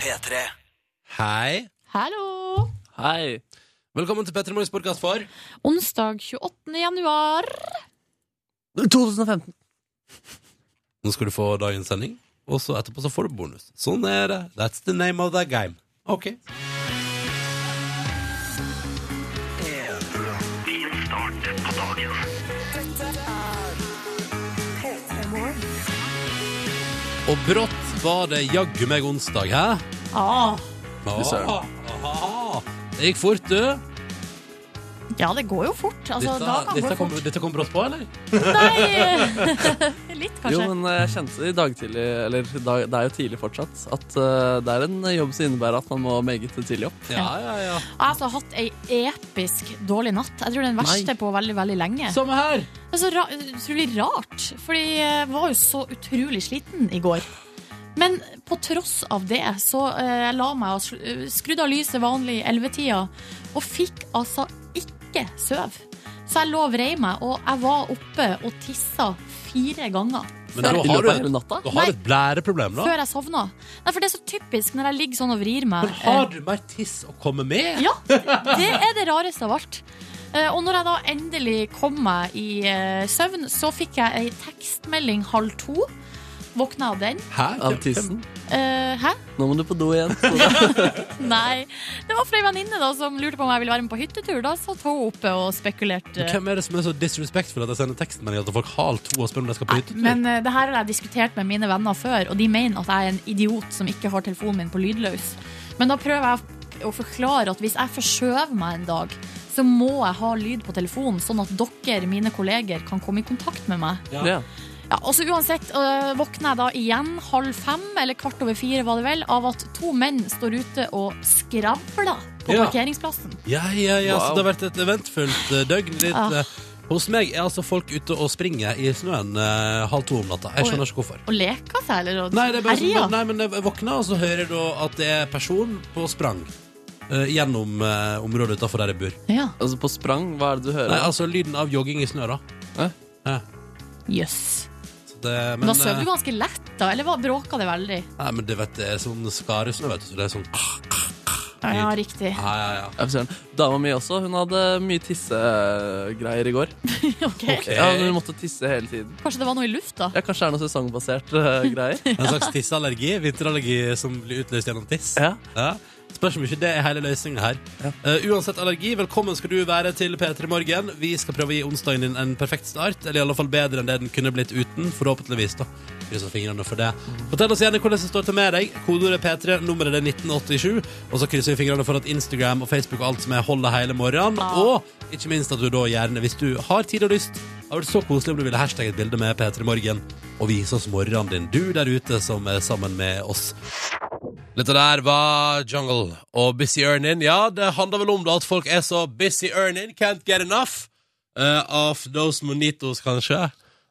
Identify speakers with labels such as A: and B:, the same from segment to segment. A: P3.
B: Hei.
C: Hallo!
D: Hei.
B: Velkommen til Petter Morgens podkast for
C: Onsdag 28. januar.
D: 2015.
B: Nå skal du få dagens sending, og så etterpå så får du bonus. Sånn er det. That's the name of the game. Ok. Og brått var det jaggu meg onsdag, hæ?
C: Ah,
B: Ah, ah. Det gikk fort, du.
C: ja, det går jo fort. Altså,
B: dette,
C: da kan det gå
B: dette, kom,
C: fort.
B: dette kom brått på, eller?
C: Nei! Litt,
D: Jo,
C: kanskje.
D: men eh, jeg kjente det i dag tidlig, eller da, det er jo tidlig fortsatt, at eh, det er en jobb som innebærer at man må meget tidlig opp.
B: Ja, ja, ja.
C: Jeg har altså hatt ei episk dårlig natt. Jeg tror den verste på veldig, veldig lenge.
D: Samme her!
C: Det er så ra utrolig rart, fordi jeg var jo så utrolig sliten i går. Men på tross av det, så eh, jeg la meg og sl- eh, skrudde av lyset vanlig i ellevetida, og fikk altså ikke søv. Så jeg lå og vrei meg, og jeg var oppe og tissa fire ganger
B: Men da
D: I
B: har
D: løpet
B: du
D: av hele
B: et,
D: natta.
B: da har du et blæreproblem, da.
C: før jeg sovna. Nei, for det er så typisk når jeg ligger sånn og vrir meg.
B: Men har du mer tiss å komme med?
C: Ja, det er det rareste av alt. Eh, Og når jeg da endelig kom meg i eh, søvn, så fikk jeg ei tekstmelding halv to. Våkna av den.
B: Hæ?
D: Av tissen.
C: Eh, hæ?
D: Nå må du på do igjen.
C: Nei. Det var fra ei venninne da som lurte på om jeg ville være med på hyttetur. Da satt hun oppe og spekulerte.
B: Hvem er det som er så disrespectful at jeg sender tekstmeldinger til folk halv to og spør om de skal på
C: Nei,
B: hyttetur?
C: men eh, det her har jeg diskutert med mine venner før, og de mener at jeg er en idiot som ikke har telefonen min på lydløs. Men da prøver jeg å forklare at hvis jeg forskjøver meg en dag, så må jeg ha lyd på telefonen, sånn at dere, mine kolleger, kan komme i kontakt med meg.
D: ja.
C: Ja, og så uansett øh, våkner jeg da igjen halv fem, eller kvart over fire var det vel, av at to menn står ute og skravler på
B: Ja.
C: parkeringsplassen.
B: Ja, ja, ja, så
D: Wow.
B: det har vært et eventfullt eh, døgn litt
C: Ah.
B: eh, Hos meg er altså folk ute og springer i snøen eh, halv to om natta. Jeg skjønner ikke hvorfor.
C: Og leker seg, eller? og
B: Nei, det er bare
C: herjer.
B: sånn, nei, men jeg våkner, og så hører jeg da at det er person på sprang eh, gjennom eh, området utenfor der jeg bor.
C: Ja,
D: Altså på sprang, hva er det du hører?
B: Nei, altså lyden av jogging i snø, da.
D: Hæ?
B: Ja,
C: jøss.
B: så det,
C: Men
B: men,
C: da søv
B: eh,
C: du ganske lett da, eller hva- bråka det veldig?
B: nei, men det, vet, det er sånn skaresnø, vet du. Så det er sånn ah,
C: Ja, riktig.
B: ja, ja, ja.
D: Ja, fy søren. Dama mi også, hun hadde mye tissegreier i går.
C: Ok.
B: Ok.
D: Ja, hun måtte tisse hele tiden.
C: Kanskje det var noe i lufta?
D: Ja, kanskje det er noe sesongbasert eh, greier.
B: En slags tisseallergi, vinterallergi som blir utløst gjennom tiss.
D: Ja.
B: Ja. Spørs om ikke det er hele løsningen her. Eh, uansett allergi, velkommen skal du være til P3 Morgen. Vi skal prøve å gi onsdagen din en perfekt start, eller i alle fall bedre enn det den kunne blitt uten. Forhåpentligvis, da. Krysser fingrene for det. Fortell oss gjerne hvordan det står til med deg. Kodeordet P3, nummeret er 1987. Og så krysser vi fingrene for at Instagram og Facebook og alt som er, holder hele morgenen. Og ikke minst at du da gjerne, hvis du har tid og lyst, hadde vært så koselig om du ville hashtagge et bilde med P3 Morgen og vise oss morgenen din, du der ute som er sammen med oss. Dette der var Jungle og Busy Earning. Ja, det handler vel om det at folk er så busy earning, can't get enough eh, of those monitos, kanskje.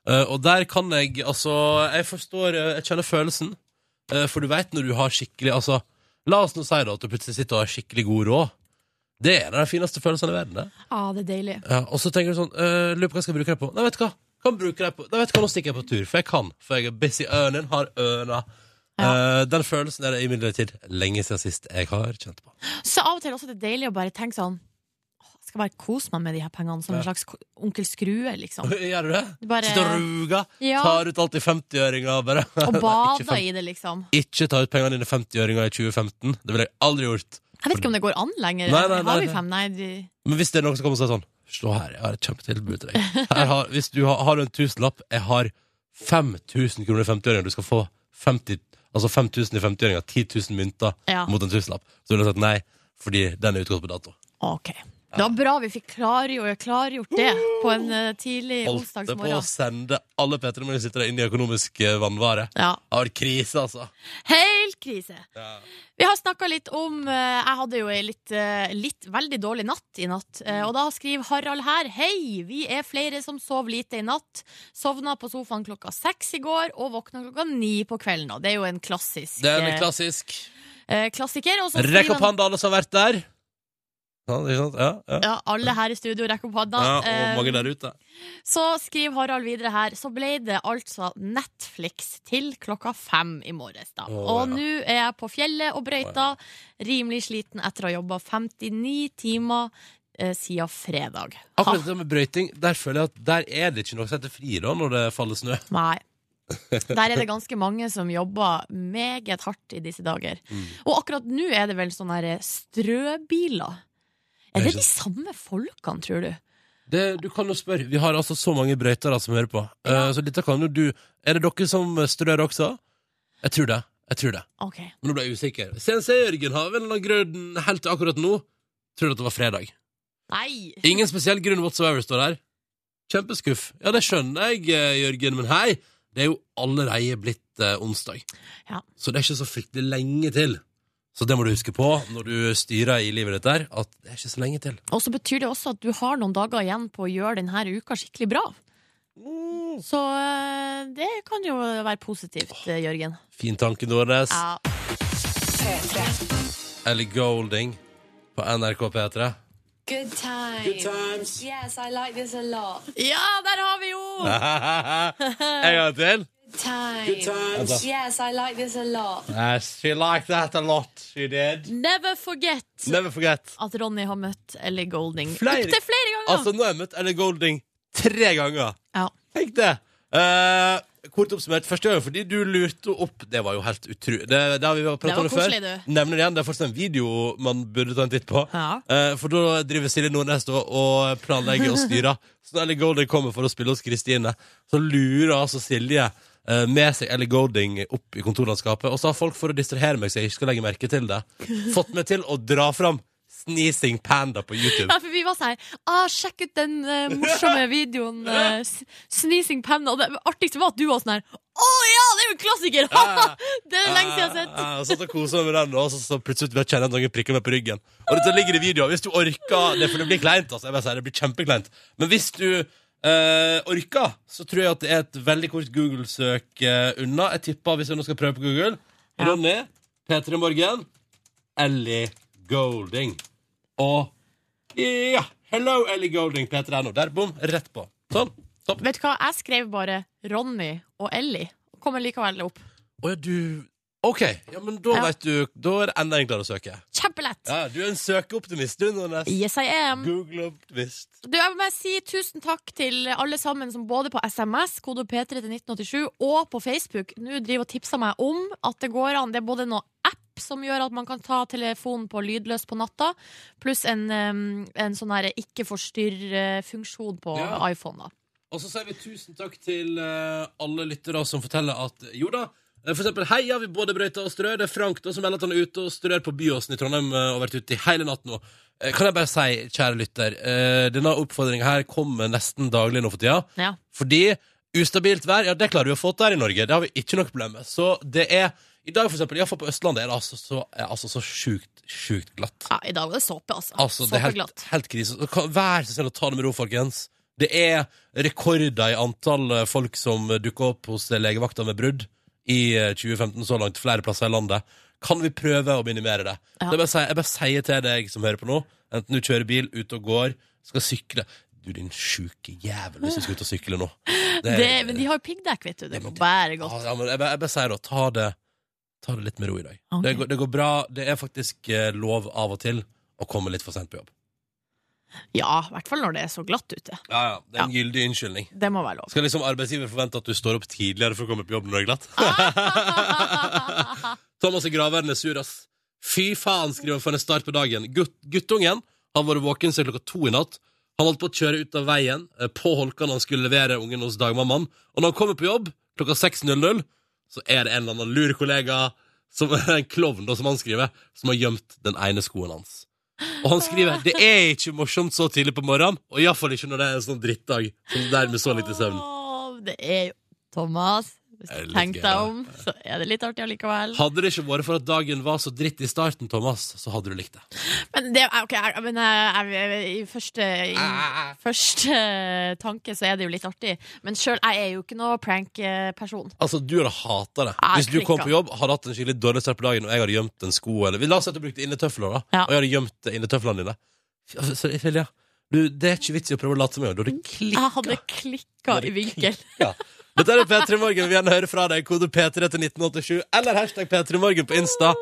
B: Eh, og der kan jeg, altså Jeg forstår, eh, jeg kjenner følelsen. Eh, for du veit når du har skikkelig Altså, la oss nå si da at du plutselig sitter og har skikkelig god råd. Det er en av de fineste følelsene i verden. det.
C: Ja, det er deilig.
B: Ja, og så tenker du sånn uh, Lurer på hva jeg skal bruke det på Nei, vet du hva Kan bruke det på Nei, vet du hva Nå stikker jeg på tur For jeg kan For jeg er busy ørnen Har ørna Eh, Den følelsen er det i midlertid Lenge siden sist jeg har kjent på
C: Så av og til også det er deilig å bare tenke sånn «Åh, jeg skal bare kose meg med de her pengene, som en slags ko- onkel Skrue, liksom.
B: Gjør du det?
C: Bare-
B: Sitter og ruger
C: Ja.
B: Tar ut alt i 50-øringa bare
C: Og
B: Nei, ikke,
C: bada
B: fem-
C: i det, liksom.
B: ikke ta ut pengene dine i 50-øringa i 2015 Det ville jeg aldri gjort
C: Jeg vet ikke om det går an lenger.
B: Nei, nei,
C: har
B: nei,
C: vi fem? Nei, de-
B: Men hvis det er noen som kommer og sier sånn Slå her, jeg har et kjempetilbud til deg her har, Hvis du har, har du en tusenlapp Jeg har 5000 kroner i 50-øringa Du skal få 50, altså 5000 i 50-øringa 10 000 mynter
C: Ja.
B: mot en tusenlapp Så ville jeg sagt nei, fordi den er utgått på dato
C: OK. Det var bra vi fikk klargjort, klargjort det på en eh, tidlig
B: Holdt det på å
C: onsdagsmorgen.
B: sende alle Petter Men sitter der inne i økonomisk eh, vannvare
C: Ja.
B: Det har vært krise altså
C: Helt krise.
B: Ja.
C: Vi har snakka litt om eh, Jeg hadde jo ei litt, eh, litt veldig dårlig natt i natt. eh,
B: Mm.
C: Og da skriver Harald her Hei, vi er flere som sov lite i natt. Sovna på sofaen klokka seks i går og våkna klokka ni på kvelden. Og det er jo en klassisk
B: Det er
C: eh,
B: en klassisk
C: eh, klassiker. Og så skriver
B: Rekk opp
C: han
B: hånda alle som har vært der Sant, ikke sant? Ja, ja.
C: Ja, alle her i studio rekker opp hånda.
B: Ja,
C: Eh,
B: og mange der ute.
C: Så skriver Harald videre her, så ble det altså Netflix til klokka fem i morges, da.
B: Å, ja.
C: og nå er jeg på fjellet og brøyta, rimelig sliten etter å ha jobba 59 timer eh, siden fredag. Ha,
B: Akkurat det med brøyting, der føler jeg at der er det ikke noe som heter fri da, når det faller snø.
C: nei. Der er det ganske mange som jobber meget hardt i disse dager. Og akkurat nå er det vel sånne her strøbiler. Er det de samme folkene, tror du?
B: Det, du kan jo spørre. Vi har altså så mange brøytere som hører på. Eh, så dette kan jo du Er det dere som strør også? Jeg tror det. Jeg tror det.
C: Ok.
B: Men nå ble jeg usikker. Sensei Jørgen har vel noen grunn helt til akkurat nå. Tror at det var fredag.
C: Nei!
B: Ingen spesiell grunn whatsoever står der. Kjempeskuff. Ja, det skjønner jeg, eh, Jørgen, men hei, det er jo allerede blitt eh, onsdag.
C: Ja.
B: Så det er ikke så fryktelig lenge til. Så det må du huske på når du styrer i livet ditt der, at det er ikke så lenge til.
C: Og så betyr det også at du har noen dager igjen på å gjøre denne uka skikkelig bra. Så eh, det kan jo være positivt, eh, Jørgen.
B: Fin tanke, Nordnes.
C: Ja.
B: Ellie Golding på NRK P3.
A: Good times. Yes, I like this a lot.
C: ja, der har vi jo!
B: en gang til.
A: Times. Good times. Yes, I like this a lot.
B: Yes, she liked that a lot, she did.
C: Never forget
B: Never forget.
C: at Ronny har møtt Ellie Golding.
B: Flere-
C: Opptil flere ganger!
B: Altså, nå har jeg møtt Ellie Golding tre ganger.
C: ja.
B: Tenk det. Eh, kort oppsummert, første gang fordi du lurte opp Det var jo helt utrolig. Det, det har vi pratet
C: var
B: om før.
C: koselig, du.
B: Nevner det igjen. Det er fortsatt en video man burde ta en titt på.
C: Ja.
B: Eh, for da driver Silje Nordnes og, og planlegger og styrer. Så når Ellie Golding kommer for å spille hos Kristine, så lurer altså Silje eh, med seg Ellie Golding opp i kontorlandskapet. Og så har folk, for å distrahere meg så jeg ikke skal legge merke til det, fått meg til å dra fram Sneezing Panda på YouTube.
C: ja, for vi var sånn her ah, Sjekk ut den eh, morsomme videoen. eh, s- Sneezing Pen. Og det artigste var at du var sånn her. Å ja, det er jo en klassiker! det er lenge siden jeg har sett.
B: Ja, ja, og satt og koset meg med den, og så, så plutselig bare kjenner jeg at noen prikker meg på ryggen. Og dette ligger i videoen. Hvis du orker Det, for det blir kleint, altså. Jeg bare sier, det blir kjempekleint. Men hvis du eh, orker, så tror jeg at det er et veldig kort Google-søk eh, unna. Jeg tipper, hvis jeg nå skal prøve på Google Ronny, P3 Morgen, Ellie Golding. Og ja! Hello, Ellie Golding, P3 NO. Der, bom. Rett på. Sånn. Topp.
C: Vet du hva, jeg skrev bare Ronny og Ellie. Kommer likevel opp.
B: Å ja, du OK. Ja, men da
C: Ja.
B: vet du Da er det enda enklere å søke.
C: Kjempelett!
B: Ja, du er en søkeoptimist, du, Nordnes.
C: Yes, I am.
B: Google-optimist.
C: Du, jeg må bare si tusen takk til alle sammen som både på SMS, kode P3 til 1987, og på Facebook nå driver og tipser meg om at det går an. Det er både noe app som gjør at man kan ta telefonen på lydløs på natta, pluss en, em, en sånn her ikke forstyrr-funksjon på
B: Ja.
C: iPhone. da.
B: Og så sier vi tusen takk til eh, alle lyttere som forteller at jo da, eh, for eksempel heia vi både brøyter og strør. Det er Frank da som melder at han er ute og strør på Byåsen i Trondheim eh, og har vært ute i hele natt nå. Eh, Kan jeg bare si, kjære lytter, eh, denne oppfordringen her kommer nesten daglig nå for tida.
C: Ja.
B: Fordi ustabilt vær, ja, det klarer vi å få til her i Norge. Det har vi ikke noe problem med. Så det er I dag, for eksempel, iallfall på Østlandet, er det altså så, er altså så sjukt, sjukt glatt.
C: ja, I dag var det såpe, altså.
B: Altså, det er helt,
C: Såpeglatt.
B: helt krise. Så kan- Vær så snill å ta det med ro, folkens. Det er rekorder i antall eh, folk som dukker opp hos legevakta med brudd i eh, 2015 så langt, flere plasser i landet. Kan vi prøve å minimere det?
C: Ja.
B: det er bare, å si- jeg bare sier til deg som hører på nå, enten du kjører bil, ute og går, skal sykle Du, din sjuke jævel, hvis du skal ut og sykle nå. Det er-
C: Det, men de har jo piggdekk, vet du. Det må bære godt.
B: ja, men jeg, bare- jeg bare sier da, ta det, ta det litt med ro i dag.
C: Ok.
B: Det, går, det går bra. Det er faktisk eh, lov av og til å komme litt for sent på jobb.
C: Ja, i hvert fall når det er så glatt ute.
B: Ja, ja, Det er en gyldig unnskyldning.
C: Det må være lov.
B: Skal liksom arbeidsgiver forvente at du står opp tidligere for å komme på jobb når det er glatt? Thomas i Graveren er sur, ass. Fy faen, skriver han for en start på dagen. Gutt, guttungen har vært våken siden klokka to i natt. Han holdt på å kjøre ut av veien eh, på Holkan han skulle levere ungen hos dagmammaen. Og når han kommer på jobb klokka 6.00, så er det en eller annen lur kollega, som, en klovn da, som han skriver, som har gjemt den ene skoen hans. Og han skriver det er ikke morsomt så tidlig på morgenen, og iallfall ikke når det er en sånn drittdag som dermed så lite søvn.
C: Åh, Det er jo Thomas. Hvis
B: Er det
C: du
B: litt
C: tenker
B: gøy, da?
C: deg om, så er det litt artig allikevel.
B: Hadde det ikke vært for at dagen var så dritt i starten, Thomas, så hadde du likt det.
C: Men det er- ok, jeg, men eh, jeg, jeg, jeg, i første,
B: Ah,
C: i første tanke så er det jo litt artig. Men sjøl, jeg er jo ikke noe prank-person.
B: Altså, du hadde hata det.
C: Jeg
B: Hvis du kom
C: klikka.
B: på jobb, hadde hatt en skikkelig dårlig start på dagen, og jeg hadde gjemt en sko eller La oss si at du brukte innetøfler, da,
C: Ja.
B: og jeg hadde gjemt innetøflene dine. Fy- altså, sorry, Silja. Du, det er ikke vits i å prøve å late som jeg gjør. Da
C: Mm.
B: hadde det
C: Jeg
B: klikka.
C: hadde klikka i vinkel.
B: Ja. Dette er P3 Morgen. Vi vil gjerne høre fra deg. Kode P3 til 1987 eller hashtag P3 Morgen på Insta.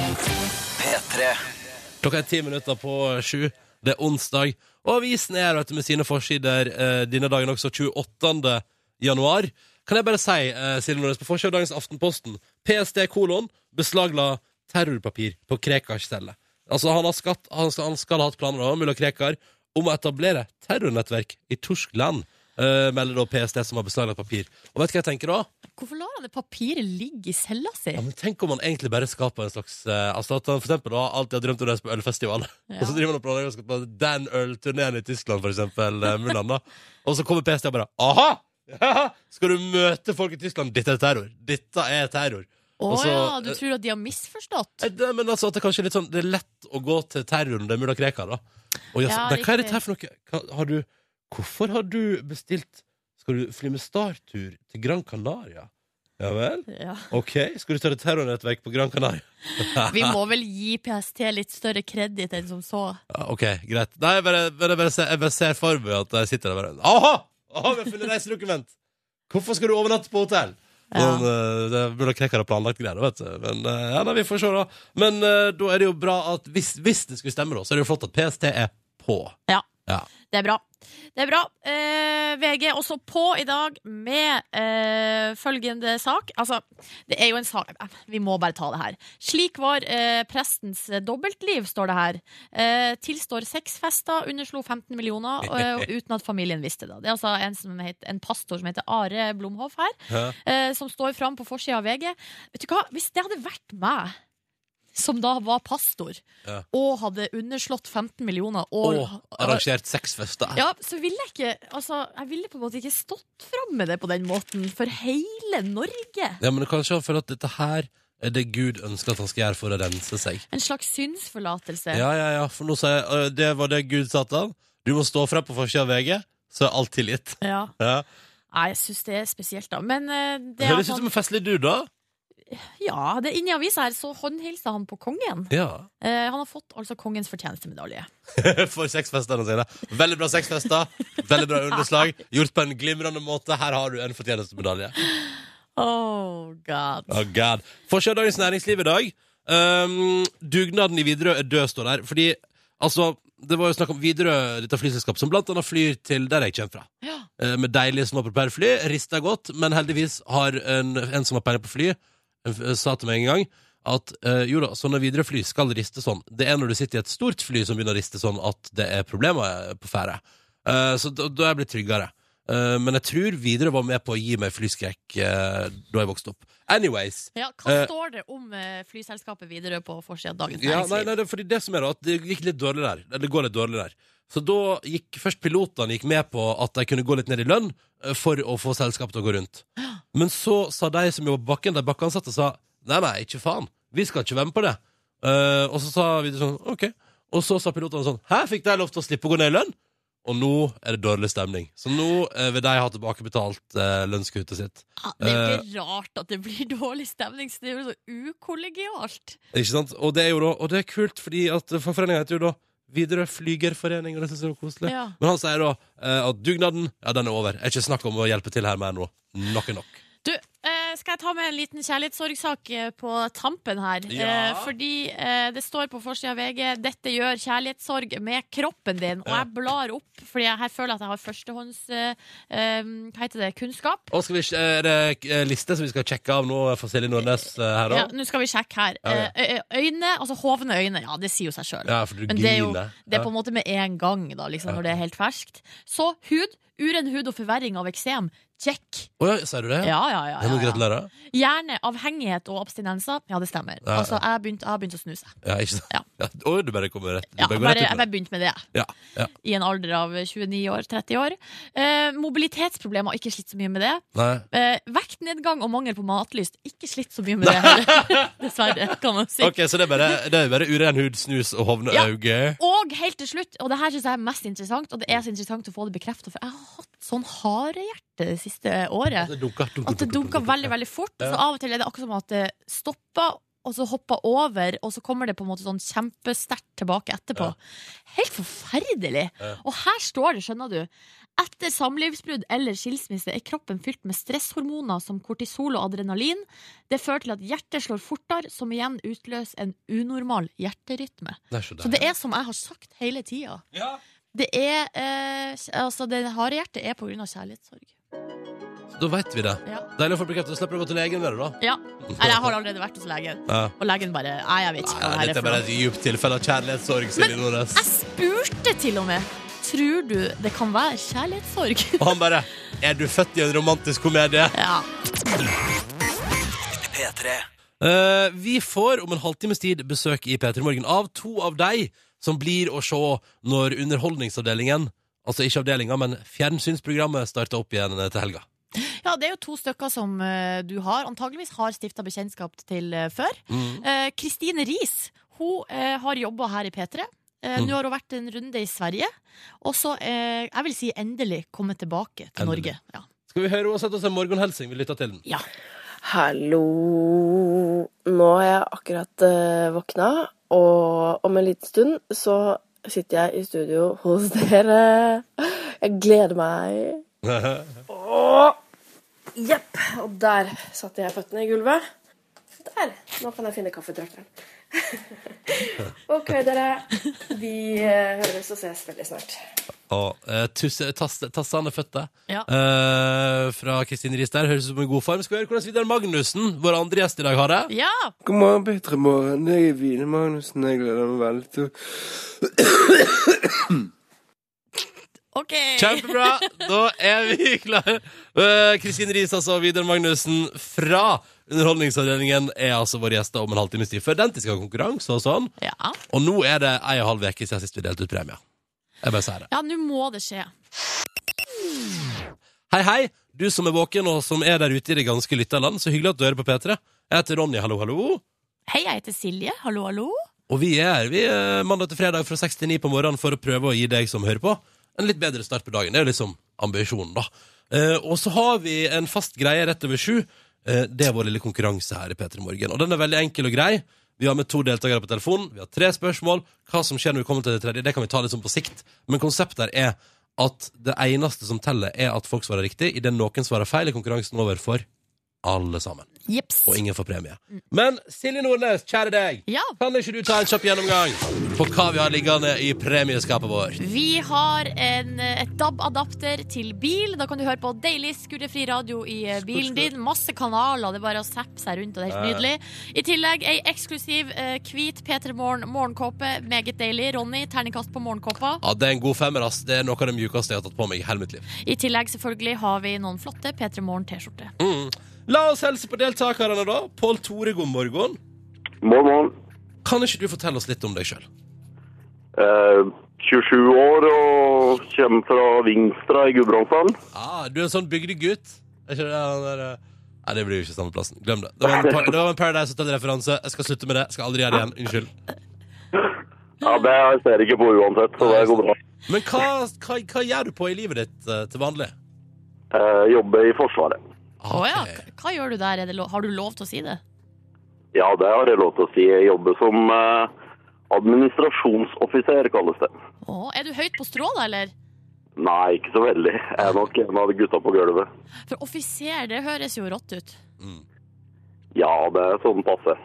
E: P3
B: Klokka er ti minutter på sju. Det er onsdag. Og avisen er vet du, med sine forsider eh, denne dagen også 28. januar. Kan jeg bare si, eh, Silje Nordnes, på forsiden av dagens Aftenposten PST kolon beslagla terrorpapir på Krekar-stellet. Altså, han, har skatt, han, skal, han skal ha hatt planer om, mulla Krekar, om å etablere terrornettverk i Torsk land, eh, melder da PST, som har beslaglagt papir. Og vet du hva jeg tenker da?
C: Hvorfor lar han det papiret ligge i cella si?
B: Ja, men Tenk om han egentlig bare skaper en slags eh, Altså at han for eksempel da, alltid har drømt om å reise på ølfestival, og så driver han og planlegger å skal på den ølturneen i Tyskland, for eksempel, eh, Mulan, da. Og så kommer PST og bare Aha! Ja, skal du møte folk i Tyskland? Dette er terror. Dette er terror.
C: Å
B: altså,
C: ja, du
B: eh,
C: tror at de har misforstått?
B: Eh, Det, men altså at det kanskje er litt sånn Det er lett å gå til terroren det er mulla Krekar, da. Og jeg,
C: Ja,
B: nei, hva er dette
C: riktig.
B: her for noe? Hva, har du Hvorfor har du bestilt Skal du fly med Star-tur til Gran Canaria? Ja vel?
C: Ja.
B: Ok, skal du ta et terrornettverk på Gran Canaria?
C: Vi må vel gi PST litt større kreditt enn som så.
B: Ja, ok, greit. Nei, jeg bare, bare, bare, ser, jeg bare ser for meg at jeg sitter der bare Aha! Aha, vi har funnet reisedokument! Hvorfor skal du overnatte på hotell?
C: Ja.
B: Sånn, eh, det burde Krekar ha planlagt greier, vet du. Men eh, ja, nei, vi får se, da. Men eh, da er det jo bra at hvis, hvis det skulle stemme, da, så er det jo flott at PST er på.
C: Ja.
B: Ja.
C: Det er bra. Det er bra. Eh, VG er også på i dag med eh, følgende sak. Altså, det er jo en sak eh, Vi må bare ta det her. Slik var eh, prestens dobbeltliv, står det her. Eh, tilstår seks fester, underslo 15 millioner eh, uten at familien visste det. Det er altså en, som heter, en pastor som heter Are Blomhoff her,
B: Hæ?
C: eh, som står fram på forsida av VG. Vet du hva, hvis det hadde vært meg som da var pastor,
B: Ja.
C: og hadde underslått 15 millioner
B: Og
C: og,
B: arrangert sexfester.
C: ja, så ville jeg ikke Altså, jeg ville på en måte ikke stått fram med det på den måten for hele Norge.
B: Ja, men kanskje han føler at dette her er det Gud ønsker at han skal gjøre for å rense seg.
C: En slags synsforlatelse.
B: Ja, ja, ja, for nå sa jeg øh, Det var det Gud sa til han. Du må stå frem på forsida av VG, så er alt tilgitt.
C: Ja.
B: Ja.
C: Nei, jeg syns det er spesielt, da. Men eh, det er
B: Høres ut
C: sånn-
B: som en festlig dude, da.
C: Ja, det er inni avisa her så håndhilsa han på kongen.
B: Ja.
C: Eh, han har fått altså kongens fortjenestemedalje.
B: For sexfestene sine. Veldig bra sexfester. Veldig bra underslag. Gjort på en glimrende måte. Her har du en fortjenestemedalje.
C: Oh god.
B: Oh god. Forsida av Dagens Næringsliv i dag. Um, dugnaden i Widerøe er død, står der. Fordi, altså Det var jo snakk om Widerøe, dette flyselskapet, som blant annet flyr til der jeg kommer fra.
C: Ja.
B: Eh, Med deilige små propellfly. Rista godt, men heldigvis har en, en som har peiling på fly, en f- sa til meg en gang at eh, jo da, sånne Widerøe-fly skal riste sånn. Det er når du sitter i et stort fly som begynner å riste sånn at det er problemer på ferde. Eh, så da, da er jeg blitt tryggere. Eh, men jeg tror Widerøe var med på å gi meg flyskrekk eh, da jeg vokste opp. Anyways.
C: ja hva
B: Eh.
C: står det om eh, flyselskapet Widerøe på forsida av Dagens
B: Ja, nei,
C: Næringsliv?
B: nei, det, er fordi det som er da, at det gikk litt dårlig der. Eller Det går litt dårlig der. Så da gikk først pilotene gikk med på at de kunne gå litt ned i lønn eh, for å få selskapet til å gå rundt. Men så sa de som jobber på bakken, de bakkeansatte, sa nei, nei, ikke faen. Vi skal ikke være med på det. Eh, og så sa vi sånn, ok. Og så sa pilotene sånn, hæ, fikk de lov til å slippe å gå ned i lønn? Og nå er det dårlig stemning. Så nå eh, vil de ha tilbakebetalt uh, lønnskuttet sitt.
C: Ja, det er jo
B: Eh.
C: ikke rart at det blir dårlig stemning, så det er jo så ukollegialt.
B: Ikke sant? Og det er jo da, og det er kult, fordi at fagforeninga heter jo da Widerøe Flygerforening, og det syns jeg var koselig.
C: Ja.
B: Men han sier da eh, at dugnaden ja, den er over. Er ikke snakk om å hjelpe til her mer nå. Nok er nok.
C: Du, eh, skal jeg ta med en liten kjærlighetssorgsak eh, på tampen her?
B: Ja.
C: Eh, fordi eh, det står på forsida av VG 'Dette gjør kjærlighetssorg med kroppen din'. Og
B: Ja.
C: jeg blar opp, fordi jeg her føler at jeg har førstehånds eh, eh, Hva heter det? kunnskap.
B: Og skal vi, er det eh, liste som vi skal sjekke av nå for Silje Nordnes eh, her
C: Ja,
B: da?
C: Nå skal vi sjekke her.
B: Ja, ja.
C: Eh, ø- ø- øyne, altså hovne øyne. Ja, det sier jo seg sjøl.
B: Ja, for du
C: Men det er jo
B: griner.
C: det er på en måte med en gang, da, liksom,
B: Ja.
C: når det er helt ferskt. Så hud. Uren hud og forverring av eksem. Check.
B: Å ja, sier du det?
C: Ja, ja, ja. ja,
B: Ja,
C: ja,
B: men
C: ja.
B: Gratulerer.
C: Gjerne avhengighet og abstinenser. Ja, det stemmer.
B: Ja, ja.
C: Altså, jeg har begynt, jeg har begynt å snuse.
B: Ja, ikke sant?
C: Ja.
B: Ja. Å, du bare kommer rett. Du
C: Ja,
B: bare
C: jeg
B: går
C: bare,
B: rett
C: jeg
B: ut med
C: bare begynte med det jeg.
B: det. Ja, ja.
C: i en alder av 29 år, 30 år. Eh, mobilitetsproblemer, ikke slitt så mye med det.
B: Nei.
C: Eh, vektnedgang og mangel på matlyst, ikke slitt så mye med det heller. Dessverre, kan man si.
B: Ok, så det er bare, det er bare uren hud, snus og hovne
C: Ja.
B: øyne.
C: Og helt til slutt, og det her syns jeg er mest interessant, og det er så interessant å få det bekrefta, for jeg har hatt sånn harehjerte det siste året.
B: At det dunker, dunker,
C: At det dunker veldig veldig fort. Så av og til er det akkurat som at det stopper, og så hoppa over, og så kommer det på en måte sånn kjempesterkt tilbake etterpå. Helt forferdelig!
B: Ja.
C: Og her står det, skjønner du. Etter samlivsbrudd eller skilsmisse er kroppen fylt med stresshormoner som kortisol og adrenalin. Det fører til at hjertet slår fortere, som igjen utløser en unormal hjerterytme.
B: Det er så
C: Så det er som jeg har sagt hele tida.
B: Ja.
C: Det er eh, Altså, det harde hjertet er på grunn av kjærlighetssorg.
B: Da veit vi det.
C: Ja.
B: Deilig å få bekreftet. Slipper du å gå til legen med det, da.
C: ja. Eller jeg har allerede vært hos legen,
B: Ja.
C: og legen bare Nei, jeg vet ikke hva
B: Nei,
C: det
B: dette
C: her
B: er
C: er for
B: bare
C: noe.
B: et djupt tilfelle av kjærlighetssorg, Silje Nordnes.
C: Jeg spurte til og med Tror du det kan være kjærlighetssorg?
B: Og han bare Er du født i en romantisk komedie?
C: ja.
B: Eh, vi får om en halvtimes tid besøk i P3 Morgen av to av deg som blir å se når Underholdningsavdelingen, altså ikke avdelinga, men fjernsynsprogrammet, starter opp igjen til helga.
C: ja, det er jo to stykker som eh, du har antageligvis har stifta bekjentskap til eh, før.
B: Mm.
C: Eh, Kristine Riis hun eh, har jobba her i P3. Eh,
B: Mm.
C: Nå har hun vært en runde i Sverige, og så, eh, jeg vil si, endelig kommet tilbake til Norge.
B: Endelig.
C: Ja.
B: Skal vi høre henne sette oss en morgenhelsing? Vi lytter til den.
E: Hallo. Nå har jeg akkurat eh, våkna, og om en liten stund så sitter jeg i studio hos dere. Jeg gleder meg. Jepp. Og der satte jeg føttene i gulvet. Der. Nå kan jeg finne kaffetrakteren. OK, dere. Vi eh, høres og ses veldig snart.
B: Og eh, tusse- tasse- Tassane fødte
C: Ja.
B: eh, fra Kristin Riis der. Høres ut som en god form. Skal vi høre hvordan Vidar Magnussen, vår andre gjest i dag, har det?
C: ja!
F: God morgen, Petre Morgen. Jeg er Vine Magnussen. Jeg gleder meg veldig til
C: OK!
B: Kjempebra! Da er vi klare. Eh, Kristin Riis altså, og Vidar Magnussen fra Underholdningsavdelingen er altså våre gjester om en halvtimes tid. Før den tid skal ha konkurranse og sånn.
C: Ja.
B: Og nå er det ei og en halv uke siden sist vi delte ut premie. Jeg bare sier det.
C: Ja, nå må det skje.
B: Hei, hei, du som er våken og som er der ute i det ganske lytterland. Så hyggelig at du hører på P3. Jeg heter Ronny, hallo, hallo.
C: Hei, jeg heter Silje. Hallo, hallo.
B: Og vi er her vi er mandag til fredag fra 6 til 9 på morgenen for å prøve å gi deg som hører på, en litt bedre start på dagen. Det er jo liksom ambisjonen, da. Eh, og så har vi en fast greie rett over sju. Eh, det er vår lille konkurranse her i P3 Morgen. Og den er veldig enkel og grei. Vi har med to deltakere på telefonen. Vi har tre spørsmål. Hva som skjer når vi kommer til det tredje, det kan vi ta litt sånn på sikt. Men konseptet her er at det eneste som teller, er at folk svarer riktig. Idet noen svarer feil, er konkurransen over for alle sammen.
C: Jeps.
B: Og ingen får premie. Men Silje Nordnes, kjære deg.
C: Ja.
B: Kan ikke du ta en kjapp gjennomgang på hva vi har liggende i premieskapet vårt?
C: Vi har en, et DAB-adapter til bil. Da kan du høre på deilig skurrefri radio i eh, bilen din. Masse kanaler. Det er bare å zappe seg rundt, og det er helt
B: Ja,
C: nydelig. I tillegg ei eksklusiv eh, hvit P3 Morgen morgenkåpe. Meget deilig. Ronny, terningkast på morgenkåpa.
B: Ja, Det er en god femmer. ass Det er noe av det mjukeste jeg har tatt på meg i hele mitt liv.
C: I tillegg selvfølgelig har vi noen flotte P3 Morgen-T-skjorter.
B: La oss helse på deltakerne, da. Pål Tore, god morgen.
G: Morgen, morgen.
B: Kan ikke du fortelle oss litt om deg sjøl?
G: Eh, 27 år og kommer fra Vingstra i Gudbrandsdalen.
B: Ah, du er en sånn bygdegutt. Er ikke det han der eh? Nei, det blir jo ikke samme plassen. Glem det. Det var en, par det var en Paradise Hotel-referanse. Jeg skal slutte med det. Jeg skal aldri gjøre det igjen. Unnskyld.
G: Ja, det ser jeg ikke på uansett, så det går bra.
B: Men hva, hva, hva gjør du på i livet ditt eh, til vanlig?
G: Eh, jobber i Forsvaret.
C: Å ja.
B: Ok.
C: Hva, hva gjør du der? Er det lov? Har du lov til å si det?
G: Ja, det har jeg lov til å si. Jeg jobber som eh, administrasjonsoffiser, kalles det.
C: Å, er du høyt på strå, da, eller?
G: Nei, ikke så veldig. Jeg er nok en av gutta på gulvet.
C: For offiser, det høres jo rått ut.
G: Ja, det er sånn passe.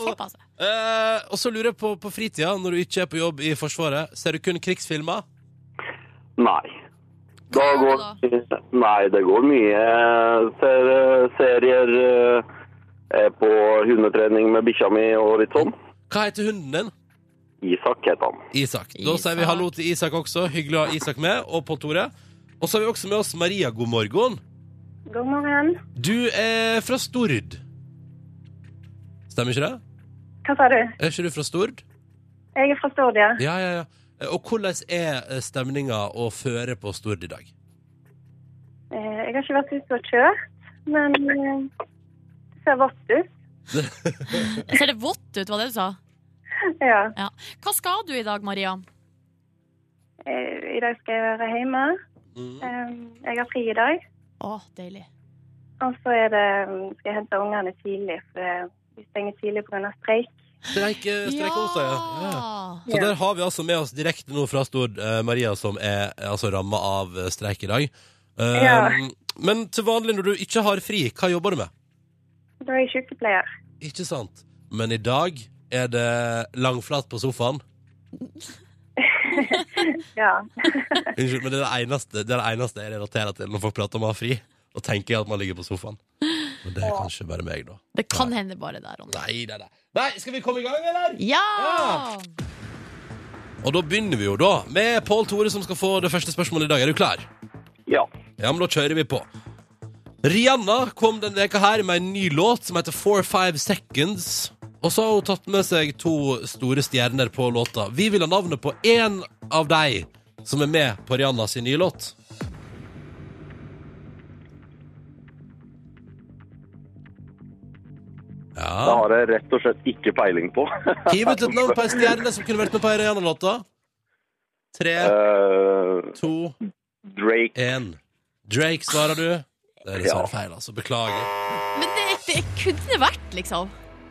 C: Såpass.
B: Eh, og så lurer jeg på, på fritida, når du ikke er på jobb i Forsvaret, ser du kun krigsfilmer?
G: Nei. Da
C: Hva
G: går Nei, det går mye ser, serier. eh, er på hundetrening med bikkja mi og litt sånn.
B: Hva heter hunden din?
G: Isak heter han.
B: Isak. Da
C: Isak.
B: sier vi hallo til Isak også. Hyggelig å ha Isak med, og Pål Tore. Og så har vi også med oss Maria. God morgen.
E: God morgen.
B: Du er fra Stord. Stemmer ikke det?
E: Hva sa du?
B: Er ikke du fra Stord?
E: Jeg er fra Stordia.
B: Ja, ja, ja. Eh, Og hvordan er stemninga å føre på Stord i dag?
E: Eh, Jeg har ikke vært ute og kjørt, men det ser vått ut.
C: Ser det vått ut, var det du sa?
E: Ja.
C: Ja. Hva skal du i dag, Maria?
E: Eh, I dag skal jeg være hjemme.
B: Mm.
E: Eh, Jeg har fri i dag.
C: Å, deilig.
E: eh, Og så er det, skal jeg hente ungene tidlig, for det
H: vi stenger tidlig pga. streik.
B: Streik, eh, streik onsdag, ja. ja.
C: Ja.
B: Så der har vi altså med oss direkte nå fra Stord eh, Maria, som er eh, altså ramma av eh, streik i dag. Eh,
H: Ja.
B: Men til vanlig når du ikke har fri, hva jobber du med?
H: Da er jeg sykepleier.
B: Ikke sant? Men i dag er det langflat på sofaen.
H: Ja.
B: Unnskyld, men det er det eneste, det er det eneste jeg relaterer til når folk prater om å ha fri. Da tenker jeg at man ligger på sofaen. Og det er kanskje bare meg, da.
C: Det kan hende bare der og da.
B: Nei, nei, nei. Nei, skal vi komme i gang, eller?
C: Ja!
B: Og da begynner vi jo da med Pål Tore som skal få det første spørsmålet i dag. Er du klar?
G: Ja.
B: Ja, men da kjører vi på. Rihanna kom denne veka her med en ny låt som heter 45 Seconds. Og så har hun tatt med seg to store stjerner på låta. Vi vil ha navnet på én av de som er med på Rihanna sin nye låt.
G: Det
B: Ja.
G: har jeg rett og slett ikke peiling på.
B: Hiv ut et navn på ei stjerne som kunne vært med på ei Rihanna-låta. Tre,
G: Eh,
B: to,
G: Drake
B: En. Drake, svarer du? Det er dessverre
G: Ja.
B: feil, altså. Beklager.
C: Men det, det kunne vært, liksom.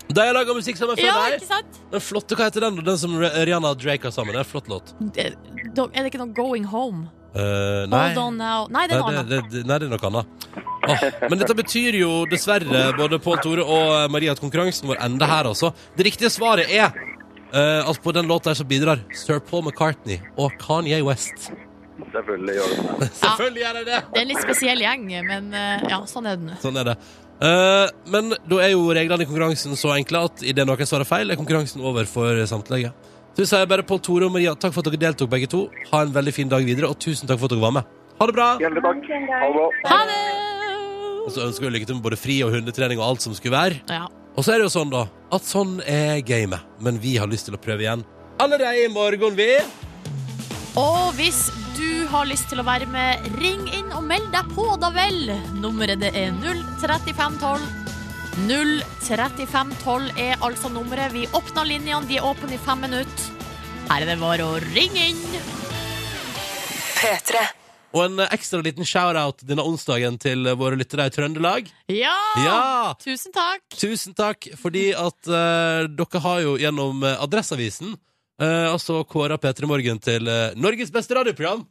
B: De har laga musikk sammen før
C: Ja,
B: deg.
C: ikke sant?
B: Den flotte, hva heter den? Den som Rihanna og Drake har sammen. Det er en flott låt.
C: Det, da- er det ikke noe Going Home?
B: Eh, nei.
C: Hold on now. Nei, det
B: Nei,
C: er noe
B: det,
C: annet.
B: det, det, nei, det er noe annet. Åh, men dette betyr jo dessverre, både Pål Tore og eh, Maria, at konkurransen vår ender her, altså. Det riktige svaret er eh, Altså, på den låta her så bidrar Sir Paul McCartney og Kanye West.
G: selvfølgelig gjør det.
B: Selvfølgelig gjør de det!
C: Det er en litt spesiell gjeng, men eh, ja, sånn er det nå.
B: Sånn er det. Eh, men da er jo reglene i konkurransen så enkle at idet noen svarer feil, er konkurransen over for samtlige. Så vi sier bare Pål Tore og Maria, takk for at dere deltok, begge to. Ha en veldig fin dag videre, og tusen takk for at dere var med. Ha det bra!
G: Hjertelig takk. Ha det bra.
C: Ha det!
B: Og så ønsker vi lykke til med både fri og hundetrening og alt som skulle være.
C: Ja.
B: Og så er det jo sånn, da, at sånn er gamet. Men vi har lyst til å prøve igjen allerede i morgen, vi.
C: Og hvis du har lyst til å være med, ring inn og meld deg på, da vel. Nummeret det er 03512. 03512 er altså nummeret. Vi åpner linjene, de er åpne i fem minutter. Her er det bare å ringe inn.
B: Og en eh, ekstra liten shout-out denne onsdagen til eh, våre lyttere i Trøndelag.
C: Ja!
B: Ja!
C: Tusen takk.
B: Tusen takk, fordi at eh, dere har jo gjennom eh, Adresseavisen eh, altså kåra P3 Morgen til eh, Norges beste radioprogram.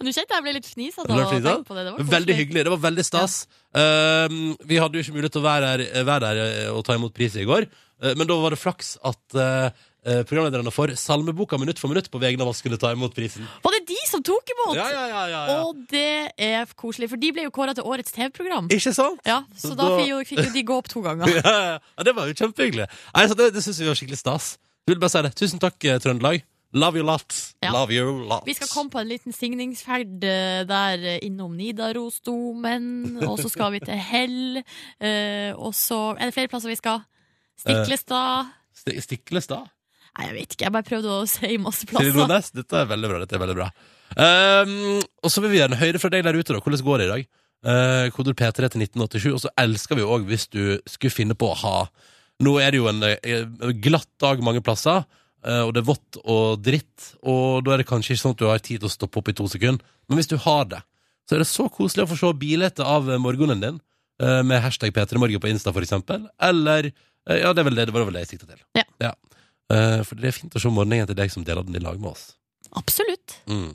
C: Nå kjente jeg ble litt fnisa da.
B: Ble du
C: og
B: fliset?
C: tenkte på det. Det var koselig.
B: Veldig hyggelig. Det var veldig stas. Um, vi hadde jo ikke mulighet til å være der, eh, være der eh, og ta imot pris i går, eh, men da var det flaks at eh, eh, programlederne for Salmeboka minutt for minutt på vegne av oss skulle ta imot prisen.
C: Var det de som tok imot?
B: Ja, ja, ja, ja, ja.
C: Og det er koselig, for de ble jo kåra til årets TV-program.
B: Ikke sant?
C: Ja, så,
B: Så
C: da
B: da-
C: fikk jo, fikk jo de gå opp to ganger.
B: Ja, ja, ja, det var jo kjempehyggelig. Nei, så det det syns vi var skikkelig stas. Jeg vil bare si det. Tusen takk, eh, Trøndelag. Love you lots.
C: Ja.
B: Love you lots.
C: Vi skal komme på en liten signingsferd eh, der eh, innom Nidarosdomen, og så skal vi til Hell, eh, og så er det flere plasser vi skal.
B: Eh.
C: Stiklestad
B: Sti- Stiklestad?
C: Nei, jeg vet ikke, jeg bare prøvde å si masse
B: Silje
C: plasser.
B: Nordnes, dette er veldig bra. Dette er veldig bra. Ehm, og så vil vi gjerne høre fra deg der ute. da Hvordan går det i dag? Uh, koder P3 til 1987. Og så elsker vi òg hvis du skulle finne på å ha Nå er det jo en eh, glatt dag mange plasser, eh, og det er vått og dritt. Og da er det kanskje ikke sånn at du har tid til å stoppe opp i to sekunder. Men hvis du har det, så er det så koselig å få se bilete av eh, morgenen din. eh, Med hashtag P3morgen på Insta, for eksempel. Eller eh, Ja, det er vel det det var vel det jeg sikta til.
C: Ja.
B: Eh, For det er fint å se morgenen til deg som deler den i lag med oss.
C: Absolutt.
B: Mm.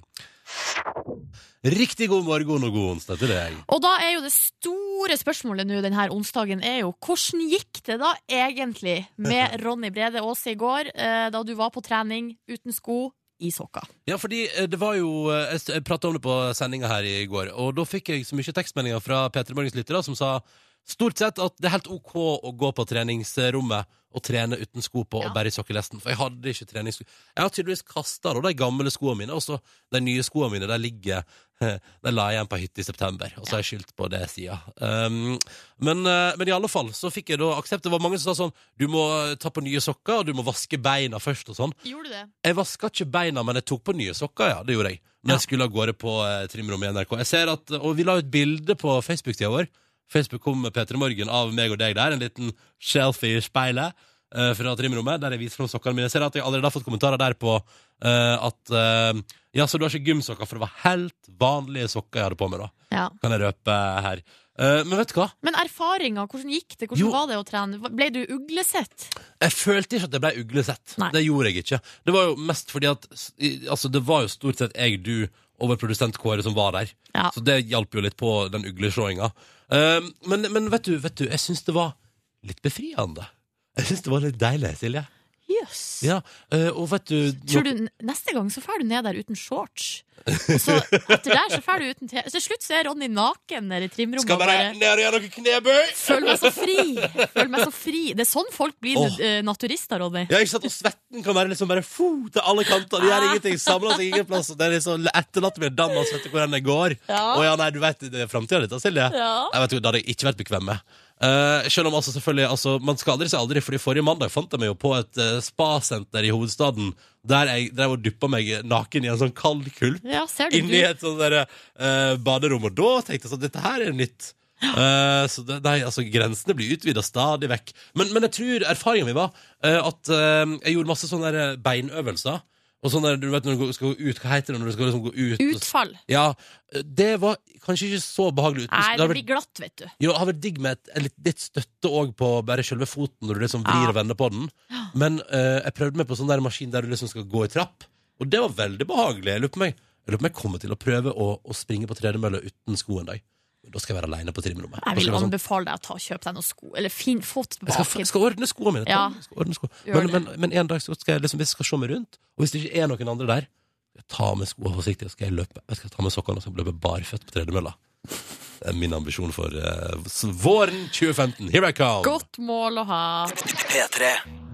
B: Riktig god morgen og god onsdag til deg.
C: Og da er jo det store spørsmålet nå denne onsdagen er jo hvordan gikk det da egentlig med Ronny Brede Aase i går, eh, da du var på trening uten sko i sokker?
B: Ja, fordi eh, det var jo eh, Jeg s- jeg prata om det på sendinga her i går, og da fikk jeg så mye tekstmeldinger fra P3 Morgens lyttere som sa stort sett at det er helt OK å gå på treningsrommet og trene uten sko på
C: Ja.
B: og bare i sokkelesten, for jeg hadde ikke treningssko. Jeg har tydeligvis kasta de gamle skoene mine, og så de nye skoene mine der ligger De la jeg igjen på ei hytte i september, og så har jeg skyldt på det sida. Um, men, eh, men i alle fall så fikk jeg da aksept. Det var mange som sa sånn Du må ta på nye sokker, og du må vaske beina først og sånn.
C: Gjorde du det?
B: Jeg vaska ikke beina, men jeg tok på nye sokker, ja. Det gjorde jeg. Når jeg skulle av gårde på eh, trimrommet i NRK. Jeg ser at, Og vi la ut bilde på Facebook-sida vår. Facebook kom med P3 Morgen av meg og deg der. En liten selfie i speilet eh, fra trimrommet, der jeg viser fram sokkene mine. Jeg ser at jeg allerede har fått kommentarer der på eh, at eh, Ja, så du har ikke gymsokker, for det var helt vanlige sokker jeg hadde på meg, da
C: Ja.
B: kan jeg røpe her. Eh, men vet du hva?
C: Men erfaringa, hvordan gikk det? Hvordan
B: Jo.
C: var det å trene? Hva- Ble du uglesett?
B: Jeg følte ikke at jeg ble uglesett.
C: Nei.
B: Det gjorde jeg ikke. Det var jo mest fordi at s- i- Altså, det var jo stort sett jeg, du og vår produsent Kåre som var der.
C: Ja.
B: Så det hjalp jo litt på den uglesjåinga. Um, men, men vet du, vet du, jeg syns det var litt befriende. Jeg syns det var litt deilig, Silje.
C: Jøss.
B: Ja, eh, og vet du
C: Tror du n- Neste gang så drar du ned der uten shorts. Og så etter der så drar du uten T. Så til slutt så er Ronny naken der i trimrommet.
B: Skal
C: og
B: bare ned og gjøre noe knebøy!
C: Føl meg så fri! Føl meg så fri. Det er sånn folk blir
B: Åh.
C: eh, naturister, Ronny.
B: Ja, ikke sant? Og svetten kan være liksom bare fo, til alle kanter. De
C: Ah.
B: gjør ingenting. Samler seg ingen plass. og Det er liksom etterlatt med en dam og svette hvor enn det går.
C: Ja.
B: Å ja, nei, du vet, det er framtida di, da, Silje.
C: Ja.
B: Jeg vet, jo, det hadde jeg ikke vært bekvem med. Eh, selv om altså selvfølgelig altså, Man skal aldri si aldri, Fordi forrige mandag fant jeg meg jo på et eh, spasenter i hovedstaden der jeg drev og duppa meg naken i en sånn kald kulp
C: Ja, ser du.
B: inni
C: du.
B: et sånt der, eh, baderom. Og da tenkte jeg sånn Dette her er nytt. Eh, så det, nei, altså Grensene blir utvida stadig vekk. Men, men jeg tror erfaringen min var eh, at eh, jeg gjorde masse sånne der eh, beinøvelser. Og sånn der, du vet når du går- skal gå ut, Hva heter det når du skal liksom gå ut? og-
C: Utfall.
B: Ja, eh, Det var kanskje ikke så behagelig. ut.
C: Nei, det
B: Det hadde vært-
C: blir glatt, vet du.
B: jo, det har vært digg med et, litt, litt støtte òg på bare selve foten, når du liksom vrir
C: Ja.
B: og vender på den. Men eh, jeg prøvde meg på sånn der maskin der du liksom skal gå i trapp, og det var veldig behagelig. Jeg lurer på meg, jeg lurer på om jeg kommer til å prøve å, å springe på tredemølla uten sko en dag. Men Da skal jeg være aleine på trimrommet. Da
C: Jeg vil
B: skal jeg være sånn,
C: anbefale deg å ta og kjøpe deg noen sko. Eller fin, få
B: jeg skal,
C: tilbake
B: f- skal ordne skoene mine.
C: Ja.
B: Jeg Skal ordne sko.
C: Gjør
B: men,
C: det.
B: men, men en dag så skal jeg liksom, hvis jeg skal se meg rundt, og hvis det ikke er noen andre der, skal jeg ta med skoene forsiktig, og skal jeg løpe. Jeg skal ta med sokkene og så løpe barføtt på tredemølla. Det er min ambisjon for eh, s- våren 2015. Here I come!
C: Godt mål å ha.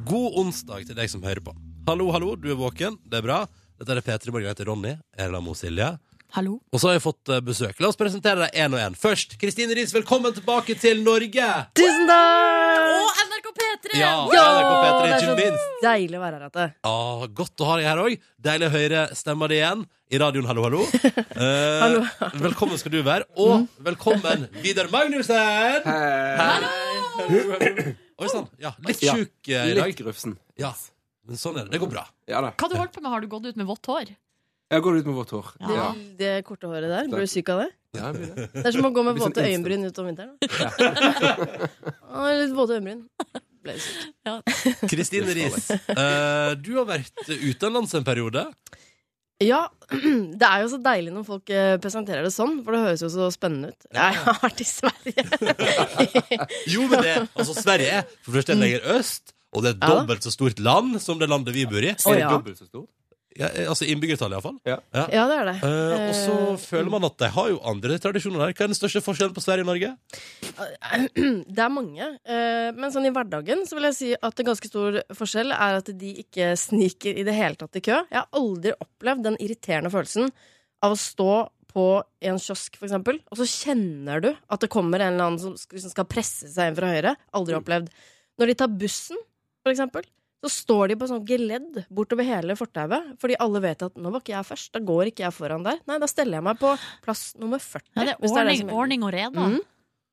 B: God onsdag til deg som hører på. Hallo, hallo, du er våken. Det er bra. Dette er P3 Morgen. Jeg heter Ronny. Erla Mo Silje.
C: Hallo.
B: Og så har jeg fått eh, besøk. La oss presentere deg én og én. Først, Kristine Riis, velkommen tilbake til Norge!
I: Tusen takk!
C: Og NRK P3!
B: Ja,
C: Wow!
B: NRK P3,
I: det
B: ikke
I: er
B: minst.
I: så deilig å være her. Atte.
B: Ah, godt å ha deg her òg. Deilig å høre stemma di igjen i radioen. Hallo, hallo. Eh,
I: Hallo. Mm.
B: velkommen skal du være. Og velkommen, Vidar Magnussen! Hallo, hallo. Oi sann. Ja, litt
F: Ja,
B: sjuk eh, i
F: Litt
B: dag.
F: grufsen.
B: Ja. Men sånn er det. Det går bra.
F: Ja da.
C: Hva har du holdt på med? Har du gått ut med vått hår?
F: Jeg går ut med vårt hår.
I: Det,
F: Ja.
I: det korte håret der, blir du syk av det?
F: Ja, jeg blir det.
I: Det er som å gå med
F: Litt sånn
I: våte øyenbryn ut om vinteren. Å, Litt våte øyenbryn. Ble litt syk.
B: Kristine Riis, eh, du har vært utenlands en periode.
I: Ja, det er jo så deilig når folk eh, presenterer det sånn, for det høres jo så spennende ut. Jeg har vært i Sverige.
B: Jo, men det, altså Sverige er for først en lenger øst, og det er
I: Mm.
B: et
I: Ja.
B: dobbelt så stort land som det landet vi bor i.
I: Å,
F: Er det
I: ja.
F: dobbelt så stort?
B: Ja, eh, altså innbyggertallet, iallfall.
F: Ja.
I: Ja, det er det.
B: Uh, og så
I: Eh,
B: føler man at de har jo andre tradisjoner der. Hva er den største forskjellen på Sverige og Norge?
I: Det er mange. eh, Men sånn i hverdagen så vil jeg si at en ganske stor forskjell er at de ikke sniker i det hele tatt i kø. Jeg har aldri opplevd den irriterende følelsen av å stå på en kiosk, for eksempel, og så kjenner du at det kommer en eller annen som sk- som skal presse seg inn fra høyre. Aldri
C: Mm.
I: opplevd. Når de tar bussen, for eksempel, så står de på sånn geledd bortover hele fortauet, fordi alle vet at 'nå var ikke jeg først', da går ikke jeg foran der. Nei, da steller jeg meg på plass nummer 40.
C: Ja, det er Mm.
I: hvis
C: ordning,
I: som gjelder.
C: ordning og rede.
I: Mhm.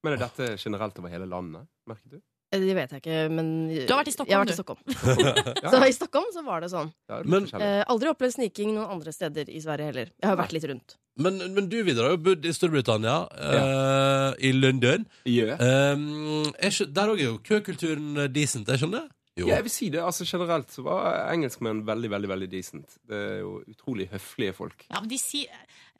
F: Men er dette generelt over hele landet? Merker du?
I: Eh, Det vet jeg ikke, men
C: Du har vært i Stockholm,
I: jeg har vært
C: du.
I: i Stockholm.
F: Ja.
I: Så i Stockholm så var det sånn.
F: Ja, det er
B: Men-
F: forskjellig.
I: Eh, aldri opplevd sniking noen andre steder i Sverige heller. Jeg har vært litt rundt.
B: Men, men du, Vidar, har jo bodd i Storbritannia, eh, i London.
F: Gjø.
B: Um, er ikke- der òg er jo køkulturen decent, er ikke det? Jo.
F: Ja, jeg vil si det. altså Generelt så var engelskmenn veldig veldig, veldig decent. Det er jo utrolig høflige folk.
C: Ja, men de sier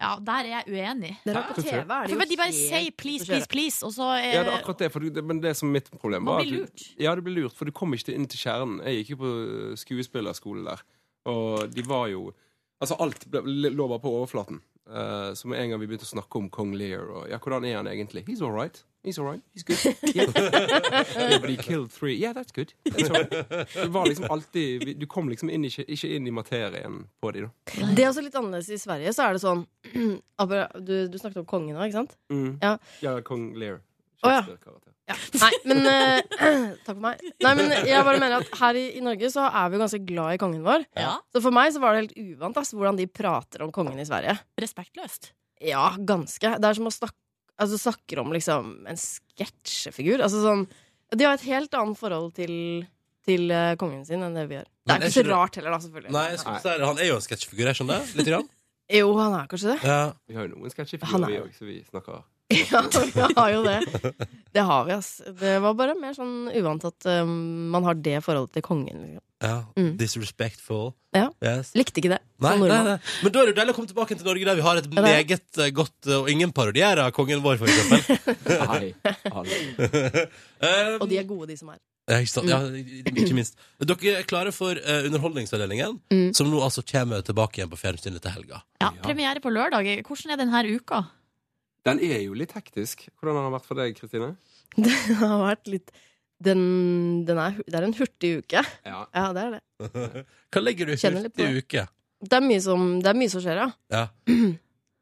C: Ja, der er jeg uenig.
I: Dere på TV, er det
C: For
I: jo
C: men de bare
I: helt
C: sier 'please,
I: på kjøret.
C: please, please', og så eh,
F: Ja, det er akkurat det, for du, det, Men det som er mitt problem
C: Man
F: var
C: blir
F: at du-
C: lurt.
F: Ja, du blir lurt, for du kom ikke til- inn til kjernen. Jeg gikk jo på skuespillerskole der, og de var jo Altså, alt ble, lå bare på overflaten. Eh, så med en gang vi begynte å snakke om kong Lear og Ja, hvordan er han egentlig? He's all right. He's all right. He's good. Yeah. Yeah, but he killed three. Yeah, that's good. That's all right. Det var liksom alltid vi- Du kom liksom inn, i- ikke, ikke inn i materien på de, da.
I: Det er også litt annerledes i Sverige. Så er det sånn Abra- du, du snakket om kongen nå, ikke sant?
F: Mm.
I: Ja.
F: ja, kong Lear.
I: Å, ja.
F: Shakespeare-karakter.
I: Nei, men eh, Takk for meg. Nei, men jeg bare mener at her i, i Norge så er vi jo ganske glad i kongen vår.
C: Ja.
I: Så for meg så var det helt uvant ass, hvordan de prater om kongen i Sverige.
C: respektløst.
I: Ja, ganske. Det er som å snakke, altså, snakker om liksom, en sketsjefigur. Altså, sånn, de har et helt annet forhold til, til eh, kongen sin enn det vi har. Det
B: Men
I: er
B: er
I: ikke så
B: ikke det-
I: rart heller, da, selvfølgelig.
B: Nei, jeg skulle si det. han er jo en sketsjfigur, jeg skjønner. Litt grann.
I: Jo, han er kanskje det.
B: Ja.
F: Vi har jo noen
I: Han
F: sketsjefigurer,
I: er-
F: vi òg, så vi snakker
I: Ja, vi har jo det. Det har vi, ass. Det var bare mer sånn uvant at eh, man har det forholdet til kongen. Liksom.
B: Ja,
I: Mm.
B: Disrespectful.
I: Ja.
B: Yes.
I: Likte ikke det.
B: Nei,
I: som
B: nei,
I: nordmann.
B: nei. Men da er det jo deilig å komme tilbake til Norge, der vi har et
I: det er
B: meget eh, godt eh, og ingen parodierer av kongen vår, for eksempel.
D: Nei, aldri.
B: um,
I: Og de er Mm. gode, de som er.
B: ja, ikke sant? Ja, ikke minst. Dere er klare for eh, Underholdningsavdelingen,
I: Mm.
B: som nå altså kommer tilbake igjen på fjernsynet til helga.
C: Ja, Premiere på lørdag. Hvordan er den her uka?
F: Den er jo litt hektisk. Hvordan har den vært for deg, Kristine?
I: Det har vært litt den, den er, hu- Det er en hurtig uke.
F: Ja.
I: Ja, det er det.
B: Hva legger du i
I: Kjenner litt på
B: hurtig uke?
I: Det er mye som, det er mye som skjer, ja.
B: Ja.
F: Det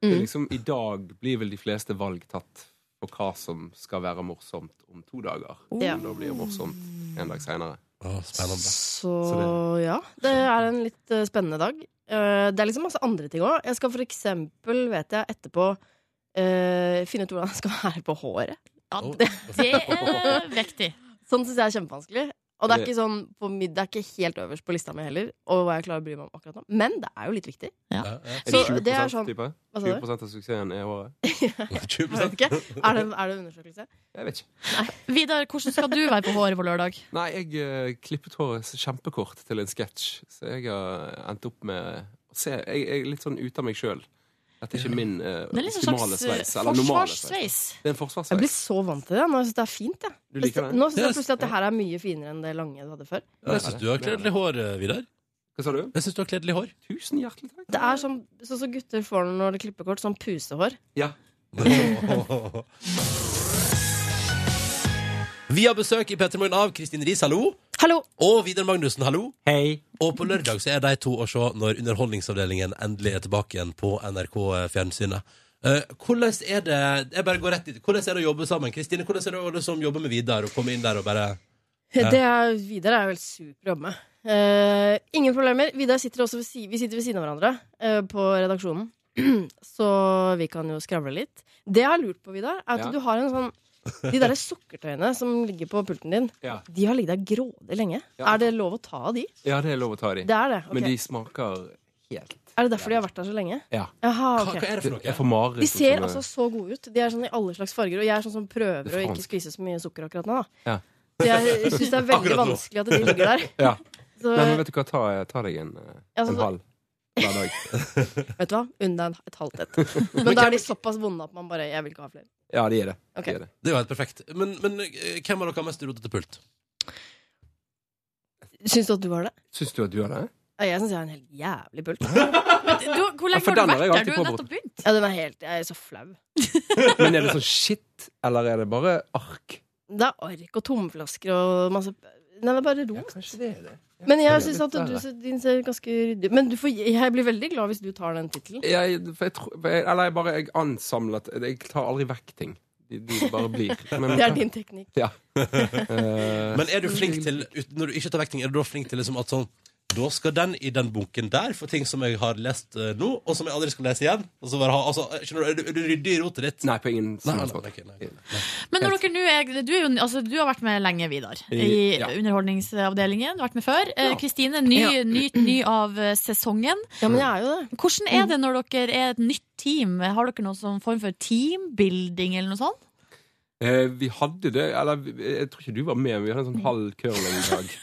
I: Mm.
F: er liksom, I dag blir vel de fleste valg tatt på hva som skal være morsomt om to dager.
I: Ja.
F: Men da blir det morsomt en dag seinere.
B: Å, spennende.
I: Så
F: Så
I: ja, det er en litt eh, spennende dag. Eh, det er liksom masse andre ting òg. Jeg skal for eksempel, vet jeg, etterpå eh, finne ut hvordan jeg skal være på håret.
C: Ja,
B: Å.
C: det er viktig.
I: Sånn syns jeg er kjempevanskelig. Og det er
F: Det-
I: ikke sånn på mid, det er ikke helt øverst på lista mi heller, og hva jeg klarer å bry meg om akkurat nå. Men det er jo litt viktig.
B: Ja, ja.
F: Er det
I: Så
F: 20
I: det er sånn-
F: type?
I: Hva sa
F: 20
I: du?
F: av suksessen er håret?
I: Jeg vet ikke. Er det, er det undersøkelse?
F: Jeg vet ikke.
C: Vidar, hvordan skal du være på håret på lørdag?
F: Nei, jeg eh, klippet håret så kjempekort til en sketsj, så jeg har endt opp med å se Jeg, jeg er litt sånn ute av meg sjøl. Dette er ikke min eh,
C: Det er litt en
F: optimale
C: slags eh,
F: sveis. Eller normale sveis.
C: forsvarssveis.
F: Det er
I: Jeg
F: en
I: blir
F: forsvarssveis.
I: så vant til det. Nå syns jeg det er fint. Jeg.
F: Du liker det?
I: Nå syns jeg
B: Yes.
I: plutselig at det her er mye finere enn det lange du hadde før.
B: Jeg syns du har kledelig hår, eh, Vidar.
F: Hva sa du?
B: Jeg syns du har kledelig hår.
F: Tusen hjertelig takk.
I: Det er sånn sånn som gutter får når de klipper kort, sånn pusehår.
F: Ja.
B: Vi har besøk i Petter Morgen av Kristin Riis, hallo.
I: Hallo!
B: Og Vidar Magnussen, hallo. Og på lørdag så er de to å se når Underholdningsavdelingen endelig er tilbake igjen på NRK Fjernsynet. Eh, hvordan er det Jeg bare går rett dit. Hvordan er det å jobbe sammen? Kristine, hvordan er det å liksom jobbe med Vidar og komme inn der og bare Ja.
I: Det er, Vidar er jo helt super å jobbe med. Eh, ingen problemer. Vidar sitter også ved, si- vi sitter ved siden av hverandre eh, på redaksjonen. Så vi kan jo skravle litt. Det jeg har lurt på, Vidar, er at
F: Ja.
I: du har en sånn De derre sukkertøyene som ligger på pulten din,
F: Ja.
I: de har ligget der grådig lenge.
F: Ja.
I: Er det lov å ta av de?
F: ja, det er lov å ta de.
I: Det er det. ok.
F: Men de smaker helt
I: Er det derfor de har vært der så lenge?
F: Ja.
I: Jaha,
B: hva,
I: ok.
B: hva er det for
F: Jeg
B: noe?
F: får
I: De
F: mareritt. om
I: ser
F: sånne-
I: altså så gode ut. De er sånn i alle slags farger. Og jeg er sånn som prøver
F: Det er
I: å ikke
F: fransk.
I: spise så mye sukker akkurat nå. Da.
F: Ja.
I: Så jeg syns det er veldig
B: Akkurat nå.
I: vanskelig at de ligger der.
F: Ja.
I: Så
F: Nei, men vet du hva, ta, ta deg en, eh,
I: Ja, Altså, så-
F: en halv hver dag.
I: sånn, vet du hva, unn deg en- et halvt et. Men da er de såpass vonde at man bare Jeg vil ikke ha flere.
F: Ja, de er det.
I: Ok.
F: De er det.
B: Det er jo helt perfekt. Men, men eh, hvem av dere har mest rotete pult?
I: Syns du at du har det?
F: Syns du at du har det?
I: Ja, Jeg syns jeg har en helt jævlig pult.
C: Du, hvor
F: Ja,
C: lenge
F: for
C: har du
F: den har
C: vært
F: jeg
C: der?
F: alltid
C: Du har
F: på
C: nettopp begynt.
I: Ja, den er helt Jeg er så flau.
F: Men er det sånn shit, eller er det bare ark?
I: Det er ark og tomflasker og masse Nei, det er bare rot.
F: kanskje det er det.
I: Men jeg syns at du ser- din ser ganske ryddig ut. Men du får, jeg blir veldig glad hvis du tar den tittelen.
F: jeg, for jeg tror for jeg, Eller jeg bare jeg ansamlet Jeg tar aldri vekk ting. De, de bare blir. Men,
I: Det er din teknikk.
F: eh,
B: Men er du flink til ut- Når du ikke tar vekk ting, er du da flink til liksom at sånn da skal den i den bunken der for ting som jeg har lest eh, nå, og som jeg aldri skal lese igjen. Og så bare ha, altså, skjønner du, Er du- er du ryddig i rotet ditt?
F: Nei, altså. på ingen
B: Nei, nei,
F: måte.
B: nei, nei, nei.
C: Men når dere nå er du, er jo, altså, du har vært med lenge, Vidar, i
F: I- ja.
C: Underholdningsavdelingen. Du har vært med før. Eh, Kristine, ny,
I: Ja.
C: ny, ny av eh, sesongen.
I: Ja, men jeg er jo det.
C: Hvordan
I: Mm.
C: er det når dere er et nytt team? Har dere noen sånn form for teambuilding eller noe sånt?
F: Eh, vi hadde det Eller vi- jeg tror ikke du var med, men vi hadde en sånn halv curlingdag.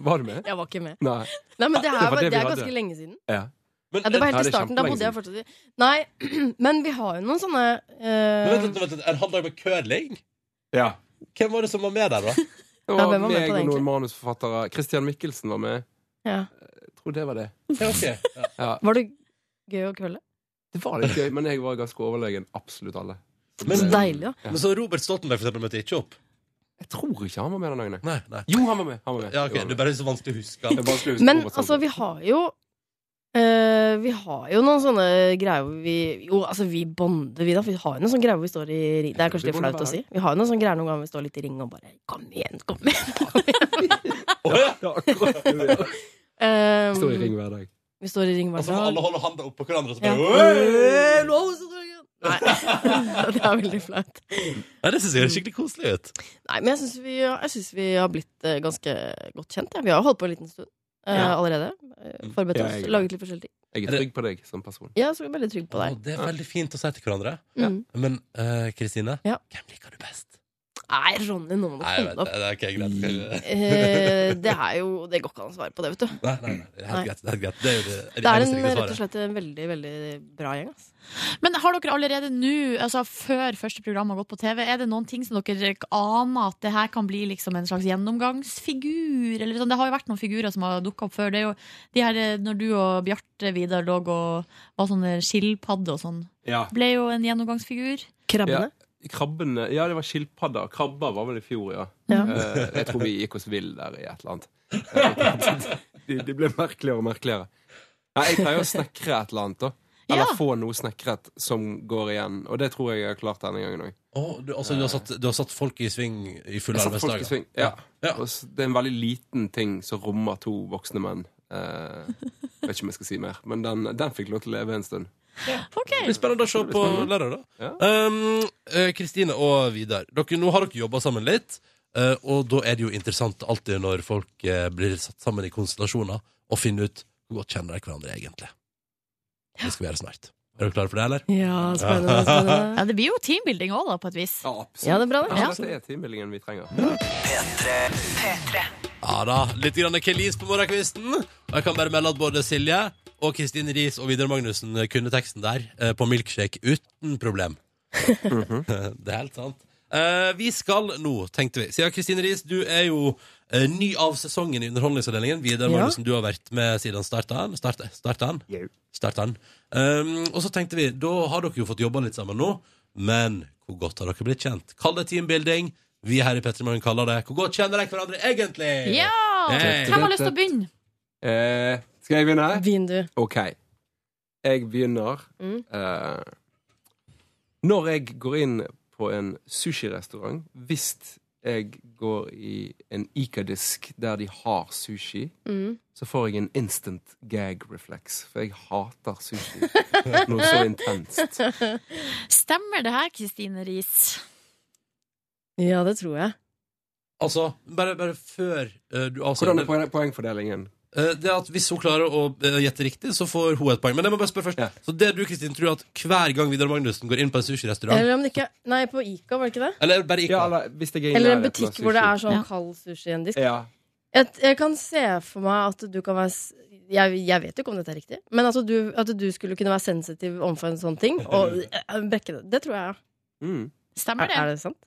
F: Var du med?
I: Jeg var ikke med.
F: Nei.
I: Nei, men det,
F: det
I: er,
F: var det
I: det,
F: vi
I: er
F: hadde.
I: ganske lenge siden.
F: Ja.
B: Men,
I: Ja, det var
F: Ja,
I: helt i
F: det er
I: starten. Da
F: kjempelenge
I: bodde jeg fortsatt i Nei, men vi har jo noen sånne
B: eh,
I: eh,
B: vent, litt, vent, litt. en halv dag med curling?
F: ja.
B: Hvem var det som var med der, da?
F: Det
I: Ja,
F: var
I: hvem var med
F: meg
I: på det
F: og noen
I: egentlig?
F: manusforfattere. Christian Mikkelsen var med.
I: ja.
F: Jeg tror det var det.
B: Ja, ok. ja.
I: Var det gøy å kølle?
F: Det var litt gøy, men jeg var ganske overlegen absolutt alle.
B: Men-
I: Så deilig, da.
F: Ja.
B: Men så Robert Stoltenberg for eksempel møtte ikke opp?
F: Jeg tror ikke han var med den dagen. jeg.
B: Nei, nei.
F: Jo, han var med. Han var med.
B: Ja,
F: Jo,
B: ok,
F: han
B: Det
F: var
B: er
F: med.
B: bare så vanskelig å huske.
F: Det er vanskelig å huske
I: Men
F: Robert
I: altså,
F: Sandberg.
I: vi har jo eh, Vi har jo noen sånne greier hvor vi Jo, altså, vi bonder, vi, da. For vi har jo noen sånne greier hvor vi står i ring Det er kanskje
F: Vi
I: litt
F: bonder
I: flaut
F: hver
I: å si. Vi har jo noen sånne greier noen ganger hvor vi står litt i ring og bare Kom igjen, kom igjen.
B: Å, ja.
F: Ja, akkurat.
I: Eh,
F: Vi Står i ring hver dag.
I: vi står i ring
B: Og
I: hver
B: så må
I: dag.
B: alle holde handa oppå hverandre. Og så
I: Ja.
B: bare, «Øy!»
I: Nei. det er veldig flaut.
B: Nei, det syns jeg er skikkelig koselig ut.
I: Nei, men jeg syns vi, jeg synes vi har blitt eh, ganske godt kjent. Ja. Vi har jo holdt på en liten stund. Eh, eh,
F: Ja.
I: allerede. Eh, Forberedt
F: Ja,
I: oss,
F: jeg er-
I: laget litt forskjellig ting.
F: Jeg
B: Er
F: er
B: det-
F: trygg på deg som person.
I: Ja, så er vi veldig trygge på deg.
B: Å, det er veldig fint å si til hverandre.
I: Mm.
B: Men eh, Kristine,
I: Ja.
B: hvem liker du best?
I: Nei, Ronny, nå må du
B: Nei, jeg
I: holde
B: vet,
I: opp.
B: det er ikke greit.
I: Eh, det er jo Det går ikke an å svare på det, vet du.
B: Nei, nei, nei, det er
I: Nei.
B: helt greit. Det er, helt greit. Det er jo det,
I: Det er
B: eneste
I: en,
B: riktige
I: rett og
B: svaret.
I: slett en veldig, veldig bra gjeng. ass.
C: Men har dere allerede nå, altså før første program har gått på TV, er det noen ting som dere aner at det her kan bli liksom en slags gjennomgangsfigur? Eller sånn? Det har jo vært noen figurer som har dukka opp før. Det er jo de her, eh, når du og Bjarte Vidar lå og var sånne skilpadde og sånn,
F: Ja.
C: ble jo en gjennomgangsfigur.
I: Krabbene.
F: Krabbene Ja, det var skilpadder. Krabber var vel i fjor, ja.
I: Ja.
F: Eh, jeg tror vi gikk oss vill der i et eller annet. Eh, det det ble merkeligere og merkeligere. Nei, jeg pleier å snekre et eller annet, da. Eller
C: Ja.
F: få noe snekret som går igjen. Og det tror jeg jeg har klart denne gangen òg.
B: Å, du, altså, du, har satt, du har satt folk i sving i fulle
F: Jeg satte folk i
B: arbeidsdager?
F: sving. Ja.
B: Ja.
F: Og s- Det er en veldig liten ting som rommer to voksne menn. Eh, vet ikke om jeg skal si mer, men den, den fikk lov til å leve en stund.
C: Ok,
B: Det blir spennende å se på lørdag, da. Um, eh, Kristine og Vidar, dere, nå har dere jobba sammen litt. eh, og da er det jo interessant alltid når folk eh, blir satt sammen i konstellasjoner, å finne ut hvor godt kjenner dere hverandre egentlig. Det skal vi gjøre snart. Er dere klare for det, eller?
I: Ja, spennende. spennende.
C: ja, Det blir jo teambuilding òg, da, på et vis.
F: Ja, absolutt.
I: Ja, det er bra, det.
F: Ja,
I: Ja.
F: Dette er teambuildingen vi trenger.
B: Ja da, litt grann kelis på morgenkvisten. Og jeg kan bare melde at både Silje og Kristin Riis og Vidar Magnussen kunne teksten der eh, på milkshake uten problem. Det er helt sant. Eh, vi skal nå, tenkte vi. Siden Kristin Riis, du er jo eh, ny av sesongen i Underholdningsavdelingen. Vidar
I: Ja.
B: Magnussen, du har vært med siden starta den. Starta starta den. Starta den. Um, og så tenkte vi, da har dere jo fått jobba litt sammen nå, men hvor godt har dere blitt kjent? Kall det teambuilding. Vi her i Petremorgen kaller det Hvor godt kjenner dere hverandre egentlig? Eh,
C: Ja!
B: Hey.
C: Hvem har lyst til å begynne?
F: Eh, skal jeg begynne?
I: Begynn, du.
F: OK. Jeg begynner
I: Mm.
F: eh, Når jeg går inn på en sushirestaurant, hvis jeg går i en Ikadisk der de har sushi,
I: Mm.
F: så får jeg en instant gag reflex, for jeg hater sushi. Noe så intenst.
I: Altså,
C: Stemmer det her, Kristine Riis?
I: Ja, det tror jeg.
B: Altså, bare, bare før eh,
F: Hvordan
B: du
F: er
B: avsender
F: poeng- poengfordelingen?
B: Eh, Det er at Hvis hun klarer å eh, gjette riktig, så får hun et poeng. Men jeg må bare spørre først
F: Ja.
B: Så det du Kristin, tror at hver gang Vidar Magnussen går inn på en sushirestaurant
I: Eller om det ikke Nei, på Ica, var det ikke det?
B: Eller bare ikke
F: Ja, eller hvis jeg er i
I: Eller en
F: nærheten av
I: butikk hvor det er
F: sushi.
I: sånn
C: Ja.
I: kald sushi i en disk.
F: ja.
I: Jeg, jeg kan se for meg at du kan være s- jeg, jeg vet jo ikke om dette er riktig, men altså du, at du skulle kunne være sensitiv overfor en sånn ting og øh, brekke det. Det tror jeg.
F: Mm.
C: Stemmer
I: Er,
C: det?
I: er det sant?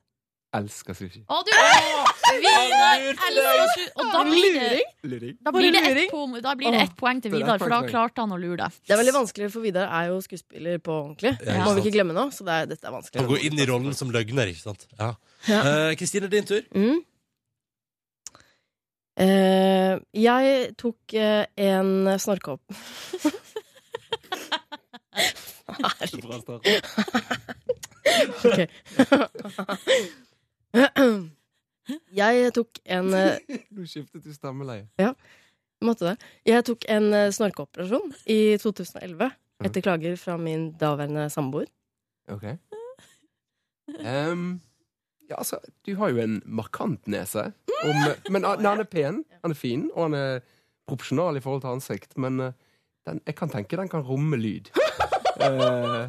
F: Elsker sushi.
C: Å, du Vidar elsker sushi! Og da blir det
I: Luring?
F: Luring.
C: Da blir, det ett
I: Bare luring.
C: po- da blir det ett poeng til
F: det er
C: Vidar,
F: ett
C: for da
F: poeng.
C: klarte han å lure deg.
I: Det er veldig vanskelig, for Vidar er jo skuespiller på ordentlig.
B: Ja,
I: Må vi
B: ikke
I: ikke glemme nå, så det er, dette er
B: Han
I: vanskelig.
B: går inn i rollen som løgner, ikke sant? Ja.
I: Ja.
B: Eh, Kristine, din tur.
I: Mm. Eh, jeg tok eh, en snorkehopp.
F: Bra start.
I: Ok. jeg tok en eh,
F: Nå skiftet du stemmeleie.
I: Måtte det. Jeg tok en eh, snorkeoperasjon i 2011
B: Mm.
I: etter klager fra min daværende samboer.
F: Ok Ehm, Ja, altså, du har jo en markant nese om, Men ah, nei, han er pen, han er fin Og han er proporsjonal i forhold til ansikt Men eh, den, jeg kan tenke den kan romme lyd Eh,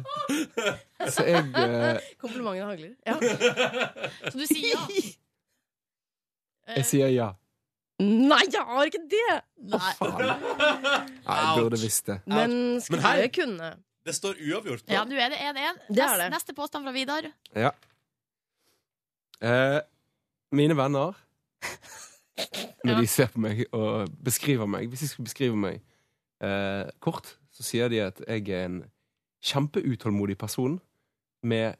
F: Så jeg eh,
I: Komplimentene hagler. Ja.
C: Så du sier ja?
F: Jeg sier ja
I: Nei, jeg har ikke det!
C: Nei.
F: Faen Nei, jeg burde visst det
I: Men
B: altså. Men her-
I: skulle jeg kunne.
B: Det står uavgjort.
C: Ja, nå er det 1-1.
I: Det er det.
C: Neste påstand fra Vidar.
F: Ja Eh, Mine venner Når
C: Ja.
F: de ser på meg og beskriver meg Hvis de skulle beskrive meg eh, kort Så sier de at jeg er en kjempeutålmodig person Med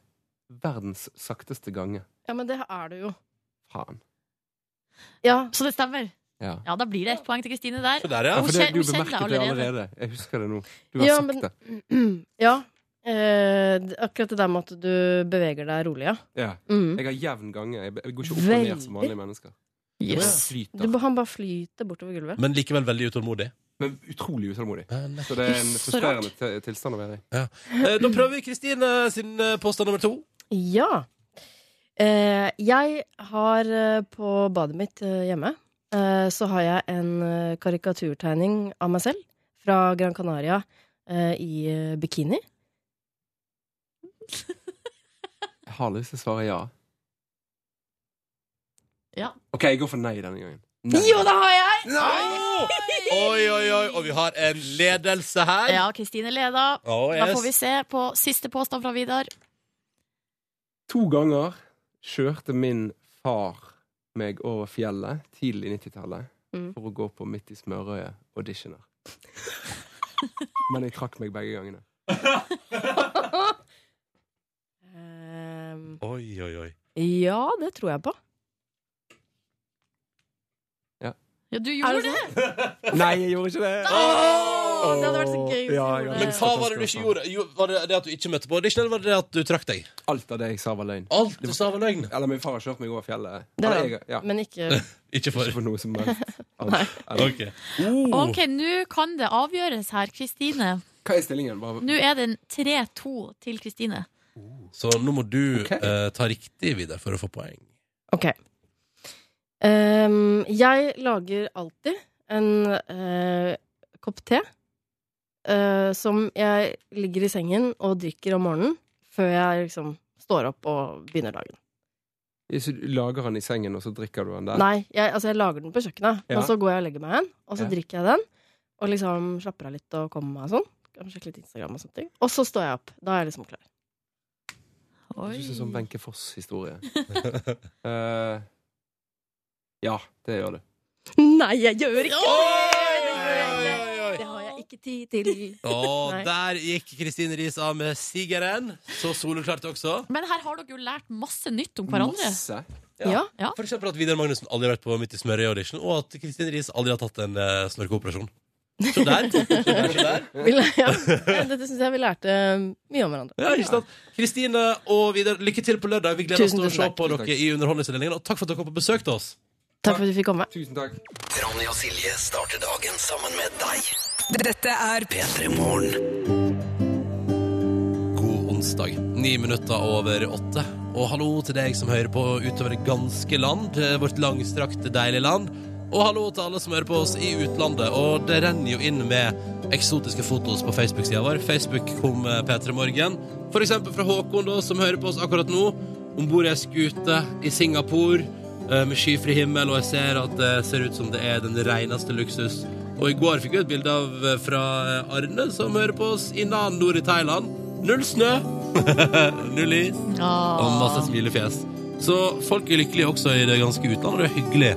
F: verdens sakteste gange
I: Ja, men det er du jo.
F: Faen
I: Ja.
C: Så det stemmer.
F: ja.
C: Ja, da blir det ett poeng til Kristine der.
B: Så der, ja.
F: Ja,
C: hun
F: for det,
C: kjen-
F: du
C: hun kjenner
F: bemerket det
C: allerede.
F: allerede Jeg husker det nå Du har
I: ja,
F: sagt det
I: ja. Eh, d- akkurat det der med at du beveger deg rolig, ja.
F: ja.
I: Mm.
F: Jeg har jevn gange Jeg jeg går ikke opp og ned som vanlige mennesker Jeg bare
I: Du,
F: flyter
I: han bare flyter bortover gulvet.
B: Men likevel veldig utålmodig.
F: Men utrolig utålmodig
B: Eh, nei.
F: Så det er en
C: Så rart.
F: frustrerende til- tilstand å være i
B: Eh, Da prøver vi Kristine sin eh, påstand nummer to.
I: Ja. Eh, jeg har eh, på badet mitt eh, hjemme eh, så har jeg en eh, karikaturtegning av meg selv fra Gran Canaria eh, i eh, bikini.
F: Jeg har lyst til å svare ja.
C: Ja.
F: OK, jeg går for nei denne gangen.
I: Jo, det har jeg!
B: Oi, oi, oi, og vi har en ledelse her.
C: Ja, Kristine leda.
B: Oh,
C: Da får vi se på siste påstand fra Vidar.
F: To ganger kjørte min far meg over fjellet tidlig 90-tallet
I: Mm.
F: for å gå på Midt i smørøyet-auditioner. Men jeg trakk meg begge gangene.
I: Ehm,
B: Oi, oi, oi.
C: Eh,
I: ja, det tror jeg på.
C: Ja, du gjorde det!
F: Nei, jeg gjorde ikke det!
I: Å, det hadde vært så gøy hvis du
F: Ja, ja.
I: gjorde
B: Men
I: det.
B: hva var det du ikke gjorde? Jo, var det det at du ikke møtte på audition, eller var det det at du trakk deg?
F: Alt av det jeg sa, var løgn.
B: Alt du sa var løgn.
F: Eller min far har kjørt meg over fjellet.
I: Det har
F: Eller jeg, ja.
I: Men ikke
B: Ikke
F: Ikke
B: for
F: for noe som helst. Eller-
B: Ok. Oh.
C: OK, nå kan det avgjøres her, Kristine.
F: Hva er stillingen? Bare...
C: Nå er den 3-2 til Kristine.
B: Så nå må du
F: Ok.
B: eh, ta riktig, Vidar, for å få poeng.
I: Ok. Ehm, jeg lager alltid en eh, kopp te eh, som jeg ligger i sengen og drikker om morgenen før jeg liksom står opp og begynner dagen.
F: Så du lager han i sengen, og så drikker du han der?
I: Nei, jeg, altså jeg lager den på kjøkkenet,
F: Ja.
I: og så går jeg og legger meg igjen, og så
F: Ja.
I: drikker jeg den, og liksom slapper av litt og kommer meg og sånn. Kan Sjekke litt Instagram og sånne ting. Og så står jeg opp. Da er jeg liksom klar.
F: Det synes jeg er sånn
C: Oi.
F: Wenche Foss-historie. Eh, ja, det gjør du.
I: Nei, jeg gjør ikke
B: Oi,
I: det!
B: oi, oi.
I: Det har jeg ikke tid til.
B: Og
I: Nei.
B: der gikk Kristine Riis av med sigeren. Så soloklart også.
C: Men her har dere jo lært masse nytt om hverandre.
F: Masse.
B: Ja.
I: Ja.
B: For eksempel at Vidar Magnussen aldri har vært på Midt i smørøyet-audition, og at Kristine Riis aldri har tatt en uh, snorkeoperasjon. Så der. Så der, så der.
I: Vi læ- ja. Ja, Dette syns jeg vi lærte eh, mye om hverandre.
B: Ja, ikke sant? Kristine og Vidar, lykke til på lørdag. Vi gleder
I: Tusen,
B: oss til
I: tusen
B: å se på
F: takk.
B: dere i Underholdningsavdelingen. Og takk for at dere kom på besøk til oss.
I: Takk for at vi fikk komme.
F: Tusen takk.
J: Ronny og Silje starter dagen sammen med deg. Dette er P3 Morgen.
B: God onsdag. Ni minutter over åtte. Og hallo til deg som hører på utover det ganske land, eh, vårt langstrakte, deilige land. Og hallo til alle som hører på oss i utlandet. Og det renner jo inn med eksotiske fotos på Facebook-sida vår. Facebook kom eh, P3 Morgen. For eksempel fra Håkon, da, som hører på oss akkurat nå. Om bord i ei skute i Singapore eh, med skyfri himmel, og jeg ser at det ser ut som det er den reneste luksus. Og i går fikk jeg et bilde av eh, fra eh, Arne, som hører på oss i Nan nord i Thailand. Null snø. Null is. Og masse
C: Ah.
B: smilefjes. Så folk er lykkelige også i det ganske utlandet, og det er hyggelig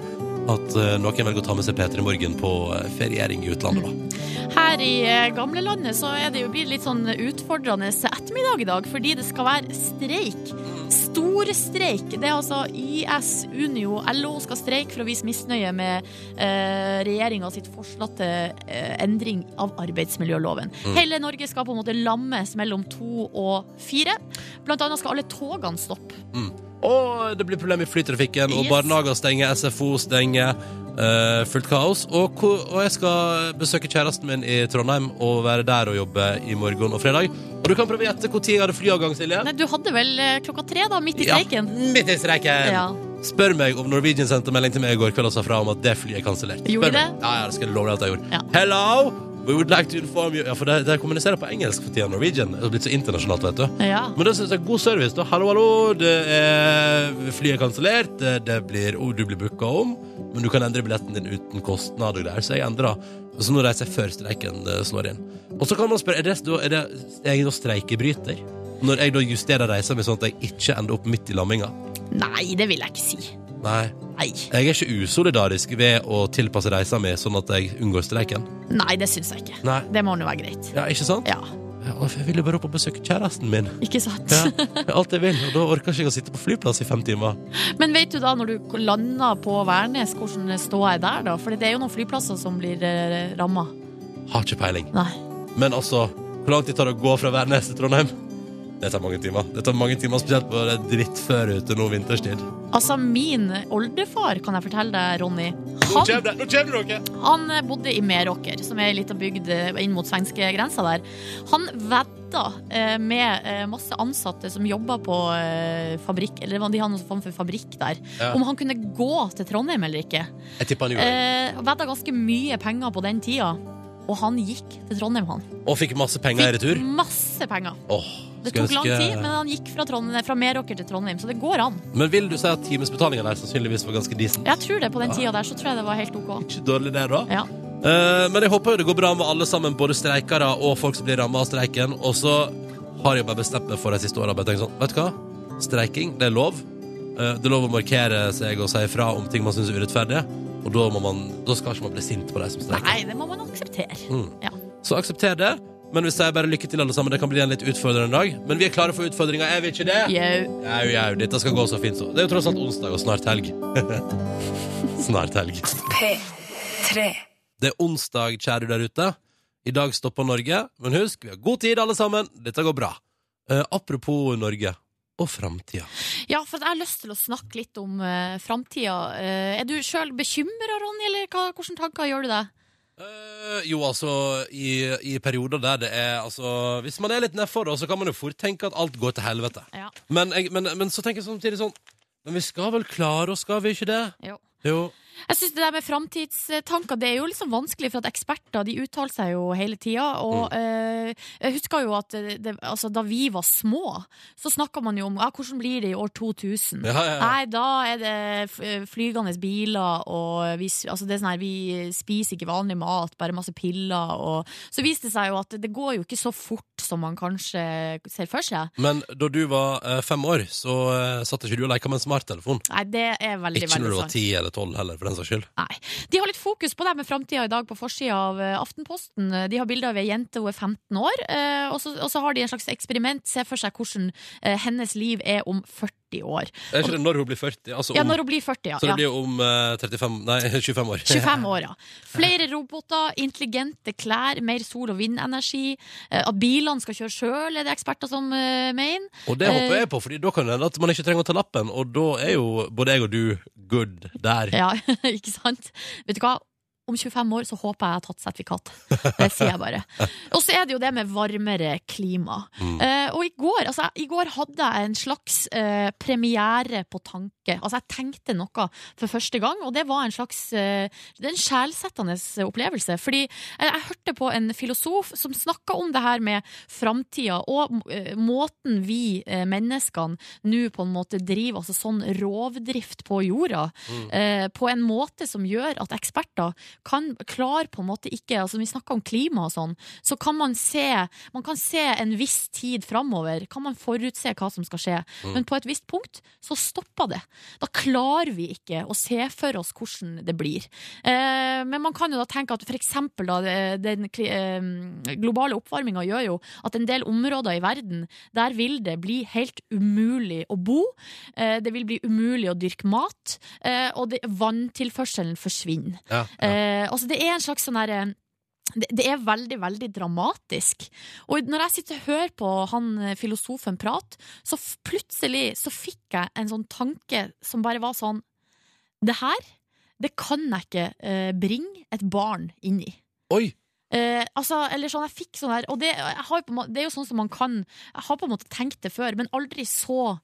B: at eh, noen velger å ta med seg Peter i morgen på eh, feriering i utlandet, da.
C: Her i eh, gamlelandet så er det jo blitt litt sånn utfordrende ettermiddag i dag, fordi det skal være streik. Storstreik. Det er altså YS, Unio, LO skal streike for å vise misnøye med eh, regjeringa sitt forslag til eh, endring av arbeidsmiljøloven. Hele Norge skal på en måte lammes mellom to og fire. Blant annet skal alle togene stoppe.
B: Og det blir problem i flytrafikken, og
C: Yes.
B: barnehager stenger, SFO stenger. eh, fullt kaos. Og, ko- og jeg skal besøke kjæresten min i Trondheim og være der og jobbe i morgen og fredag. Og du kan prøve å gjette når jeg hadde flyavgang, Silje.
C: Nei, du hadde vel eh, klokka tre, da, midt i
B: Ja,
C: streiken?
B: midt i streiken.
C: Ja.
B: Spør meg om Norwegian sendte melding til meg i går kveld og sa fra om at det flyet er kansellert. Spør
C: Gjorde
B: meg.
C: det?
B: Ja, ja, det skal jeg love deg at jeg gjorde.
C: Ja.
B: Hello! We would like to inform you Ja, for de, de kommuniserer på engelsk for tida, Norwegian. Det har blitt så internasjonalt, vet du.
C: Ja.
B: Men det syns jeg er god service. da Hallo, hallo, det er, flyet er kansellert. Det, det blir, oh, du blir booka om, men du kan endre billetten din uten kostnader der. Så jeg endra. Så nå reiser jeg før streiken eh, slår inn. Og så kan man spørre Er det, da- er det jeg da streikebryter? Når jeg da justerer reisa mi sånn at jeg ikke ender opp midt i lamminga?
C: Nei, det vil jeg ikke si.
B: Nei.
C: Nei,
B: Jeg er ikke usolidarisk ved å tilpasse reisa mi sånn at jeg unngår streiken.
C: Nei det syns jeg ikke.
B: Nei.
C: Det må nå være greit.
B: Ja, ikke sant?
C: Ja,
B: Ja, Jeg ville bare opp og besøke kjæresten min.
C: ikke sant?
B: Ja, det er alt jeg vil, og da orker ikke jeg å sitte på flyplass i fem timer.
C: Men vet du da, når du lander på Værnes, hvordan ståa er der da? For det er jo noen flyplasser som blir eh, ramma.
B: Har ikke peiling.
C: Nei.
B: Men altså, hvor lang tid tar det å gå fra Værnes til Trondheim?
K: Det tar mange timer. Det tar mange timer Spesielt på det drittføret ute nå vinterstid.
C: Altså, min oldefar, kan jeg fortelle deg, Ronny
K: Nå kommer det! Nå kommer dere!
C: Han eh, bodde i Meråker, som er ei lita bygd eh, inn mot svenskegrensa der. Han vedda eh, med eh, masse ansatte som jobba på eh, fabrikk, eller de hadde noen form for fabrikk der,
K: Ja.
C: om han kunne gå til Trondheim eller ikke.
K: Jeg tipper han gjorde det.
C: Eh, vedda ganske mye penger på den tida, og han gikk til Trondheim, han.
K: Og fikk masse penger i retur.
C: Masse penger.
K: Åh,
C: Det
K: skulle
C: tok lang
K: ønske-
C: tid, men han gikk fra, Trondheim, fra Meråker til Trondheim, så det går an.
B: Men vil du si at timesbetalinga der sannsynligvis var ganske decent?
C: Jeg tror det på den
B: Ja.
C: tida der, så tror jeg det var helt OK.
B: Ikke dårlig der, da.
C: Ja.
B: Eh, men jeg håper jo det går bra med alle sammen, både streikere og folk som blir ramma av streiken. Og så har jeg bare bestemt meg for de siste åra. Sånn, vet du hva? Streiking, det er lov. Eh, det er lov å markere seg og si ifra om ting man syns er urettferdige. Og da, må man, da skal ikke man bli sint på de som streiker.
C: Nei, det må man akseptere.
B: Mm.
C: Ja.
B: Så aksepter det. Men vi sier bare lykke til, alle sammen. Det kan bli en litt utfordrende dag. Men vi er klare for utfordringa, er vi ikke det?
C: Jau.
B: Jau, jau. Dette skal gå så fint, så. Det er jo tross alt onsdag og snart helg. snart helg.
L: P3.
B: Det er onsdag, kjære der ute. I dag stopper Norge. Men husk, vi har god tid, alle sammen. Dette går bra. Eh, apropos Norge og framtida.
C: Ja, for jeg har lyst til å snakke litt om uh, framtida. Eh, er du sjøl bekymra, Ronny, eller hva, hvilke tanker gjør du deg?
B: Eh, jo, altså, i, i perioder der det er altså, Hvis man er litt nedfor, da, så kan man jo fort tenke at alt går til helvete.
C: Ja.
B: Men, jeg, men, men så tenker jeg samtidig sånn Men vi skal vel klare oss, skal vi ikke det?
C: Jo.
B: Jo.
C: Jeg synes Det der med framtidstanker Det er jo liksom vanskelig, for at eksperter de uttaler seg jo hele tida. Og eh, jeg husker jo at det, det, altså, da vi var små, så snakka man jo om ja, hvordan blir det i år 2000.
L: Ja, ja, ja.
C: Nei, da er det f- eh, flygende biler, og vi, s- altså, det er sånn her, vi spiser ikke vanlig mat, bare masse piller. Og, så viste det seg jo at det, det går jo ikke så fort som man kanskje ser for seg.
B: Men da du var eh, fem år, så eh, satt ikke du og leka med en smarttelefon.
C: Nei, det er veldig,
B: Ikke når
C: veldig
B: du var
C: sant.
B: ti eller tolv heller, for den saks skyld.
C: Nei. De har litt fokus på det her med framtida i dag på forsida av eh, Aftenposten. De har bilde av ei jente, hun er 15 år, eh, og så, og så har de en slags eksperiment. Se for seg hvordan eh, hennes liv er om 40 år.
B: Er ikke det når hun blir 40? Altså,
C: Ja,
B: om-
C: når hun blir 40, ja.
B: Så det
C: ja.
B: blir jo om eh, 35 Nei, 25 år.
C: 25 år, ja. Flere roboter, intelligente klær, mer sol- og vindenergi. eh, At bilene skal kjøre sjøl, er det eksperter som eh, mener.
B: Og det
C: Eh.
B: håper jeg på, Fordi da kan det hende at man ikke trenger å ta lappen, og da er jo både jeg og du good der.
C: Ja, ikke sant? Vet du hva? Om 25 år så håper jeg jeg har tatt sertifikat. Det sier jeg bare. Og så er det jo det med varmere klima.
L: Mm.
C: Eh, og i går, altså, i går hadde jeg en slags eh, premiere på tanke. Altså, jeg tenkte noe for første gang, og det var en slags eh, Det er en sjelsettende opplevelse. Fordi jeg, jeg hørte på en filosof som snakka om det her med framtida og eh, måten vi eh, menneskene nå på en måte driver altså sånn rovdrift på jorda,
L: Mm.
C: eh, på en måte som gjør at eksperter kan klare på en måte ikke altså Når vi snakker om klima og sånn, så kan man se Man kan se en viss tid framover. Kan man forutse hva som skal skje.
L: Mm.
C: Men på et visst punkt så stopper det. Da klarer vi ikke å se for oss hvordan det blir. Eh, men man kan jo da tenke at for eksempel da, det- den kli- eh, globale oppvarminga gjør jo at en del områder i verden, der vil det bli helt umulig å bo. Eh, det vil bli umulig å dyrke mat, eh, og det, vanntilførselen forsvinner.
L: Ja,
C: Eh, altså det er en slags sånn herre det det er veldig, veldig dramatisk. Og når jeg sitter og hører på han eh, filosofen prate, så f- plutselig så fikk jeg en sånn tanke som bare var sånn Det her, det kan jeg ikke eh, bringe et barn inn i.
B: Oi!
C: Eh, altså, eller sånn, jeg fikk sånn her Og det, jeg har jo på en måte, det er jo sånn som man kan Jeg har på en måte tenkt det før, men aldri så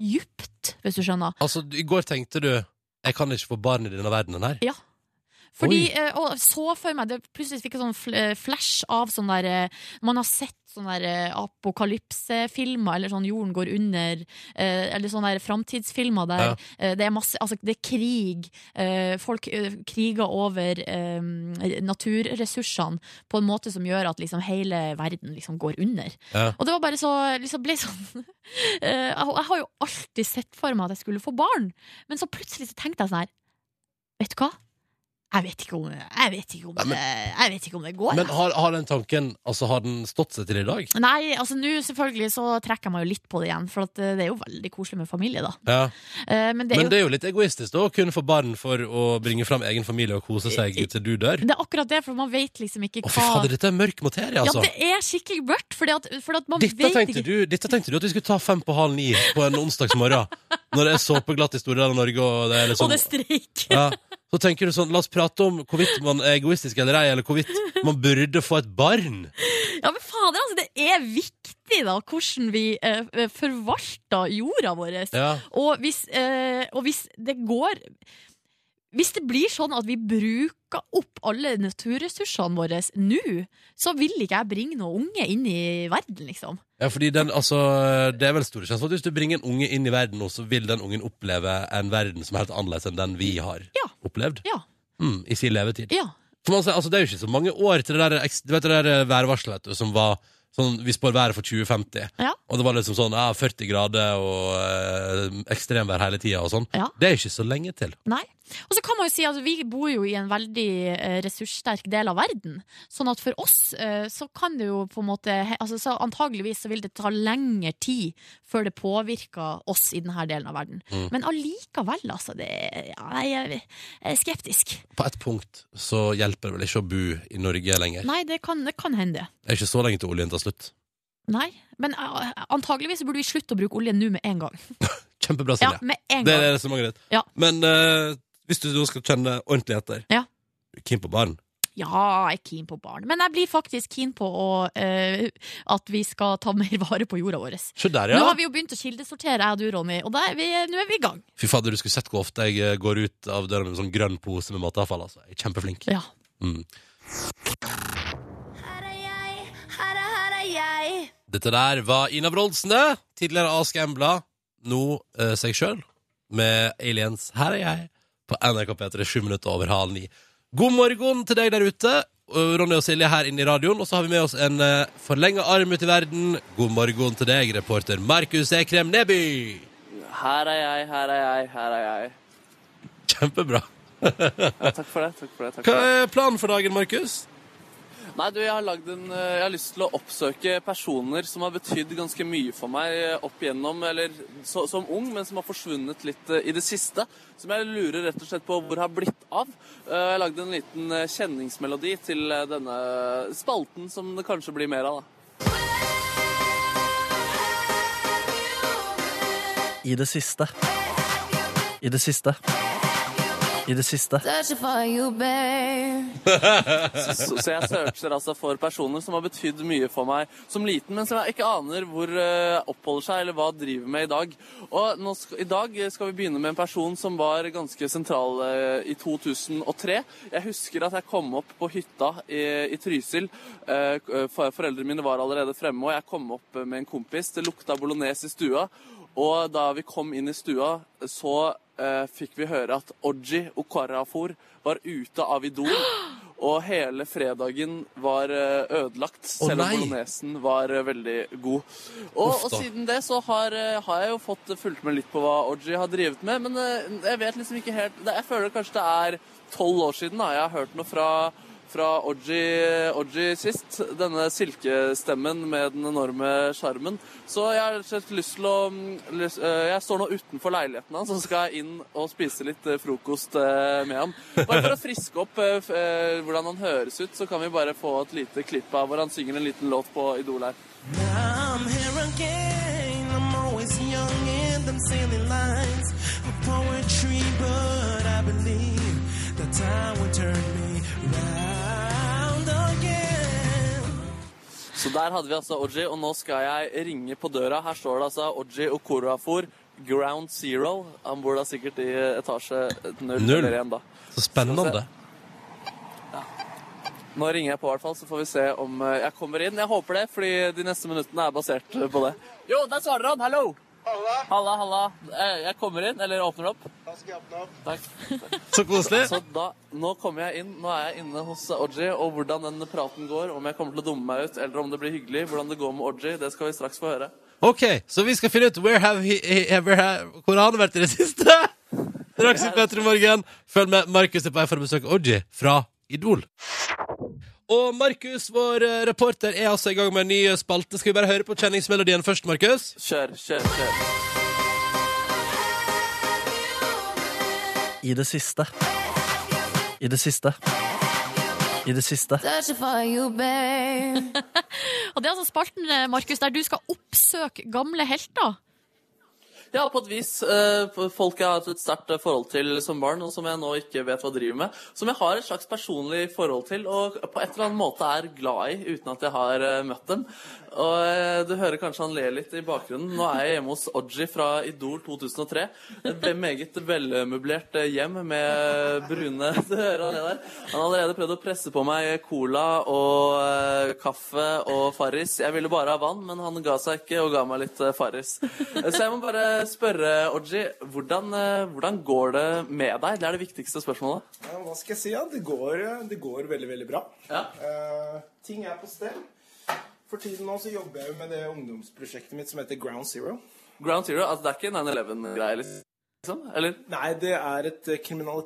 C: djupt, hvis du skjønner.
B: Altså, du- i går tenkte du Jeg kan ikke få barn i denne verdenen her.
C: Ja. Fordi, eh, og så for meg, det plutselig fikk jeg sånn fl- eh, flash av sånn der eh, Man har sett sånne der eh, apokalypsefilmer, eller sånn jorden går under, eh, eller sånne der framtidsfilmer der
L: Ja.
C: eh, det er masse Altså, det er krig. eh, Folk eh, kriger over eh, naturressursene på en måte som gjør at liksom hele verden liksom går under.
L: Ja.
C: Og det var bare så liksom ble sånn eh, Jeg jeg har jo alltid sett for meg at jeg skulle få barn, men så plutselig så tenkte jeg sånn her Vet du hva? Jeg vet ikke om, jeg vet ikke om,
B: Nei, men-
C: det, jeg vet ikke om det går.
B: Men
C: jeg.
B: har, har den tanken Altså, har den stått seg til i dag?
C: Nei, altså nå selvfølgelig så trekker jeg meg jo litt på det igjen, for at eh, det er jo veldig koselig med familie, da.
B: Ja.
C: Eh, Men det er jo
B: jo litt egoistisk da, å kun få barn for å bringe fram egen familie og kose seg til du dør.
C: det er akkurat det, for man vet liksom ikke hva
B: Fy fader, dette er mørk materie,
C: Ja,
B: altså.
C: det er skikkelig mørkt, fordi at, fordi at man
B: Dette
C: vet
B: tenkte,
C: ikke
B: du, dette tenkte du at vi skulle ta fem på halv ni på en onsdagsmorgen, når det er såpeglatt i store deler av Norge, og det er
C: Og
B: liksom
C: det er streik.
B: ja. Så tenker du sånn, la oss prate om hvorvidt man er egoistisk eller ei, eller hvorvidt man burde få et barn.
C: Ja, men fader, altså, det er viktig da hvordan vi eh, forvalter jorda vår.
B: Ja.
C: Og, hvis, eh, og hvis det går Hvis det blir sånn at vi bruker opp alle naturressursene våre nå, så vil ikke jeg bringe noen unge inn i verden, liksom.
B: Ja, fordi den, altså, det er vel stor sjanse for at hvis du bringer en unge inn i verden nå, så vil den ungen oppleve en verden som er helt annerledes enn den vi har opplevd.
C: Ja.
B: Mm, I sin levetid.
C: Ja.
B: For man, sier, altså, det er jo ikke så mange år til det der, eks- du vet, det der eh, værvarselet vet du, som var sånn Vi spår været for 2050.
C: Ja.
B: Og det var liksom sånn ja, 40 grader og eh, ekstremvær hele tida og sånn.
C: Ja.
B: Det er ikke så lenge til.
C: Nei. Og så kan man jo si at vi bor jo i en veldig eh, ressurssterk del av verden. Sånn at for oss eh, så kan det jo på en måte he- altså, så Antageligvis så vil det ta lengre tid før det påvirker oss i denne delen av verden.
B: Mm.
C: Men allikevel, altså. Det, ja, nei, jeg jeg er skeptisk.
B: På ett punkt så hjelper det vel ikke å bo i Norge lenger.
C: Nei, det kan, det kan hende.
B: Det er ikke så lenge til oljen tar slutt.
C: Nei. Men eh, antageligvis burde vi slutte å bruke olje nå med en gang.
B: Kjempebra,
C: Ja,
B: Silje.
C: med en
B: det
C: gang.
B: er resonnementet ditt.
C: Ja.
B: Men eh, hvis du nå skal kjenne ordentlig etter
C: Ja.
B: Keen på barn.
C: Ja, jeg er keen på barn. Men jeg blir faktisk keen på å, eh, at vi skal ta mer vare på jorda vår.
B: Se der, ja.
C: Nå har vi jo begynt å kildesortere, jeg og du, Ronny, og da er vi, nå er vi i gang.
B: Fy fader, du skulle sett hvor ofte jeg eh, går ut av døra med en sånn grønn pose med matavfall. Altså. Jeg er kjempeflink.
C: Ja.
B: Mm.
M: Her er, her er jeg.
B: Dette der var Ina Wroldsen, det. Tidligere Ask Embla. Nå eh, seg sjøl, med Aliens 'Her er jeg' på NRK P3, sju minutter over halv ni. God morgen til deg der ute. Eh, Ronny og Silje her inne i radioen. Og så har vi med oss en uh, forlenga arm ut i verden. God morgen til deg, reporter Markus Ekrem Neby.
D: Her er jeg, her er jeg, her er jeg.
B: Kjempebra.
D: Ja, takk for det. takk for det, takk
B: Hva
D: for det.
B: er planen for dagen, Markus?
D: Nei, du, jeg har, lagd en, eh, jeg har lyst til å oppsøke personer som har betydd ganske mye for meg eh, opp igjennom, eller så, som ung, men som har forsvunnet litt eh, i det siste. Som jeg lurer rett og slett på hvor har blitt av. Eh, Jeg har lagd en liten eh, kjenningsmelodi til eh, denne spalten som det kanskje blir mer av, da.
N: I det siste. I det siste. I det siste.
D: så, så så jeg searcher altså for personer som har betydd mye for meg som liten, men som jeg ikke aner hvor eh, oppholder seg, eller hva driver med i dag. Og nå skal, I dag skal vi begynne med en person som var ganske sentral eh, i 2003. Jeg husker at jeg kom opp på hytta i, i Trysil. Eh, for, foreldrene mine var allerede fremme, og jeg kom opp eh, med en kompis. Det lukta bolognese i stua. Og da vi kom inn i stua, så eh, fikk vi høre at Oji Okarafor var ute av Idol. Og hele fredagen var eh, ødelagt, selv om
N: nei.
D: bolognesen var eh, veldig god.
N: Uff
D: Og, og
N: da.
D: siden det så har, eh, har jeg jo fått fulgt med litt på hva Oji har drevet med, men eh, jeg vet liksom ikke helt det- Jeg føler kanskje det er tolv år siden da jeg har hørt noe fra fra Oji, Oji sist, denne silkestemmen med den enorme sjarmen. Så jeg har rett og slett lyst til å mm, lyst, eh, Jeg står nå utenfor leiligheten hans, så skal jeg inn og spise litt eh, frokost eh, med han. Bare for å friske opp eh, f- eh, hvordan han høres ut, så kan vi bare få et lite klipp av hvor han synger en liten låt på Idol her.
J: I'm here again. I'm always young and I'm sailing lines of poetry, but I believe that time will turn me round again.
D: Så der hadde vi altså Oji, og nå skal jeg ringe på døra. Her står det altså Oji Okorafor, Ground Zero. Han bor da sikkert i etasje null,
B: Null.
D: eller én, da.
B: Så spennende.
D: Nå ringer jeg på, i hvert fall, så får vi se om eh, jeg kommer inn. Jeg håper det, fordi de neste minuttene er basert eh, på det. Jo, der svarer han! Hallo! Halla. Halla, Eh, Jeg kommer inn, eller åpner opp. Da skal jeg åpne opp. Takk.
B: Så koselig.
D: Så da, nå kommer jeg inn, nå er jeg inne hos Oji, og hvordan den praten går, om jeg kommer til å dumme meg ut, eller om det blir hyggelig, hvordan det går med Oji, det skal vi straks få høre.
B: Ok, så vi skal finne ut where have he, he, where have, hvor har han vært i det siste. Straks i Petter i morgen. Følg med. Markus er på vei for å besøke Orgy fra Idol. Og Markus, vår eh, reporter, er altså i gang med en ny eh, spalte. Skal vi bare høre på kjenningsmelodien først, Markus?
D: Kjør, kjør, kjør.
O: I det siste. I det siste. I det siste.
C: Og det er altså spalten, eh, Markus, der du skal oppsøke gamle helter.
D: Ja, på et vis. eh, Folk jeg har hatt et sterkt eh, forhold til som barn, og som jeg nå ikke vet hva driver med. Som jeg har et slags personlig forhold til, og på et eller annet måte er glad i, uten at jeg har eh, møtt dem. Og eh, du hører kanskje han ler litt i bakgrunnen. Nå er jeg hjemme hos Oji fra Idol 2003. Et ve- meget velmøblert eh, hjem med brune Du hører han er der. Han har allerede prøvd å presse på meg cola og eh, kaffe og Farris. Jeg ville bare ha vann, men han ga seg ikke og ga meg litt eh, Farris. Så jeg må bare spørre, Oji, hvordan, eh, hvordan går det med deg? Det er det viktigste spørsmålet.
P: Ja, hva skal jeg si? Ja? Det, går, det går veldig, veldig bra. Eh, ting er på stell. For tiden nå så jobber jeg jo med det ungdomsprosjektet mitt som heter Ground Zero.
D: Ground Zero, altså det er ikke 9-11-greie, liksom? Eller?
P: Nei, det er et eh,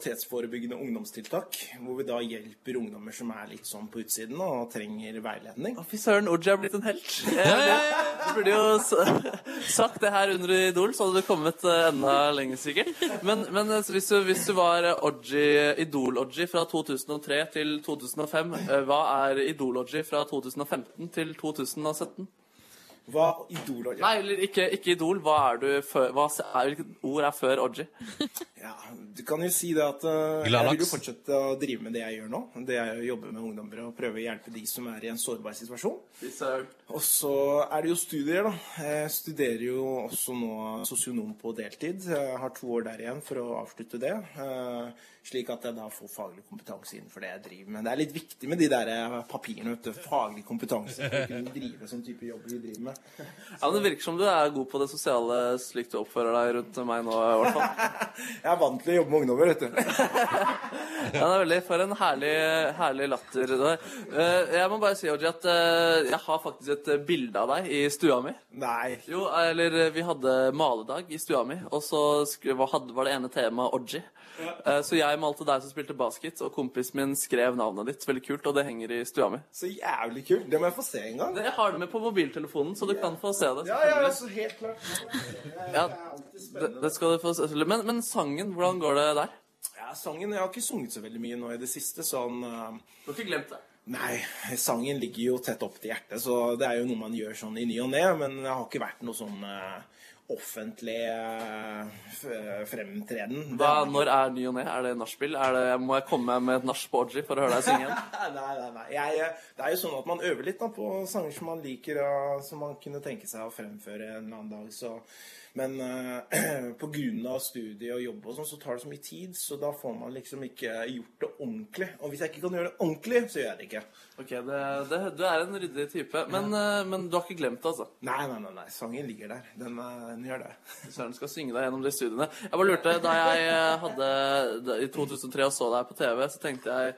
P: kriminalitetsforebyggende ungdomstiltak. Hvor vi da hjelper ungdommer som er litt sånn på utsiden og trenger veiledning.
D: Fy søren, Oji er blitt en helt. Du burde jo s- sagt det her under Idol, så hadde du kommet eh, enda lenger, sikkert. Men, men eh, hvis, du, hvis du var eh, Oji- Idol-Oji fra 2003 til 2005, eh, hva er Idol-Oji fra 2015 til 2017?
P: Hva Idol Oji?
D: Nei, eller ikke, ikke Idol. Hva er du før, hva s- er, hvilket ord er før Oji?
P: Du kan jo si det at eh, jeg
D: Gladlaks.
P: vil jo fortsette å drive med det jeg gjør nå. Det er å jobbe med ungdommer og prøve å hjelpe de som er i en sårbar situasjon. Og så er det jo studier, da. Jeg studerer jo også nå sosionom på deltid. Jeg har to år der igjen for å avslutte det. eh, Slik at jeg da får faglig kompetanse innenfor det jeg driver med. Det er litt viktig med de der eh, papirene, vet du. Faglig kompetanse for å kunne drive sånn type jobb vi driver med.
D: Ja, men Det virker som du er god på det sosiale slik du oppfører deg rundt meg nå. i hvert fall.
P: Jeg er vant til å jobbe med ungdommer, vet du.
D: Ja, det er veldig, For en herlig, herlig latter. det der. Eh, Jeg må bare si, Oji, at eh, jeg har faktisk et eh, bilde av deg i stua mi.
P: Nei.
D: Jo, eller eh, vi hadde maledag i stua mi, og så skre- hva hadde- var det ene temaet Oji. Eh, Så jeg malte deg som spilte basket, og kompisen min skrev navnet ditt. Veldig kult, og det henger i stua mi.
P: Så jævlig kult. Det må jeg få se en gang.
D: Jeg har det med på mobiltelefonen, så du kan få se det.
P: Ja, ja, altså helt klart.
D: Ja, det, det skal du få se. Men, men sangen, hvordan går det der?
P: Ja, sangen, Jeg har ikke sunget så veldig mye nå i det siste, sånn Du
D: har ikke glemt det?
P: Nei, sangen ligger jo tett opp til hjertet, så det er jo noe man gjør sånn i ny og ne. Men jeg har ikke vært noe sånn eh, offentlig eh, f- eh, fremtreden.
D: Hva, når er ny og ne? Er det nachspiel? Er det- Må jeg komme med et nach på Oji for å høre deg synge? igjen?
P: nei, nei, nei. Jeg, eh, det er jo sånn at man øver litt da, på sanger som man liker, og som man kunne tenke seg å fremføre en eller annen dag. Så. Men eh, på grunn av studie og jobb og sånn, så tar det så mye tid, så da får man liksom ikke gjort det ordentlig. Og hvis jeg ikke kan gjøre det ordentlig, så gjør jeg det ikke.
D: Ok, det, det, Du er en ryddig type, men, eh, men du har ikke glemt det, altså?
P: Nei, nei, nei, nei. sangen ligger der. Den, gjør det.
D: Søren skal synge deg gjennom de studiene. Jeg bare lurte, Da jeg eh, hadde da- i 2003 og så deg på TV, så tenkte jeg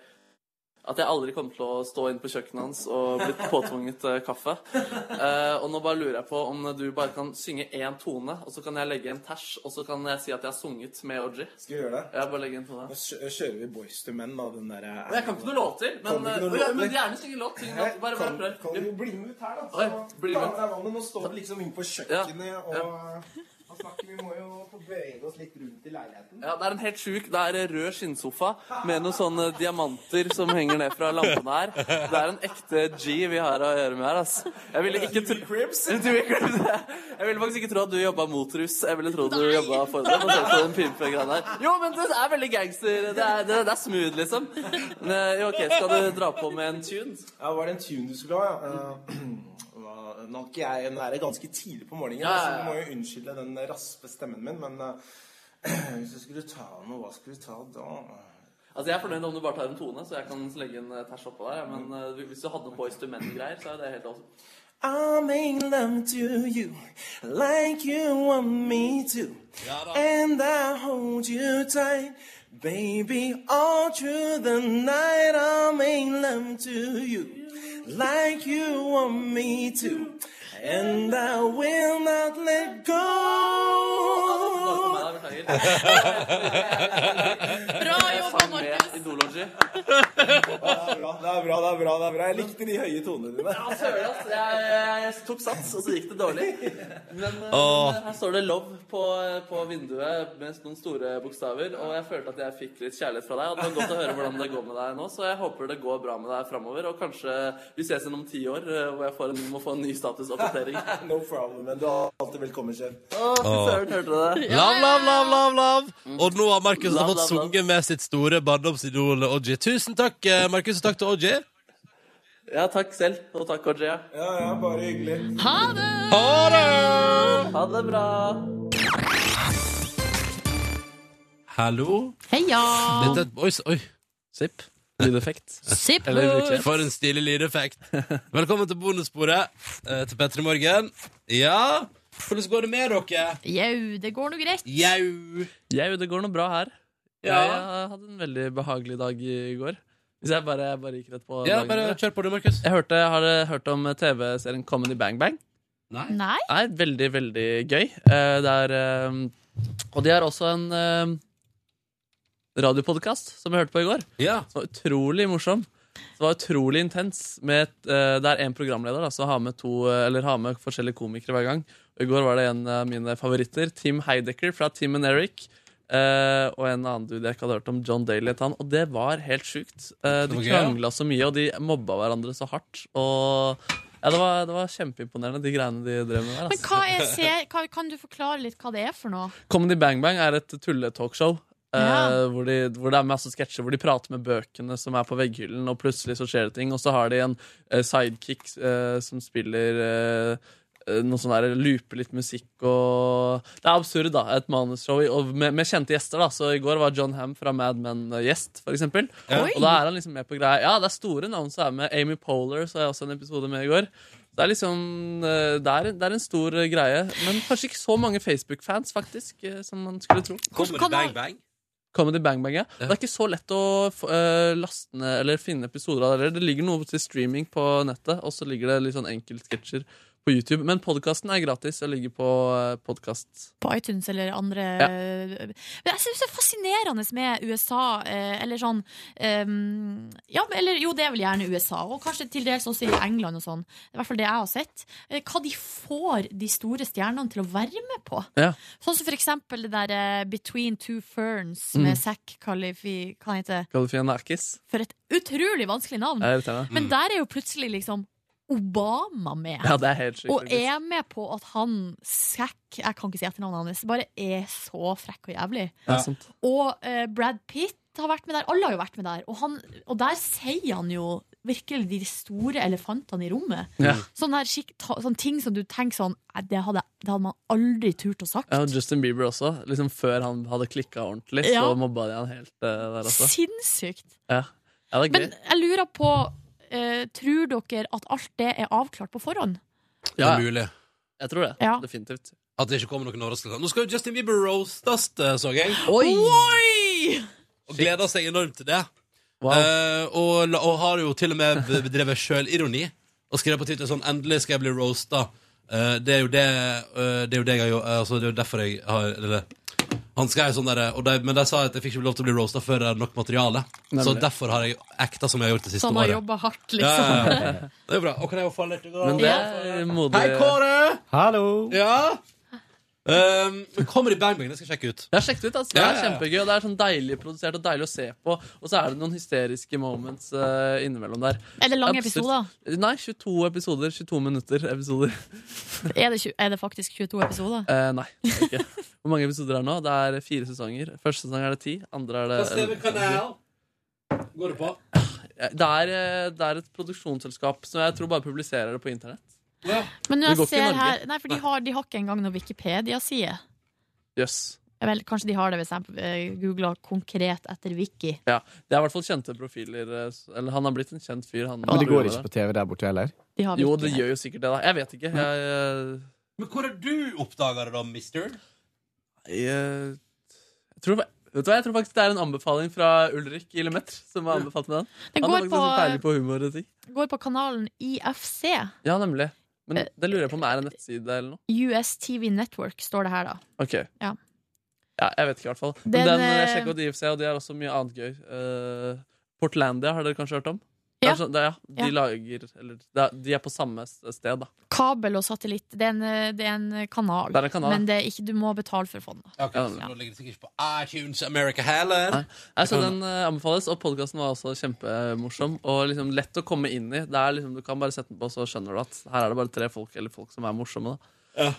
D: at jeg aldri kom til å stå inne på kjøkkenet hans og blitt påtvunget eh, kaffe. Eh, og nå bare lurer jeg på om du bare kan synge én tone, og så kan jeg legge en tæsj, og så kan jeg si at jeg har sunget med Oji.
P: Skal vi gjøre det?
D: Ja, bare legge en tone.
P: Nå kjø- kjører vi Boys to Men, da. Den eh, derre
D: Men jeg kan ikke noen låter.
P: Kan
D: Men,
P: du ikke noen
D: eh, ja,
P: låter?
D: men gjerne synge en låt. Syng en låt. Bare, bare
P: Kan-
D: prøv.
P: Kan du bli med ut her, da?
D: Oi, bli med.
P: ta med deg vannet. Nå står vi liksom inne på kjøkkenet, og hva snakker vi må jo få bevege oss litt rundt i leiligheten.
D: Ja, Det er en helt sjuk Det er en rød skinnsofa med noen sånne diamanter som henger ned fra lampene her. Det er en ekte G vi har å gjøre med her, ass. Jeg ville ikke tro Dewey Cribs, ja. Jeg ville faktisk ikke tro at du jobba mot russ. Jeg ville tro du jobba for det. basert på den pimpegreia der. Jo, men det er veldig gangster. Det er, det, det er smooth, liksom. Men, eh, jo, OK, skal du dra på med en tune?
P: Ja, var det en tune du skulle ha? ja? Eh, hva- Nå er ikke jeg Nå er det ganske tidlig på morgenen,
D: Ja, ja,
P: så
D: ja.
P: du må jo unnskylde den raspe stemmen min, men eh, hvis jeg skulle ta noe, hva skulle vi ta da?
D: Altså, Jeg er fornøyd om du bare tar en tone, så jeg kan legge en eh, tæsj oppå der. Men eh, hvis du hadde noe Boyz II Men-greier, så er det helt awesome.
P: I make love to you like you want me to. And I hold you tight, baby, all through the night. I make love to you like you want me to. And I will not let go.
D: Takk for meg, da, beklager.
C: Bra jobba, Markus.
Q: Idology.
P: bra, det er bra, det er bra. det er bra Jeg likte de høye tonene dine.
Q: Ja, søren, ass. Jeg, jeg tok sats, og så gikk det dårlig. Men, eh,
P: Åh.
Q: men her står det 'love' på, på vinduet med noen store bokstaver. Og jeg følte at jeg fikk litt kjærlighet fra deg. Og det var godt å høre hvordan det går med deg nå, så jeg håper det går bra med deg framover. Og kanskje vi ses igjen om ti år, eh, hvor jeg får en, må få en ny statusoppdatering.
P: No problem, men du er alltid velkommen, sjef.
Q: Å, fy søren, hørte du det?
B: Lav, lav, lav, lav, lav. Og nå har Markus
Q: Lav,
B: fått
Q: lav, lav.
B: sunget med sitt store barndomsidol Oji. Tusen takk, eh, Markus, og takk til Oji.
Q: Ja, takk selv, og takk, Ojea.
P: Ja, ja, bare hyggelig.
C: Ha det!
B: Ha det!
Q: Ha det bra.
B: Hallo.
C: Heia!
B: Dette er et Oi, s- oi. Sipp.
D: Lydeffekt.
C: Sipp. Eller ikke.
B: For en stilig lydeffekt. Velkommen til bonussporet eh, til Petter i morgen. Ja, hvordan går det med dere?
C: Jau, det går nå greit.
B: Jau.
D: Jau, det går noe bra her.
B: Ja.
D: Jeg eh, hadde en veldig behagelig dag i går. Hvis jeg bare, jeg bare gikk rett på
B: Ja,
D: dagen.
B: bare kjør på du, Markus.
D: Jeg hørte, har dere hørt om TV-serien Comedy Bang Bang?
B: Nei.
C: Nei?
D: Nei, veldig, veldig gøy. Eh, Det er eh, Og de har også en eh, radiopodkast som jeg hørte på i går. Som var utrolig morsom. Det var utrolig intens. Med, et, eh, det er én programleder da, som har med, to, eh, eller har med forskjellige komikere hver gang. Og I går var det en av mine favoritter, Tim Heidecker fra Tim and Eric. eh, og en annen dude jeg ikke hadde hørt om, John Daly. het Han, og det var helt sjukt. Eh, de
B: Det var gøy, ja.
D: krangla så mye, og de mobba hverandre så hardt. Og ja, det, var, det var kjempeimponerende, de greiene de drev med der.
C: Men
D: altså.
C: hva er se- hva, Kan du forklare litt hva det er for noe?
D: Comedy Bang Bang er et tulletalkshow. eh,
C: Ja.
D: hvor, de, hvor det er masse sketsjer hvor de prater med bøkene som er på vegghyllen, og plutselig så skjer det ting. Og så har de en eh, sidekick eh, som spiller eh, eh, noe sånn der, looper litt musikk og Det er absurd, da. Et manusshow i- og med, med kjente gjester. da Så i går var John Ham fra Mad Men eh, gjest, for eksempel.
Q: Ja. Oi.
D: Og da er han liksom med på greia. Ja, det er store navn som er med. Amy Polar så er også en episode med i går. Det er liksom eh, Det er, det er en stor eh, greie. Men kanskje ikke så mange Facebook-fans, faktisk, eh, som man skulle tro.
B: Kommer det bang bang?
D: Comedy Bang Bang, ja. Det er ikke så lett å f- eh, laste ned eller finne episoder av det. heller. Det ligger noe til streaming på nettet, og så ligger det litt sånn enkeltsketsjer på YouTube. Men podkasten er gratis og ligger på eh, podcast.
C: På iTunes eller andre
D: Ja.
C: Men Jeg syns det er fascinerende med USA, eh, eller sånn ehm, Ja, men- eller jo, det er vel gjerne USA, og kanskje til dels også i England og sånn. I hvert fall det jeg har sett. Eh, Hva de får de store stjernene til å være med på.
D: Ja.
C: Sånn som for eksempel det der eh, Between Two Ferns med
D: Mm.
C: Zack Kalifi... Hva heter det?
D: Galifianakis.
C: For et utrolig vanskelig navn!
D: Det er irriterende.
C: Men
D: Mm.
C: der er jo plutselig liksom Obama med.
D: Ja, det er helt sjukt,
C: og
D: faktisk.
C: er med på at han Zack, jeg kan ikke si etternavnet hans, bare er så frekk og jævlig.
D: Ja, sant.
C: Og eh, Brad Pitt har vært med der. Alle har jo vært med der. Og, han, og der sier han jo virkelig de store elefantene i rommet.
D: Ja.
C: Sånne, her skikk, ta, sånne ting som du tenker sånn "Nei, Det hadde, det hadde man aldri turt å sagt.
D: Ja, og Justin Bieber også. Liksom Før han hadde klikka ordentlig,
C: Ja.
D: så mobba de han helt eh, der også.
C: Sinnssykt.
D: Ja. ja, det er
C: Men
D: gøy.
C: jeg lurer på eh, Tror dere at alt det er avklart på forhånd?
B: Det er mulig.
D: Jeg tror det.
C: Ja.
D: Definitivt.
B: At det ikke kommer noen overraskelser. Nå skal jo Justin Bieber roastes, eh, så jeg.
C: Oi!
B: Og gleder seg enormt til det. Eh, og, la- og har jo til og med be- bedrevet sjølironi. Og skrev på Twitter sånn 'Endelig skal jeg bli roasta'. Eh, det er jo det eh, Det er jo det jeg har jo- eh, altså, Det er jo derfor jeg har Eller han skrev sånn der, og de, Men de sa at jeg fikk ikke lov til å bli roasta før det er nok materiale.
K: Nemlig.
B: Så derfor har jeg acta som jeg har gjort det siste
C: Så han har
B: året.
C: jobba hardt, liksom.
B: Ja, ja, ja. Det er bra. Og kan jeg jo få litt eh,
D: Men det er eh, modig.
B: Hei, Kåre!
D: Hallo.
B: Ja? Um, men kommer i Bang Bang, det skal jeg sjekke ut.
D: Jeg har sjekket ut, altså. Det
B: Ja,
D: er
B: ja, ja.
D: kjempegøy. og Det er sånn deilig produsert og deilig å se på. Og så er det noen hysteriske moments eh, innimellom der.
C: Eller lange
D: Absurd. Nei, 22 episoder. 22 minutter episoder.
C: Er det, tju- er det faktisk 22 episoder?
D: Eh, nei, det er det ikke. Hvor mange episoder er det nå? Det er eh, fire sesonger. Første sesong er det ti. Andre er det Eh,
B: Går det på?
D: Det er, eh, det er et produksjonsselskap som jeg tror bare publiserer det på internett.
C: Men
D: Det
C: når
D: går
C: jeg
D: ikke i
C: ser
D: Norge.
C: her Nei, for de har, de har ikke engang noen Wikipedia-side.
D: Jøss.
C: Vel, kanskje de har det hvis jeg eh, googler konkret etter Wiki.
D: Ja, Det er i hvert fall kjente profiler. eh, s- Eller han har blitt en kjent fyr. Han,
N: Men det går ikke på TV der borte heller?
C: De har
D: Jo,
C: Wiki.
D: det gjør jo sikkert det, da. Jeg eh, vet ikke. Jeg,
B: Men hvor har du oppdaga det, da, mister?
D: eh, jeg, jeg tror, vet du hva, jeg tror faktisk det er en anbefaling fra Ulrik i Lemeter som har anbefalt meg den.
C: Den
D: Han
C: går
D: har sånn faktisk
C: på- eh,
D: også peiling på humor og ting.
C: Går på kanalen IFC.
D: Ja,
C: Eh,
D: nemlig. Men det lurer jeg på om det er en nettside eller noe.
C: US TV Network står det her, da.
D: Ok,
C: Ja.
D: Ja, jeg vet ikke, i hvert fall. Men
C: Den,
D: den, eh,
C: eh,
D: sjekk ut IFC, og de har også mye annet gøy. Eh, Portlandia har dere kanskje hørt om?
C: Ja.
D: Kanskje, det, ja. De
C: Ja.
D: lager Eller det er- de er på samme s- sted, da.
C: Kabel og satellitt, det er en, eh, det er en kanal.
D: Det er en kanal.
C: Men det er ikke, du må betale for fondet.
D: Ja.
K: Så da ligger det sikkert ikke på iTunes America heller.
D: Nei, så den eh, anbefales, og podkasten var også kjempemorsom og liksom lett å komme inn i. Det er liksom, du kan bare sette den på, så skjønner du at her er det bare tre folk eller folk som er morsomme. Da.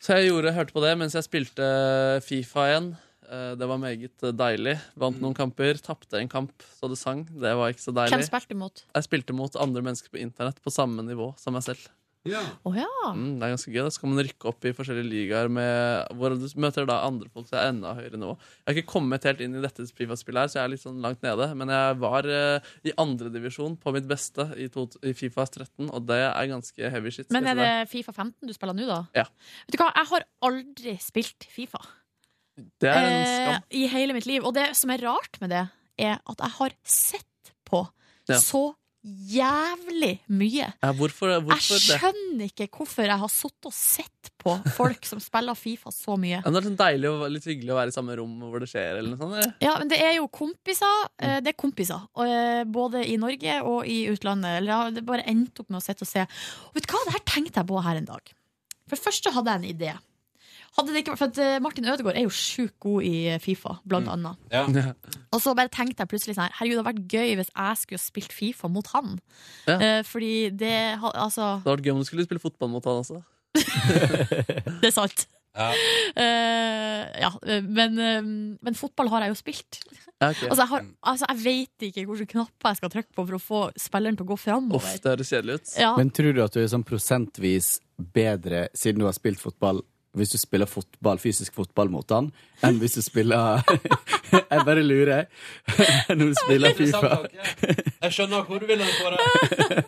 D: Så jeg gjorde, hørte på det mens jeg spilte Fifa igjen. Eh, Det var meget deilig. Vant noen kamper, tapte en kamp så det sang. Det var ikke så deilig.
C: Hvem spilte du mot?
D: Jeg spilte mot andre mennesker på internett på samme nivå som meg selv.
C: Å ja.
D: Mm, det er ganske gøy. Da. Så kan man rykke opp i forskjellige ligaer med, hvor du møter da andre folk som er enda høyere nivå. Jeg har ikke kommet helt inn i dette Fifa-spillet, her, så jeg er litt sånn langt nede. Men jeg var eh, i andredivisjon på mitt beste i, to, i Fifa 13, og det er ganske heavy shit. skal
C: Men
D: jeg
C: er
D: si
C: det
D: deg.
C: Fifa 15 du spiller nå, da?
D: Ja.
C: Vet du hva, jeg har aldri spilt Fifa.
D: Det er en skam.
C: Eh, I hele mitt liv. Og det som er rart med det, er at jeg har sett på
D: Ja.
C: så jævlig mye.
D: Ja, hvorfor, eh, hvorfor
C: Jeg
D: det?
C: skjønner ikke hvorfor jeg har sittet og sett på folk som spiller Fifa så mye.
D: Ja, men det er sånn deilig og litt hyggelig å være i samme rom hvor det skjer, eller noe sånt. Eller?
C: Ja, men det er jo kompiser. eh, Det er kompiser. og, eh, Både i Norge og i utlandet. Eller ja, det bare endte opp med å sitte og se. Og vet du hva, det her tenkte jeg på her en dag. For det første hadde jeg en idé. Hadde det ikke, vært- for at eh, Martin Ødegaard er jo sjukt god i eh, Fifa,
D: Mm.
C: blant annet. Og så bare tenkte jeg plutselig sånn her, Herregud, det hadde vært gøy hvis jeg skulle spilt Fifa mot han.
D: Ja.
C: Eh, fordi det ha- Altså,
D: Det hadde vært gøy om du skulle spille fotball mot han også.
C: det er sant. Eh, ja, eh, men, eh, men fotball har jeg jo spilt.
D: Ja, ok.
C: Altså, jeg, har, altså, jeg vet ikke hvilke knapper jeg skal trykke på for å få spilleren til å gå
D: Uff,
C: framover.
D: det høres kjedelig ut.
C: Ja.
N: Men tror du at du er sånn prosentvis bedre siden du har spilt fotball, hvis du spiller fotball, fysisk fotball mot han, enn hvis du spiller Jeg bare lurer. Når du spiller Fifa.
K: Interessant tanke. Jeg skjønner hvor du vil hen, Kåre.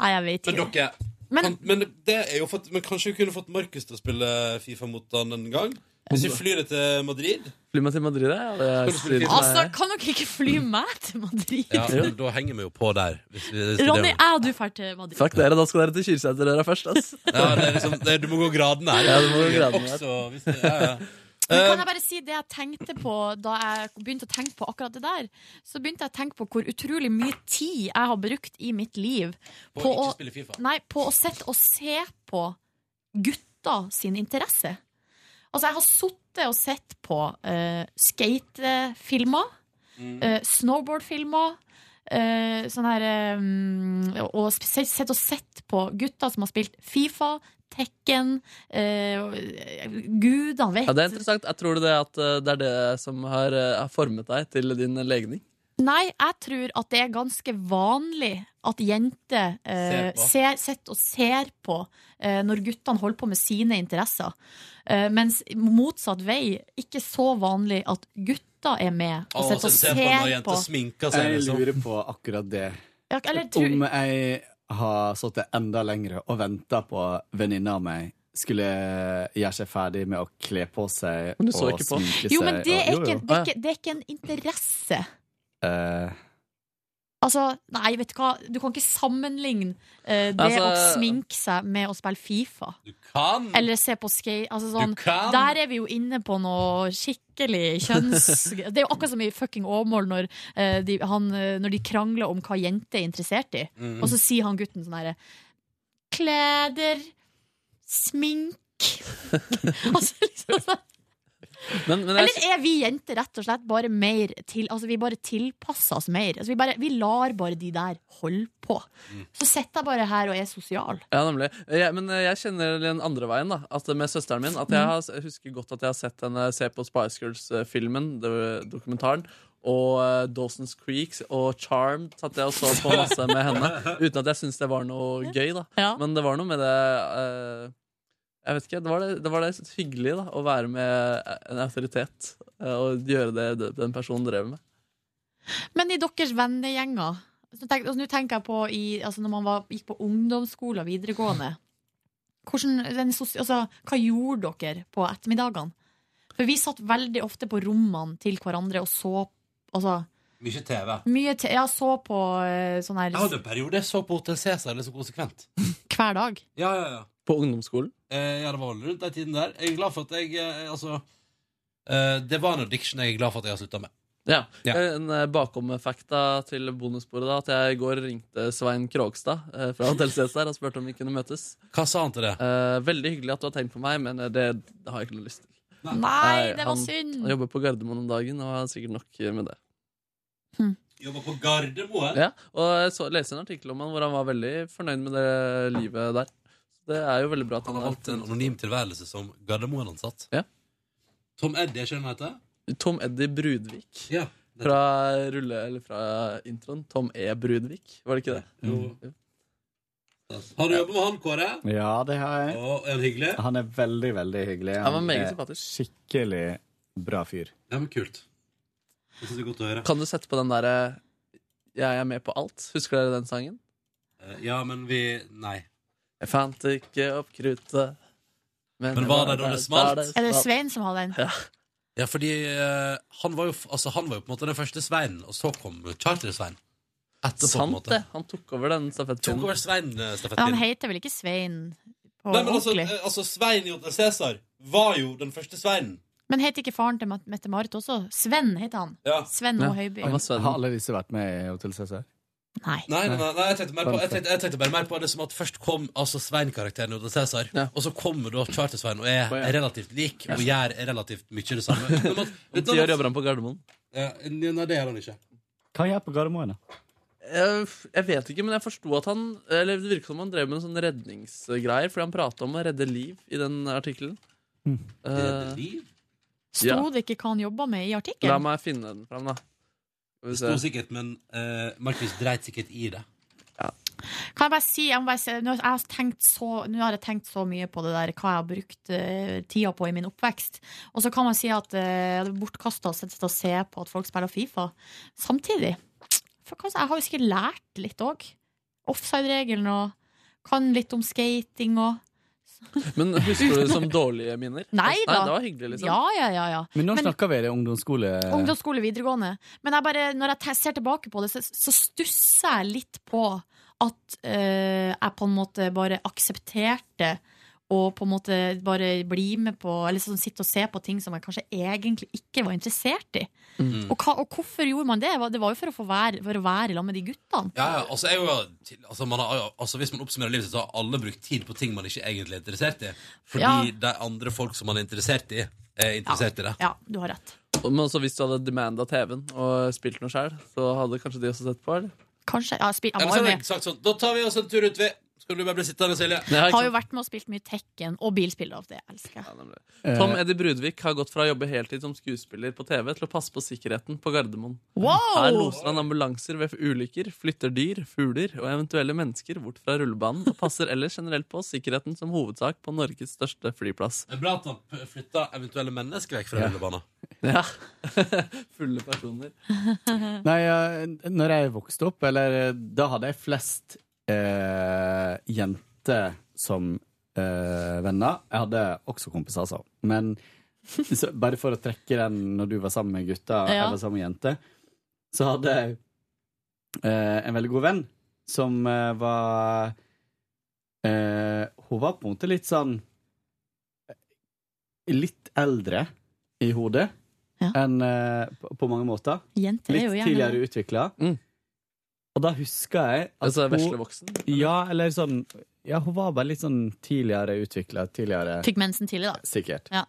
C: Nei, jeg vet
K: Men dere
C: men,
K: men, det er jo fått, men kanskje vi kunne fått Markus til å spille Fifa mot han en gang? Hvis vi flyr det til Madrid?
D: Fly meg til Madrid, ja. Det er
K: Skal du spille
D: stilig.
K: Fifa?
C: Altså, kan dere ikke fly meg til Madrid?
K: Ja, men da henger vi jo på der. Hvis vi, hvis det er
C: Ronny,
K: det.
C: jeg og du drar til Madrid.
D: Fuck dere, da skal dere til Kyrsæterdøra først, ass.
K: Ja, det er liksom, det, du må gå graden her.
D: Ja, du må gå graden her.
K: Også, hvis det, ja, ja.
C: Men
D: Eh,
C: kan jeg bare si det jeg tenkte på da jeg begynte å tenke på akkurat det der? Så begynte jeg å tenke på hvor utrolig mye tid jeg har brukt i mitt liv
K: På å
C: på,
K: ikke
C: å,
K: spille FIFA.
C: nei, på å sette og se på gutta sin interesse. Altså, jeg har sittet og sett på eh, skatefilmer,
D: Mhm.
L: Mm.
C: eh, snowboardfilmer, eh, sånn her eh, mm, Og sp- sett sett og sett på gutter som har spilt Fifa, Tekken, eh, gudene vet
D: Ja, det er interessant. Jeg tror det, at eh, det er det som har, eh, har formet deg til din legning.
C: Nei, jeg tror at det er ganske vanlig at jenter eh,
D: Ser på.
C: ser, sitter og ser på eh, når guttene holder på med sine interesser. Eh, mens motsatt vei, ikke så vanlig at gutter er med og
N: Å,
C: sitter
N: så
C: og
N: ser på når
C: ser
N: jenter
C: på.
K: sminker
C: seg,
N: Jeg
K: liksom.
N: lurer på akkurat det.
C: Ja, eller tror-
N: Om jeg har sittet enda lengre og venta på venninna mi skulle gjøre seg ferdig med å kle på seg
D: Men du så ikke på.
N: sminke seg.
C: Jo, men det er,
N: og-
C: ikke, det, er ikke, det er ikke en interesse.
N: Eh,
C: Altså, nei, vet du hva, du kan ikke sammenligne eh, det
K: Altså-
C: å sminke seg med å spille Fifa.
K: Kan!
C: Eller se på skate altså sånn,
K: kan.
C: Der er vi jo inne på noe skikkelig kjønns... Det er jo akkurat som i fucking Åmål når, eh, de, han, eh, når de krangler om hva jenter er interessert i.
L: Mm.
C: Og så sier han gutten sånn herre Kleder, smink altså, liksom sånn.
D: Men, men jeg,
C: Eller er vi jenter rett og slett bare mer til Altså vi bare tilpasser oss mer? Altså, vi, bare, vi lar bare de der holde på. Så sitter jeg bare her og er sosial.
D: ja, nemlig. Jeg, men eh, jeg kjenner den andre veien, da. At med søsteren min. At jeg, har, jeg husker godt at jeg har sett henne se på Spice Girls-filmen, det- dokumentaren. Og eh, Dawson's Creek og Charmed satt jeg og så på masse med henne. Uten at jeg syntes det var noe gøy, da. Men det var noe med det eh, Jeg vet ikke, det var det, det, var det jeg syntes hyggelig da, å være med en autoritet eh, og gjøre det det- den personen drev med.
C: Men i deres vennegjenger så tenk- altså, Nå tenker jeg på i, altså, Når man var, gikk på ungdomsskole og videregående hvordan, den, sos- altså, Hva gjorde dere på ettermiddagene? For vi satt veldig ofte på rommene til hverandre og så altså,
K: Mye TV.
C: mye te Ja, så på eh, sånn her
K: Jeg hadde en periode jeg så på Hotel Cæsar liksom konsekvent.
C: hver dag.
K: Ja, ja, ja.
D: På ungdomsskolen?
K: Eh, ja, det var vel rundt den tiden der. Jeg er glad for at jeg eh, altså
B: Eh, det var en addiction jeg er glad for at jeg har slutta med.
D: Ja. En eh, bakom-fakta til bonussporet da, at jeg i går ringte Svein Krogstad eh, fra Hotel Cæsar og spurte om vi kunne møtes. Eh,
B: Hva sa han til det?
D: veldig hyggelig at du har tenkt på meg, men eh, det, det har jeg ikke noe lyst til.
C: Nei, det var
D: han,
C: synd.
D: Han jobber på Gardermoen om dagen og har sikkert nok eh, med det.
B: Jobber på Gardermoen?
D: Ja, og jeg så, leste en artikkel om han hvor han var veldig fornøyd med det livet der. Så det er jo veldig bra at han,
B: Han har valgt en anonym tilværelse som Gardermoen-ansatt.
D: Ja.
B: Tom Eddie, er ikke det han heter?
D: Tom Eddie Brudvik. Fra rulle, eller fra introen. Tom E. Brudvik, var det ikke det? Jo.
B: Har du jobbet med han, Kåre?
N: Ja, det har jeg.
B: er han hyggelig?
N: Han er veldig, veldig hyggelig.
D: Han var meget
N: er Skikkelig bra fyr.
B: Ja, men kult. Det synes jeg er godt å høre.
D: Kan du sette på den derre 'Jeg er med på alt'? Husker dere den sangen?
B: Eh, Ja, men vi Nei.
D: Jeg fant ikke opp kruttet
B: Men var det da det smalt?
C: Er det Svein som har den?
B: Ja, fordi eh, han, var jo, f- altså, han var jo på en måte den første Svein, og så kom Charter-Svein. Etterpå, på en
D: Sant
B: måte.
D: det. Han tok over den stafettpinnen.
B: Tok
C: Men
B: over
C: han
B: Svein-stafettpinnen.
C: heter vel ikke Svein på
B: Nei, men altså,
C: ordentlig?
B: eh, altså Svein i Hotel Cæsar var jo den første Sveinen.
C: Men heter ikke faren til Mat- Mette-Marit også? Sven heter han. Sven og Høiby.
N: Eh, Har alle disse vært med i Hotel Cæsar?
C: Nei.
B: Nei, nei, nei, jeg, tenkte mer på, jeg, tenkte, jeg tenkte bare mer på det som at først kom altså Svein-karakteren i Hotel Cæsar, og så kommer da Charter-Svein og er relativt lik og gjør relativt mye det samme. Men at-
D: Om ti år jobber han på Gardermoen.
B: Ja, nei, det gjør han ikke.
N: Hva gjør jeg på Gardermoen, da?
D: Jeg, jeg vet ikke, men jeg forsto at han Eller det virket som han drev med en sånn redningsgreier, fordi han prata om å redde liv i den artikkelen.
C: Hm.
D: Eh,
B: Redde liv?
C: Sto det ikke hva han jobba med i
D: La
C: artikkelen?
D: meg finne den fram, da. Skal vi
B: Det
D: se.
B: sto sikkert, men eh, Markus dreit sikkert i det.
C: Kan jeg bare si, jeg må bare si nå, har jeg har tenkt så, nå har jeg tenkt så mye på det der hva jeg har brukt eh, tida på i min oppvekst. Og så kan man si at eh, det er bortkasta å sette seg og se på at folk spiller Fifa. Samtidig for hva, Jeg har jo sikkert lært litt òg. Offside-regelen og kan litt om skating og
D: Men husker du det som dårlige minner?
C: Nei da!
D: det var hyggelig, liksom.
C: Ja, ja, ja, ja.
N: Men nå
C: Men-
N: snakker vi det ungdomsskole...
B: Eh.
C: Ungdomsskole, videregående. Men jeg bare, når jeg te- ser tilbake på det, så, så stusser jeg litt på at eh, jeg på en måte bare aksepterte og på en måte bare bli med på Eller sånn sitte og se på ting som jeg kanskje egentlig ikke var interessert i.
B: Mm.
C: Og, hva, og hvorfor gjorde man det? Det var- Det var jo for å få være, for å være sammen med de guttene.
B: Ja, ja, altså, jeg, er jo- til- altså, man har, jo- altså Hvis man oppsummerer livet sitt, så har alle brukt tid på ting man ikke egentlig er interessert i. Fordi
C: Ja.
B: de andre folk som man er interessert i, er interessert i det.
C: Ja, du har rett.
D: Og- Men også hvis du hadde demanda TV-en og spilt noe sjøl, så hadde kanskje de også sett på? Eller?
C: Kanskje. Ja, spil, jeg
B: Eller
C: var
B: så
C: jo
B: har
C: med.
B: jeg sagt sånn Da tar vi oss en tur ut, vi. Skal du bare bli sittende, Silje?
C: Har jo vært med og spilt mye Tekken og bilspill. av Det elsker jeg.
D: Tom Eddie Brudvik har gått fra å jobbe heltid som skuespiller på TV til å passe på sikkerheten på Gardermoen.
C: Wow!
D: Her loser han ambulanser ved ulykker, flytter dyr, fugler og eventuelle mennesker bort fra rullebanen, og passer ellers generelt på sikkerheten som hovedsak på Norges største flyplass.
B: Det er bra at han p- flytta eventuelle mennesker vekk
D: Ja.
B: fra rullebanen.
D: Ja. Fulle personer.
C: Mm.
N: Nei, eh, når jeg vokste opp, eller eh, da hadde jeg flest eh, jenter som eh, venner. Jeg hadde også kompiser, altså. Men så, bare for å trekke den når du var sammen med gutta, og
R: Ja.
N: jeg var sammen med jenter, så hadde jeg eh, en veldig god venn som eh, var eh, Hun var på en måte litt sånn Litt eldre i hodet enn eh, på, på mange måter.
C: Jenter er
N: Litt
C: jo gjerne
N: tidligere
C: det.
N: utvikla. Og da husker jeg at
D: Altså
N: hun-
D: veslevoksen?
N: Ja, eller sånn Ja, hun var bare litt sånn tidligere utvikla. Tidligere
C: Fikk mensen tidlig, da.
N: Sikkert.
C: Ja.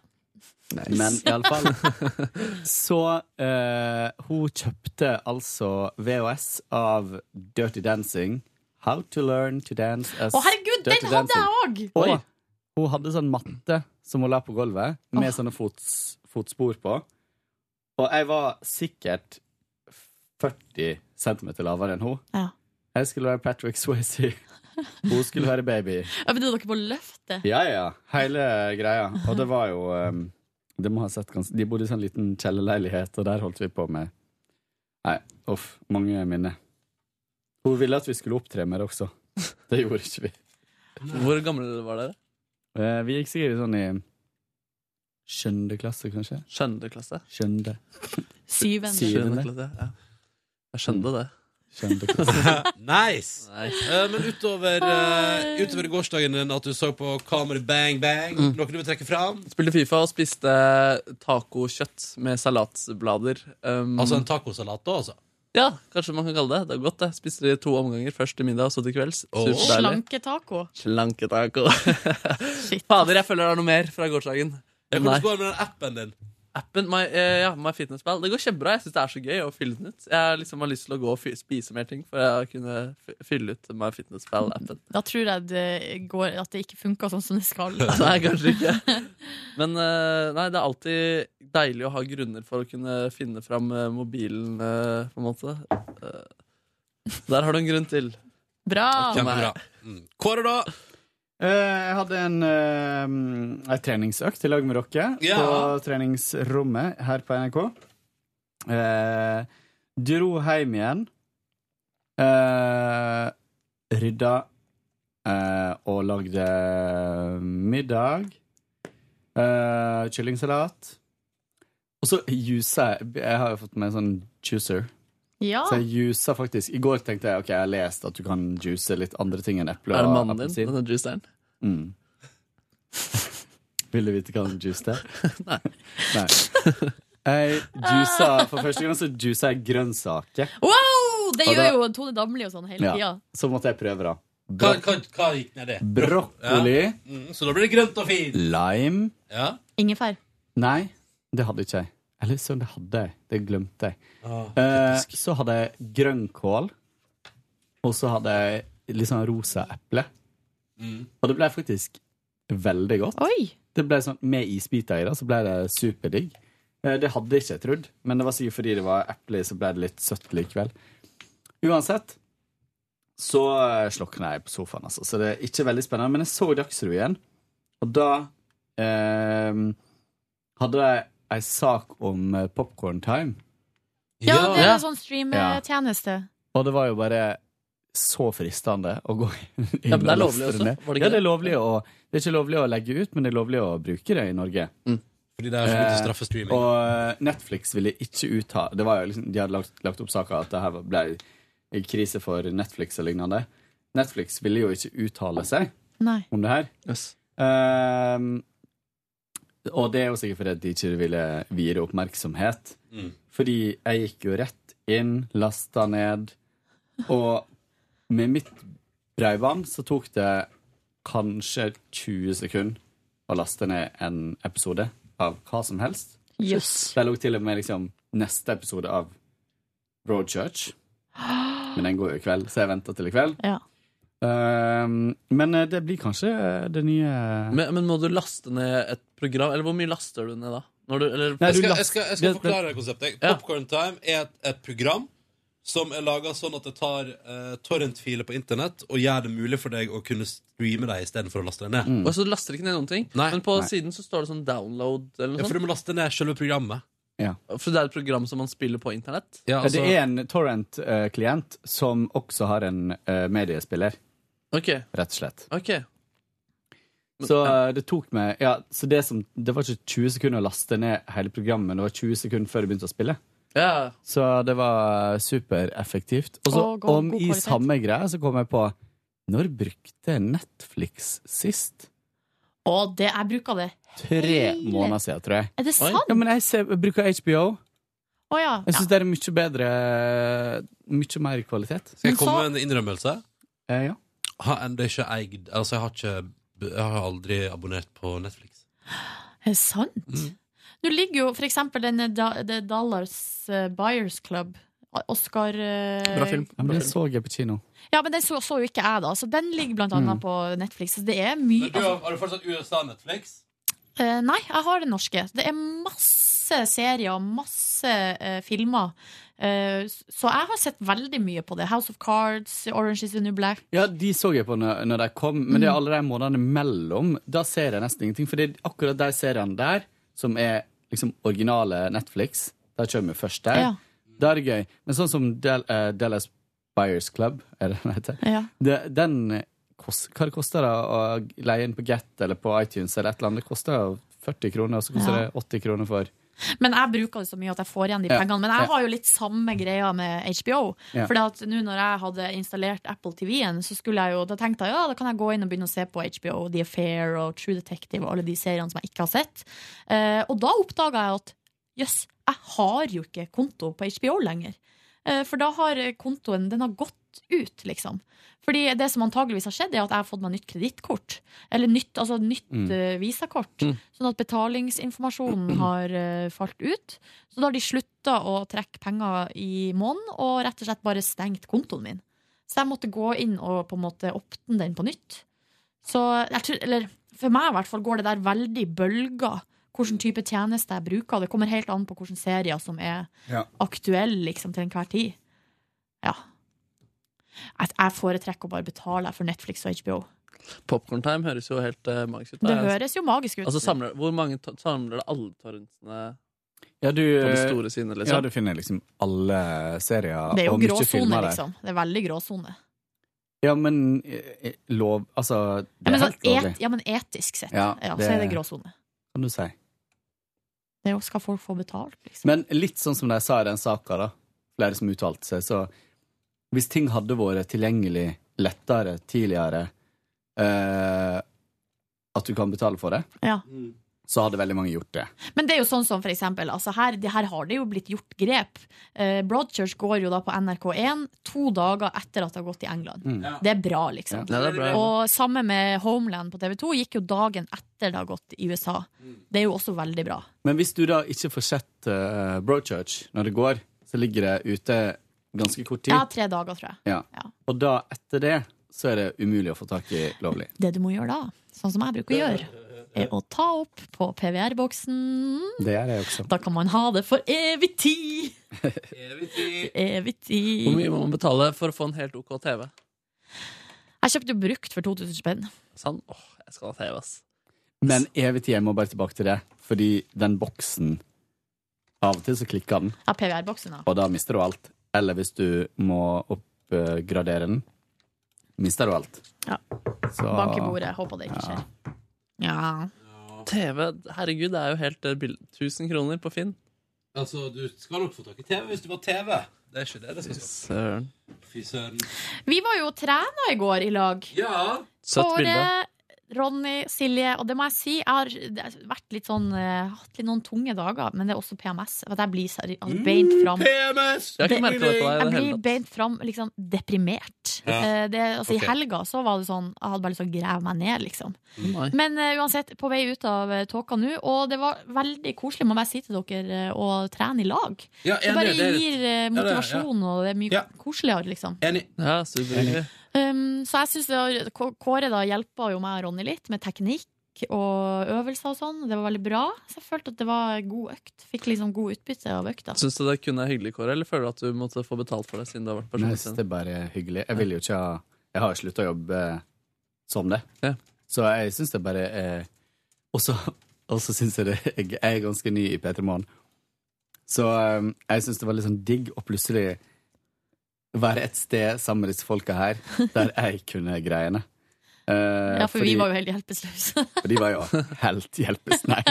N: Nei, men iallfall Så eh, hun kjøpte altså VHS av Dirty Dancing. How to learn to dance as
C: Å, herregud,
N: Dirty
C: den hadde jeg
N: Dancing.
C: òg!
N: Og Hun hadde sånn matte som hun la på gulvet, med sånne fots, fotspor på. Og jeg var sikkert 40 cm lavere enn hun.
C: Ja.
N: Jeg skulle være Patrick Swayze. Hun skulle være baby.
C: Ja, Begynte dere på løftet?
N: Ja, ja. Hele greia. Og det var jo ehm, det må ha sett ganske, De bodde i sånn liten kjellerleilighet, og der holdt vi på med Nei, uff. Mange minner. Hun ville at vi skulle opptre med det også. Det gjorde ikke vi.
D: Hvor gamle var dere?
N: Eh, Vi gikk sikkert sånn i skjønde klasse, kanskje.
D: Skjønde klasse?
N: Skjønde.
C: Syvende.
D: Syvende klasse, ja. Jeg skjønte det.
N: Kjendekåt.
B: Nice! Eh, men utover, eh, utover gårsdagen din, at du så på Comedy Bang Bang,
D: Mm.
B: noe du vil trekke fram?
D: Spilte Fifa og spiste tacokjøtt med Um, salatblader.
B: Altså en tacosalat, da, altså?
D: Ja, kanskje man kan kalle det. Det er godt, det. Spiste det i to omganger. Først til middag, så til kvelds.
B: Åh.
D: Superdeilig.
C: Slanketaco.
D: Slanketaco. Fader, jeg føler det er noe mer fra gårsdagen.
B: Ja, hvordan går det med den appen din?
D: Appen, my, eh, ja, my Fitness Pal. Det går kjempebra. Jeg syns det er så gøy å fylle den ut. Jeg liksom har lyst til å gå og fy- spise mer ting for å kunne f- fylle ut My Fitness Pal-appen.
C: Da tror jeg det går at det ikke funka sånn som det skal.
D: Nei, kanskje ikke. Men eh, nei, det er alltid deilig å ha grunner for å kunne finne fram eh, mobilen, eh, på en måte. Eh, Der har du en grunn til.
C: Bra.
D: Kjempebra.
B: Mm. Kåre, da?
N: jeg hadde en, eh, ei treningsøkt i lag med dere
B: Ja.
N: på treningsrommet her på NRK. Eh, dro hjem igjen. Eh, rydda eh, og lagde middag. Eh, kyllingsalat. Og så jusa jeg. Jeg har jo fått meg en sånn juicer.
C: Ja.
N: Så jeg jusa faktisk. I går tenkte jeg ok, jeg har lest at du kan juice litt andre ting enn eple
D: Er det
N: og
D: mannen din,
N: appelsin.
D: denne juiceren?
N: Mm. Vil du vite hva som juice det er? Nei. Jeg juica, for første gang så juica jeg grønnsaker.
C: Wow! Det
N: Og
C: gjør
N: da-
C: jo Tone Damli og sånn hele
N: Ja.
C: tida.
N: Så måtte jeg prøve, da.
B: Hva,
N: Bro
B: hva, hva gikk ned i?
N: brokkoli.
B: Ja. Mm, så da blir det grønt og fint.
N: Lime.
C: Ingefær.
N: Nei, det hadde ikke jeg. Eller sånn, det hadde jeg. Det glemte jeg.
B: Ah,
N: eh, så hadde jeg grønnkål. Og så hadde jeg litt sånn rosa eple.
B: Mm.
N: Og det ble faktisk veldig godt. Det ble sånn, Med isbiter i det, så ble det superdigg. Eh, Det hadde jeg ikke trodd, men det var sikkert fordi det var eple, i, så ble det litt søtt likevel. Uansett så eh, slokna jeg på sofaen, altså. Så det er ikke veldig spennende. Men jeg så Dagsrevyen, og da eh, hadde jeg ei sak om eh, Popcorn Time.
C: Ja, det er en sånn streamtjeneste.
N: Og det var jo bare så fristende å gå inn
D: Ja, men det er
N: og
D: lovlig
N: laste
D: også,
N: ned.
D: var det ikke
N: ja, det
D: det?
N: er lovlig å Det er ikke lovlig å legge ut, men det er lovlig å bruke det i Norge.
B: Fordi det er så mye til straffestreaming.
N: og eh, Netflix ville ikke uttale Det var jo liksom, De hadde lagt, lagt opp saker at det her ble en krise for Netflix og lignende. Netflix ville jo ikke uttale seg
C: Nei.
N: om det her. Ehm, og det er jo sikkert fordi at de ikke ville vie det oppmerksomhet.
J: Mm.
N: Fordi jeg gikk jo rett inn, lasta ned, og med mitt breiband så tok det kanskje 20 sekunder å laste ned en episode av hva som helst.
J: Yes.
N: Der lå til og med liksom neste episode av Broadchurch. Men den går jo i kveld, så jeg venter til i kveld.
C: Ja.
N: Ehm, men eh, det blir kanskje eh, det nye
D: Men, men må du laste ned et program? Eller hvor mye laster du ned da? Når du, eller,
B: Jeg skal, jeg skal, jeg skal forklare det konseptet. Popcorn Time er et, et program som er laga sånn at det tar eh, torrentfiler på internett og gjør det mulig for deg å kunne streame dem istedenfor å laste dem ned.
D: Og så laster det ikke ned noen ting. Men på
B: Nei.
D: siden så står det sånn download eller noe
B: Ja, for du må laste ned selve programmet. altså,
N: Ja.
D: For det er et program som man spiller på internett?
N: Ja, Det er en torrent-klient som også har en eh, mediespiller,
D: Ok,
N: rett og slett.
D: ok
N: Så eh, det tok meg ja, Så det, som, det var ikke 20 sekunder å laste ned hele programmet, det var 20 sekunder før det begynte å spille.
D: Ja.
N: Så det var supereffektivt. Og så,
D: Å, god-
N: om
D: god
N: i
D: kvalitet.
N: samme greie, så kom jeg på Når brukte jeg Netflix sist?
C: Å, det, jeg bruker det.
N: Tre måneder siden, tror jeg.
C: Er det sant?
N: Ja, men jeg, ser, jeg bruker HBO.
C: Å ja.
N: Jeg syns det er mye bedre Mye mer kvalitet.
B: Skal jeg komme med en innrømmelse?
N: Eh, ja.
B: Har ennå ikke eid Altså, jeg har ikke Jeg har aldri abonnert på Netflix.
C: Er det sant? Nå ligger jo for eksempel den eh, da- The Dollars eh, Buyers Club. Oscar eh,
N: Ja, men det så jeg på kino.
C: Ja, men den så, så jo ikke jeg, da. Så den ligger blant annet
N: Mm.
C: på Netflix. Så det er mye
B: Men du, har, har du fortsatt USA-Netflix?
C: Eh, nei, jeg har den norske. Det er masse serier, masse eh, filmer. Eh, s- så jeg har sett veldig mye på det. House of Cards, Orange is the New Black.
N: Ja, de så jeg på når, når de kom, men det
C: Mm.
N: er alle de månedene mellom. Da ser jeg nesten ingenting. For det er akkurat de seriene der, som er liksom originale Netflix, de kommer jo først der.
C: Ja.
N: Da er det gøy. Men sånn som Del, eh, Dallas Buyers Club, er det den heter?
C: Ja.
N: Det, den kost, Hva det koster det å leie inn på Get eller på iTunes eller et eller annet? Det koster jo 40 kroner, og så koster
C: Ja.
N: det 80 kroner for
C: Men jeg bruker det så mye at jeg får igjen de
K: Ja.
C: pengene. Men jeg
K: Ja.
C: har jo litt samme greia med HBO.
K: Ja.
C: Fordi at nå når jeg hadde installert Apple TV-en, så skulle jeg jo, da tenkte jeg ja, da kan jeg gå inn og begynne å se på HBO, The Affair og True Detective og alle de seriene som jeg ikke har sett. Eh, og da oppdaga jeg at jøss, jeg har jo ikke konto på HBO lenger. Eh, for da har kontoen den har gått ut, liksom. Fordi det som antageligvis har skjedd, er at jeg har fått meg nytt kredittkort. Eller nytt, altså nytt
R: Mm.
C: eh, visakort. Sånn at betalingsinformasjonen har eh, falt ut. Så da har de slutta å trekke penger i måneden, og rett og slett bare stengt kontoen min. Så jeg måtte gå inn og på en måte åpne den på nytt. Så jeg tror, eller for meg i hvert fall går det der veldig i bølger. Hvilken type tjeneste jeg bruker. Det kommer helt an på hvilke serier som er
R: Ja.
C: aktuelle liksom, til enhver tid. Ja. Jeg, jeg foretrekker å bare betale for Netflix og HBO.
D: Popkorntime høres jo helt eh, magisk ut.
C: Det
D: er-
C: høres jo magisk ut.
D: Altså, samler, hvor mange ta- samler det alle torrentene
N: Ja, du,
D: på det store sinnet, liksom?
N: Eh, Ja, du finner liksom alle serier
C: Det er jo
N: og mye filmer
C: gråsone,
N: der.
C: liksom. Det er veldig gråsone.
N: Ja, men eh, lov Altså,
C: Ja,
N: det
C: men
N: er
C: sånn
N: helt lovlig.
C: et, ja, men etisk sett, ja,
N: Ja,
C: så er det
N: det-
C: gråsone.
N: Kan du si.
C: Det er jo- skal folk få betalt. Liksom.
N: Men litt sånn som de sa i den saka, da. Flere som uttalte seg. Så hvis ting hadde vært tilgjengelig lettere tidligere, eh, at du kan betale for det,
C: Ja.
N: så hadde veldig mange gjort det.
C: Men det er jo sånn som for eksempel altså her, det her har det jo blitt gjort grep. Eh, Broadchurch går jo da på NRK1 to dager etter at det har gått i England.
R: Mm. Ja.
C: Det er bra, liksom.
R: Ja, det er bra.
C: Og samme med Homeland på TV2 gikk jo dagen etter det har gått i USA. Det er jo også veldig bra.
N: Men hvis du da ikke får sett eh, Broadchurch når det går, så ligger det ute ganske kort tid.
C: Ja, tre dager, tror jeg.
N: Ja. Og da, etter det, så er det umulig å få tak i lovlig.
C: Det du må gjøre da, sånn som jeg bruker å gjøre, er å ta opp på PVR-boksen.
N: Det er det også.
C: Da kan man ha det for evig tid! evig tid.
D: Hvor mye må man betale for å få en helt OK TV?
C: Jeg kjøpte jo brukt for 2000 spenn.
D: Sånn, åh, jeg skal ha TV, ass.
N: Men evig tid, jeg må bare tilbake til det, fordi den boksen Av og til så klikker den,
C: Ja, PVR-boksen, da.
N: og da mister du alt. Eller hvis du må oppgradere den, mister du alt.
C: Ja.
N: Så
C: Bank i bordet. Håper det ikke skjer. Ja.
D: TV, herregud, det er jo helt eh, bill- 1000 kroner på Finn.
B: Altså, du skal nok få tak i TV hvis du var TV. Det er ikke det det skal stå.
D: Søren.
B: Fy søren.
C: Vi var jo og trena i går i lag.
B: Ja.
D: Søtt bilde.
C: Ronny, Silje, og det må jeg si, jeg har det har vært litt sånn, eh, hatt litt noen tunge dager, men det er også PMS. For at jeg blir seri-
D: Mm,
C: altså, beint
B: Mm,
C: fram.
B: PMS!
D: Jeg har ikke merket det på deg i det
C: Jeg
D: hele
C: blir
D: tatt.
C: beint fram liksom deprimert.
D: Ja.
C: Eh, Det, altså,
D: Ok.
C: I helga så var det sånn, jeg hadde bare lyst til å grave meg ned, liksom.
D: Nei.
C: Men eh, uansett, på vei ut av eh, tåka nå, og det var veldig koselig, må jeg bare si til dere, eh, å trene i lag.
B: Ja,
C: det
B: enig,
C: bare
B: det er-
C: gir eh,
B: Ja, det er- ja.
C: motivasjon, og det er mye koseligere, liksom.
B: Enig.
D: Ja, superhyggelig.
C: Um, så jeg synes det var- K- Kåre da hjelpa jo meg og Ronny litt med teknikk og øvelser og sånn. Det var veldig bra. Så jeg følte at det var en god økt. Fikk liksom god utbytte av økta.
D: Syns du det kunne er hyggelig, Kåre, eller føler du at du måtte få betalt for det? siden du har vært
N: Nei,
D: personlig
N: det er bare hyggelig. Jeg vil jo ikke ha Jeg har jo slutta å jobbe eh, som det. Så jeg syns det bare er Og så og så syns jeg det Jeg er ganske ny i P3 Morgen. Så um, jeg syns det var litt sånn digg å plutselig være et sted sammen med disse folka her, der jeg kunne greiene. Eh,
C: Ja, for vi
N: fordi-
C: var jo helt hjelpeløse.
N: for de var jo helt hjelpeløse. Nei.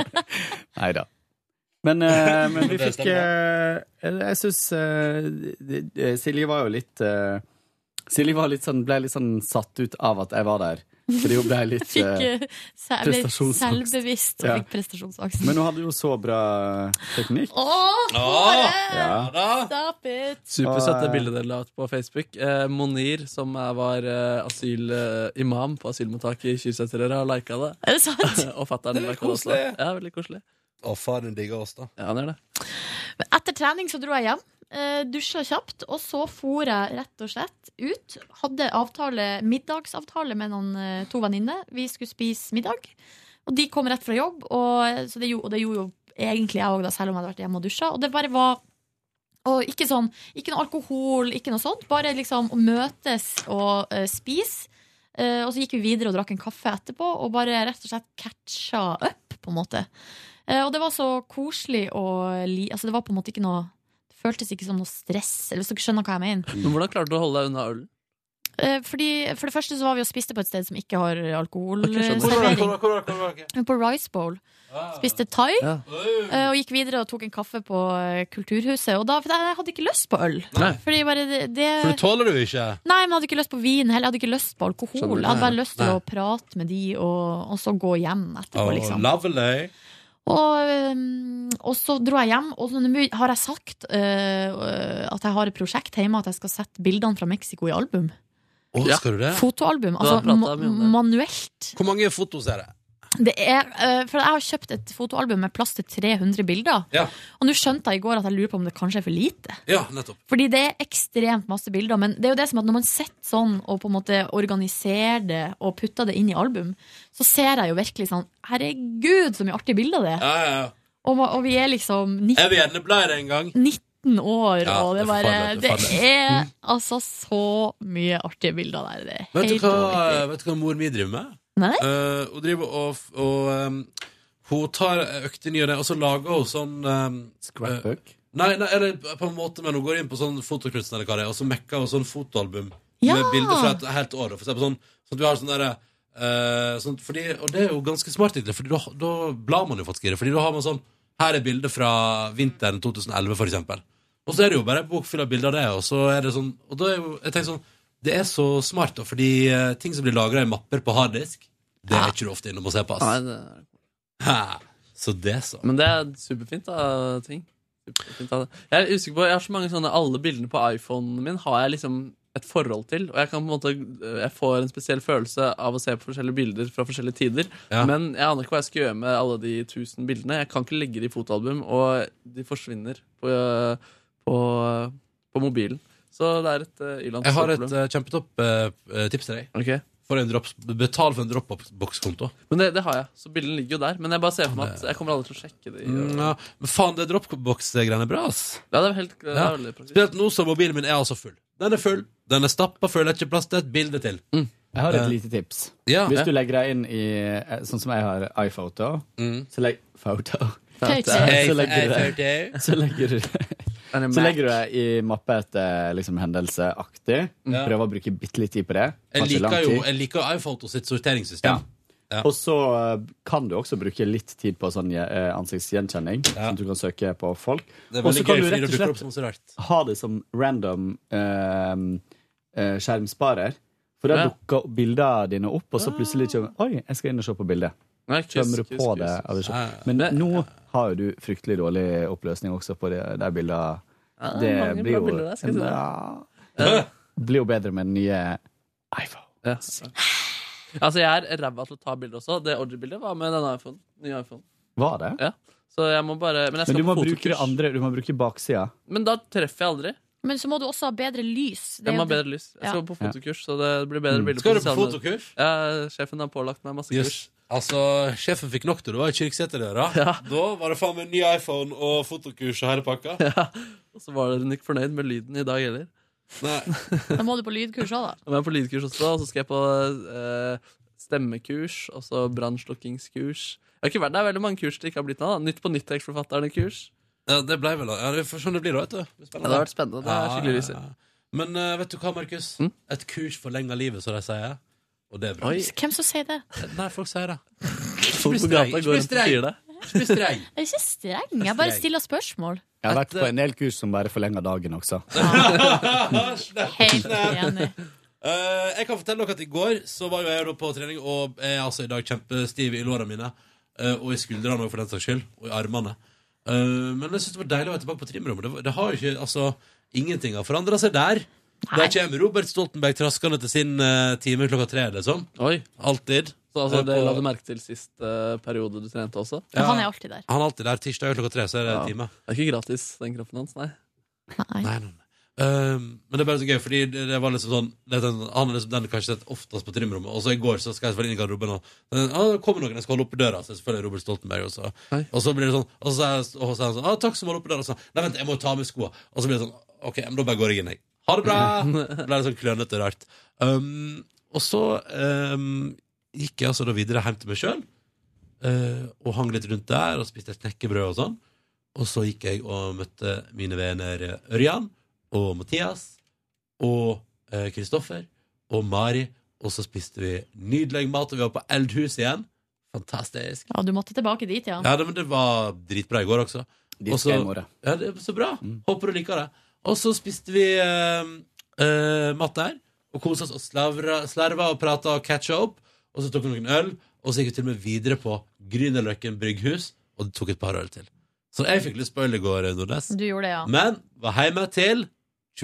N: Nei da. Men, eh, men vi
B: Det
N: fikk eh, Jeg syns Silje var jo litt eh, Silje var litt sånn, ble litt sånn satt ut av at jeg var der. Fordi hun ble litt
C: Fikk
N: eh,
C: eh, se- ble
N: prestasjonsangst.
C: selvbevisst
N: Ja.
C: og fikk prestasjonsangst.
N: Men hun hadde jo så bra teknikk.
C: Åh, Kåre!
N: Ja.
C: Stop it!
D: Supersøtt det
N: Og, eh,
D: bildet dere la ut på Facebook. Eh, Monir, som er, var eh, asyl, eh, imam på asylmottaket i Kyrksæterøra, har lika det.
C: Er det sant?
D: og fatter'n lika det også.
B: koselig.
D: Ja, veldig koselig.
B: Å, faren digger oss, da.
D: Ja, han gjør det.
C: Etter trening så dro jeg hjem. eh, Dusja kjapt, og så for jeg rett og slett ut. Hadde avtale, middagsavtale med noen eh, to venninner. Vi skulle spise middag. Og de kom rett fra jobb, og, eh, så det, gjorde- og det gjorde jo egentlig jeg òg, selv om jeg hadde vært hjemme og dusja. Og det bare var og ikke, sånn, ikke noe alkohol, ikke noe sånt. Bare liksom å møtes og eh, spise. Eh, og så gikk vi videre og drakk en kaffe etterpå, og bare rett og slett catcha up, på en måte. Eh, og det var så koselig og li altså, Det var på en måte ikke noe Det føltes ikke som noe stress, eller hvis dere skjønner hva jeg mener.
D: Men hvordan klarte du å holde deg unna ølen?
C: eh, fordi, for det første så var vi og spiste på et sted som ikke har
B: skjønner. Hvor var det,
C: alkoholservering.
B: hvor var det, hvor var det, hvor var det?
C: På Rice Bowl. Spiste thai.
B: Ja.
C: eh, Og gikk videre og tok en kaffe på eh, Kulturhuset. Og da, for jeg hadde ikke lyst på øl.
B: Nei.
C: Fordi bare det, det
B: For det tåler du ikke.
C: Nei, men jeg hadde ikke lyst på vin heller. Jeg hadde ikke lyst på alkohol.
B: Skjønner.
C: Jeg hadde bare
B: Nei,
C: lyst til
B: nei.
C: å prate med de, og, og så gå hjem etterpå,
B: Oh,
C: liksom.
B: lovely.
C: Og, øhm, og så dro jeg hjem, og så nå har jeg sagt øh, øh, at jeg har et prosjekt hjemme, at jeg skal sette bildene fra Mexico i album.
B: Å, skal du det?
C: Fotoalbum.
B: Du har
C: Altså
B: pratet mye om
C: ma- manuelt.
B: Hvor mange fotos er det?
C: Det er, øh, for jeg har kjøpt et fotoalbum med plass til 300 bilder.
B: Ja,
C: Og nå skjønte jeg i går at jeg lurer på om det kanskje er for lite.
B: ja nettopp.
C: Fordi det er ekstremt masse bilder, men det er jo det som at når man sitter sånn og på en måte organiserer det og putter det inn i album, så ser jeg jo virkelig sånn Herregud, så mye artige bilder det er!
B: Ja, ja, ja.
C: Og, ma- og vi er liksom
B: Jeg
C: 19,
B: vil gjerne bla i det en gang.
C: 19 år,
B: Ja,
C: og det,
B: det er
C: bare,
B: farlig, det
C: det,
B: er farlig.
C: er altså så mye artige bilder der. Det er
B: Vet du
C: helt
B: hva, eh, vet du hva mor mi driver med?
C: Nei?
B: Eh, hun driver og, f- og um, Hun tar økt i ny og ne, og så lager hun sånn um, Scrapbook? nei, nei, eller på en måte, men hun går inn på sånn fotokunsten eller hva det er, og så mekker hun sånn fotoalbum
K: Ja!
B: med bilder fra et helt år. For eksempel sånn, sånn at vi har sånn derre eh, sånn, fordi, Og det er jo ganske smart, egentlig, Fordi da, da blar man jo faktisk i det. Fordi da har man sånn Her er bilder fra vinteren 2011, for eksempel. Og så er det jo bare en bok full av bilder av det, og så er det sånn Og da er jo Jeg tenker sånn Det er så smart, da, fordi eh, ting som blir lagra i mapper på harddisk, det er ikke du ofte innom og ser på,
D: Nei,
B: ass.
D: det er
B: Hæ, Så det, så.
D: Men det er superfint da, ting. Superfint, da. Jeg er usikker på, jeg har så mange sånne, alle bildene på iPhonen min har jeg liksom et forhold til, og jeg kan på en måte, jeg får en spesiell følelse av å se på forskjellige bilder fra forskjellige tider,
B: Ja.
D: men jeg aner ikke hva jeg skal gjøre med alle de tusen bildene. Jeg kan ikke legge de i fotoalbum, og de forsvinner på, på, på mobilen. Så det er et uh,
B: Jeg har et eh, kjempetopp eh, tips til deg. For en drops, betal for en Dropbox-konto.
D: Men det, det har jeg, så bildene ligger jo der, men jeg bare ser for meg at jeg kommer aldri til å sjekke de.
B: Mm, ja. Men faen, det Dropbox-greiene er bra, ass.
D: Ja, det er helt, det er veldig praktisk.
B: Spesielt nå som mobilen min er altså full. Den er full, den er stappa full, det er ikke plass til et bilde til.
N: Jeg har et
B: Eh,
N: lite tips.
B: Ja.
N: Mm. Hvis du legger deg inn i eh, Sånn som jeg har iPhoto,
B: Mm.
N: så legg Photo.
B: Photo.
N: Så legger du
B: Hey,
N: det- så legger du så legger du det i mappe etter liksom, hendelseaktig.
B: Ja.
N: Prøver å bruke bitte litt tid på det. Tar
B: Jeg
N: ikke lang
B: liker jo
N: tid.
B: jeg liker jo iPhoto sitt
N: Ja.
B: sorteringssystem. Ja.
N: Og så eh, kan du også bruke litt tid på sånn eh, ansiktsgjenkjenning, sånn at du kan søke på folk.
B: Det er
N: Og så
B: veldig
N: kan
B: gøy,
N: du
B: fordi
N: rett
B: det
N: og
B: dukker opp
N: slett
B: som så rart.
N: ha det som random eh, eh, skjermsparer. For da
B: Ja.
N: dukker bildene dine opp, og så plutselig kommer Oi, jeg skal inn og se på bildet.
D: Nei, kuss,
N: Kommer du
D: kuss,
N: på
D: kuss,
N: det?
D: kuss.
N: av det selv.
D: Ja, ja.
N: Men nå har jo du fryktelig dårlig oppløsning også på de, de bildene.
D: Ja,
N: Det
D: mange
N: blir
D: bra
N: jo
D: bilder der, skal jeg si deg.
N: ja, Blir jo bedre med den nye iPhone.
D: Ja. Altså, jeg er ræva til å ta bilder også. Det orgy-bildet var med denne iPhone. Nye iPhone.
N: Var det?
D: Ja. Så jeg må bare Men, jeg
N: Men
D: skal
N: du må
D: på
N: bruke det
D: fotokurs.
N: andre, du må bruke baksida.
D: Men da treffer jeg aldri.
C: Men så må du også ha bedre lys. Det er
D: Jeg
C: jo
D: må ha
C: det-
D: bedre lys. Jeg skal
C: Ja.
D: på fotokurs, så det blir bedre
B: Mm.
D: bilder.
B: Skal du på
D: sosiale medier.
B: fotokurs?
D: Ja, sjefen har pålagt meg masse kurs.
B: Jøss. Altså, sjefen fikk nok til det var i Kyrksæterdøra.
D: Ja.
B: Da var det faen meg ny iPhone og fotokurs og hele pakka.
D: Og så var dere ikke fornøyd med lyden i dag heller.
C: Da må du på lydkurs òg, da.
D: Og jeg er på lydkurs også, og så skal jeg på eh, stemmekurs, og så brannslukkingskurs. Jeg har ikke vært, det er veldig mange kurs det ikke har blitt noe av. da. Nytt på nytt-tekstforfatterne-kurs.
B: Ja, det ble vel Ja, vi får se om det blir da, vet du.
D: Ja, det har vært spennende. Det er skikkelig Mm? lyser.
B: Men eh, vet du hva, Markus? Et kurs forlenger livet, som de sier. Og det er bra.
C: Hvem som sier det?
B: Nei, folk sier det.
D: Folk på gata går rundt og sier det.
B: Ikke bli streng.
C: Jeg er ikke streng, jeg bare
N: Streng.
C: stiller spørsmål.
N: Jeg har vært på en del kurs som bare forlenger dagen også.
C: Helt enig.
B: Eh, jeg kan fortelle dere at i går så var jo jeg da på trening, og jeg er altså i dag kjempestiv i låra mine. eh, og i skuldrene òg, for den saks skyld. Og i armene. Eh, men jeg syns det var deilig å være tilbake på trimrommet. Det, var- det har jo ikke, altså, Ingenting har forandra seg der. Der kommer Robert Stoltenberg traskende til sin eh, time klokka tre, liksom.
D: Oi.
B: Alltid.
D: Så altså,
B: Eh,
D: det
B: på-
D: la du merke til sist eh, periode du trente også?
B: Ja. Han
C: er alltid der.
B: Han er alltid der. Tirsdag klokka tre, så er det time.
D: Det er ikke gratis, den kroppen hans, nei.
B: Nei, nei, nei. Ehm, men det er bare så gøy, fordi det, det var liksom sånn det, er sånn- Han er liksom den jeg kanskje sett oftest på trimrommet. Og så i går så skal jeg selvfølgelig inn i garderoben, og ah, det kommer noen jeg skal holde oppe døra. Så er det selvfølgelig Robert Stoltenberg også. Og så blir det sånn Og så er, og så er han sånn ah, 'Takk som holder oppe døra.' Og så, Nei, vent, jeg må ta med skoa. Og så blir det sånn OK, men da bare går jeg inn, jeg. Ha det bra! Da ble det sånn klønete og rart. Ehm, og så ehm, gikk jeg altså da videre hjem til meg sjøl, og hang litt rundt der, og spiste et knekkebrød og sånn. Og så gikk jeg og møtte mine venner Ørjan og Mathias og eh, Kristoffer eh, og Mari, og så spiste vi nydelig mat, og vi var på Eldhus igjen. Fantastisk.
C: Ja, du måtte tilbake dit, ja.
B: Ja, det, men det var dritbra i går også.
N: Dit
B: Og så-
N: skal jeg i morgen.
B: Ja, det er så bra. Håper du liker det. Og så spiste vi eh, eh, mat der, og kosa oss og slavra, slerva og prata og catcha opp. Og så tok vi noen øl, og så gikk vi til og med videre på Grünerløkken brygghus, og tok et par øl til. Så jeg fikk litt spoil i går, eh, Nordnes.
C: Du gjorde det, ja.
B: Men var hjemme til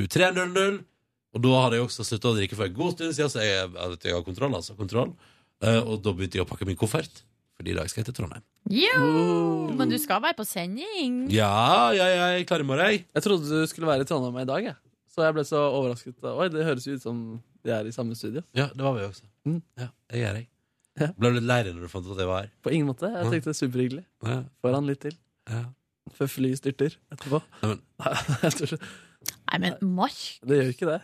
B: 23.00, og da hadde jeg også slutta å drikke for en god stund siden, så jeg, jeg, vet, jeg har kontroll, altså. Kontroll. Eh, og da begynte jeg å pakke min koffert, fordi i dag skal jeg til Trondheim.
C: Jo, men du skal være på sending.
B: Ja, ja, ja, jeg er klar i morgen, jeg.
D: Jeg trodde du skulle være i Trondheim i dag, jeg. Så jeg ble så overrasket. Oi, det høres jo ut som de er i samme studio.
B: Ja, det var vi også. Ja, jeg er jeg. Mm. Ble du litt lei deg når du fant ut at jeg var her?
D: På ingen måte. Jeg tenkte det er superhyggelig.
B: Ja.
D: Får han litt til. Før flyet styrter etterpå.
B: Nei,
D: jeg tror ikke-
C: Nei, men Mark
D: det gjør ikke det.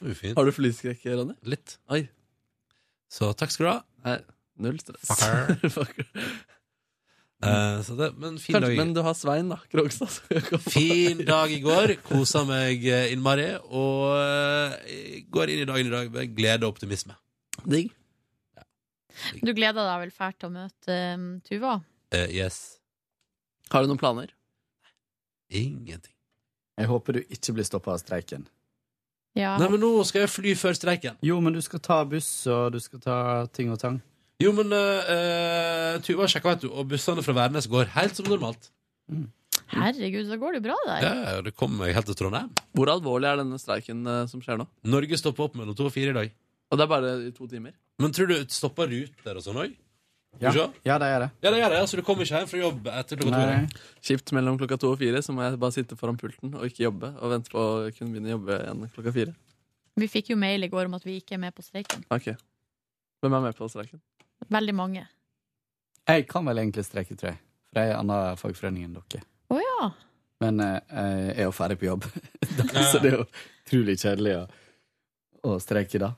B: Ufint.
D: Har du flyskrekk, Ronny?
B: Litt.
D: Oi.
B: Så takk skal du ha.
D: Nei, null stress.
B: Fucker. Eh, så det, men fin dag i-
D: Kanskje, men du har Svein, da. Krogstad. som jeg kan få-
B: Fin dag i går. Kosa meg eh, innmari. Og eh, går inn i dagen i dag med glede og optimisme.
D: Digg.
C: Du gleder deg vel fælt til å møte um, Tuva?
B: Eh, yes.
D: Har du noen planer?
B: Ingenting.
N: Jeg håper du ikke blir stoppa av streiken.
C: Ja.
B: Nei, men nå skal jeg fly før streiken.
N: Jo, men du skal ta buss, og du skal ta ting og tang.
B: Jo, men eh, eh, Tuva sjekka, vet du, og bussene fra Værnes går helt som normalt.
C: Herregud, så går det jo bra der.
B: Ja, ja, det kommer meg helt til Trondheim.
D: Hvor alvorlig er denne streiken eh, som skjer nå?
B: Norge stopper opp mellom to og fire i dag.
D: Og det er bare i to timer?
B: Men tror du stopper ruter og sånn òg?
D: Ja.
N: Ja, det er det.
B: Ja, det gjør det. Altså, du kommer ikke hjem fra jobb etter klokka to. i dag.
D: Kjipt mellom klokka to og fire, så må jeg bare sitte foran pulten og ikke jobbe. Og vente på å kunne begynne å jobbe igjen klokka fire.
C: Vi fikk jo mail i går om at vi ikke er med på streiken.
D: Ok. Hvem er med på streiken?
C: Veldig mange.
N: Jeg kan vel egentlig streike, tror jeg. For jeg er i annen fagforening enn dere.
C: Å ja.
N: Men eh, jeg er jo ferdig på jobb,
B: Eh,
N: så det er jo utrolig kjedelig å, å streike da.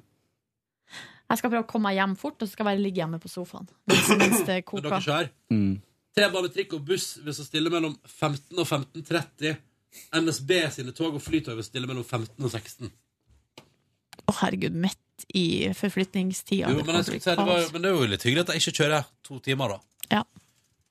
C: Jeg skal prøve å komme meg hjem fort, og så skal jeg bare ligge hjemme på sofaen. Mens, mens det
B: Men
C: koker.
B: dere kjører.
N: Mm.
B: T-bane, trikk og buss vil så stille mellom 15 og 15.30. NSB sine tog og flytog vil stille mellom 15 og 16.
C: Å herregud, midt i forflytningstida.
B: jo, men, jeg skulle si, det var, men det er jo litt hyggelig at jeg ikke kjører to timer, da.
C: Ja.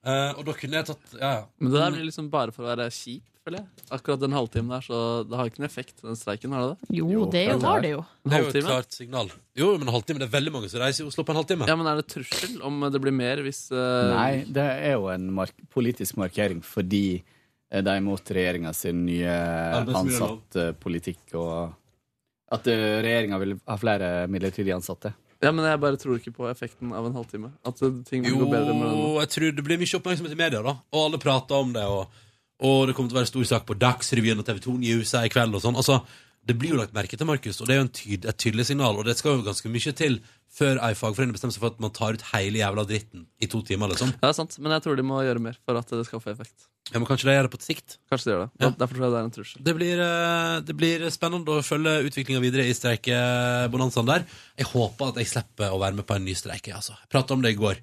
B: Eh, og da kunne jeg tatt ja, ja.
D: Men det der blir liksom bare for å være kjip, føler jeg. Akkurat den halvtimen der, så det har ikke noen effekt, den streiken, har det det?
C: Jo, det er jo- har det jo.
D: En
B: Det er jo et
D: halvtime?
B: klart signal. Jo, men en halvtime, det er veldig mange som reiser i Oslo på en halvtime.
D: Ja, men er det trussel om det blir mer hvis eh,
N: Nei, det er jo en mark politisk markering fordi eh, de er imot regjeringa sin nye
D: Arbeidsmiljølov.
N: ansattpolitikk og at eh, regjeringa vil ha flere midlertidig ansatte.
D: Ja, men jeg bare tror ikke på effekten av en halvtime. At eh, ting vil
B: Jo,
D: gå bedre med den.
B: jeg tror det blir mye oppmerksomhet i media, da. Og alle prater om det, og, og det kommer til å være stor sak på Dagsrevyen og TV 2 News her i kveld og sånn. Altså, det blir jo lagt merke til, Markus, og det er jo en tyd, et tydelig signal. Og det skal jo ganske mye til før ei fagforening bestemmer seg for at man tar ut hele jævla dritten i to timer, liksom.
D: Ja, det er sant, men jeg tror de må gjøre mer for at det skal få effekt.
B: Ja, men kanskje de gjør det på sikt?
D: Kanskje de gjør det.
B: Ja.
D: Derfor tror jeg det er en trussel.
B: Det blir, eh, det blir spennende å følge utviklinga videre i streikebonanzaen der. Jeg håper at jeg slipper å være med på en ny streik. jeg, Altså. Jeg prata om det i går.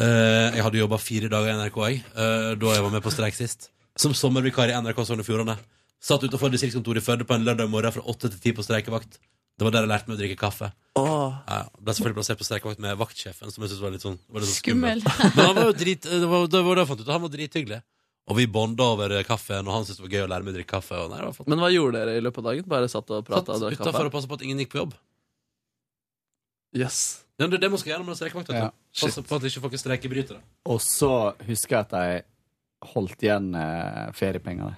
B: Eh, jeg hadde jobba fire dager i NRK jeg, eh, da jeg var med på streik sist. Som sommervikar i NRK Sogn og Fjordane. Satt utenfor distriktskontoret i Førde på en lørdag morgen fra åtte til ti på streikevakt. Det var der jeg lærte meg å drikke kaffe. Ja, ble selvfølgelig plassert på streikevakt med vaktsjefen, som jeg syntes var litt sånn, var litt sånn skummel.
K: Skummel.
B: Men han var jo drit, det var, det var da jeg fant ut, han var drithyggelig. Og vi bonda over kaffen, og han syntes det var gøy å lære meg å drikke kaffe. Og nei, det var flott.
D: Men hva gjorde dere i løpet av dagen? Bare satt og prata og
B: Satt
D: drakk
B: utenfor og
D: kaffe?
B: passet på at ingen gikk på jobb.
D: Yes.
B: Ja, det, er det man skal gjøre når man streiker vakt.
N: Ja.
B: vet du. Passe på at ikke folk er streikebrytere.
N: Og så husker jeg at de holdt igjen eh, feriepengene.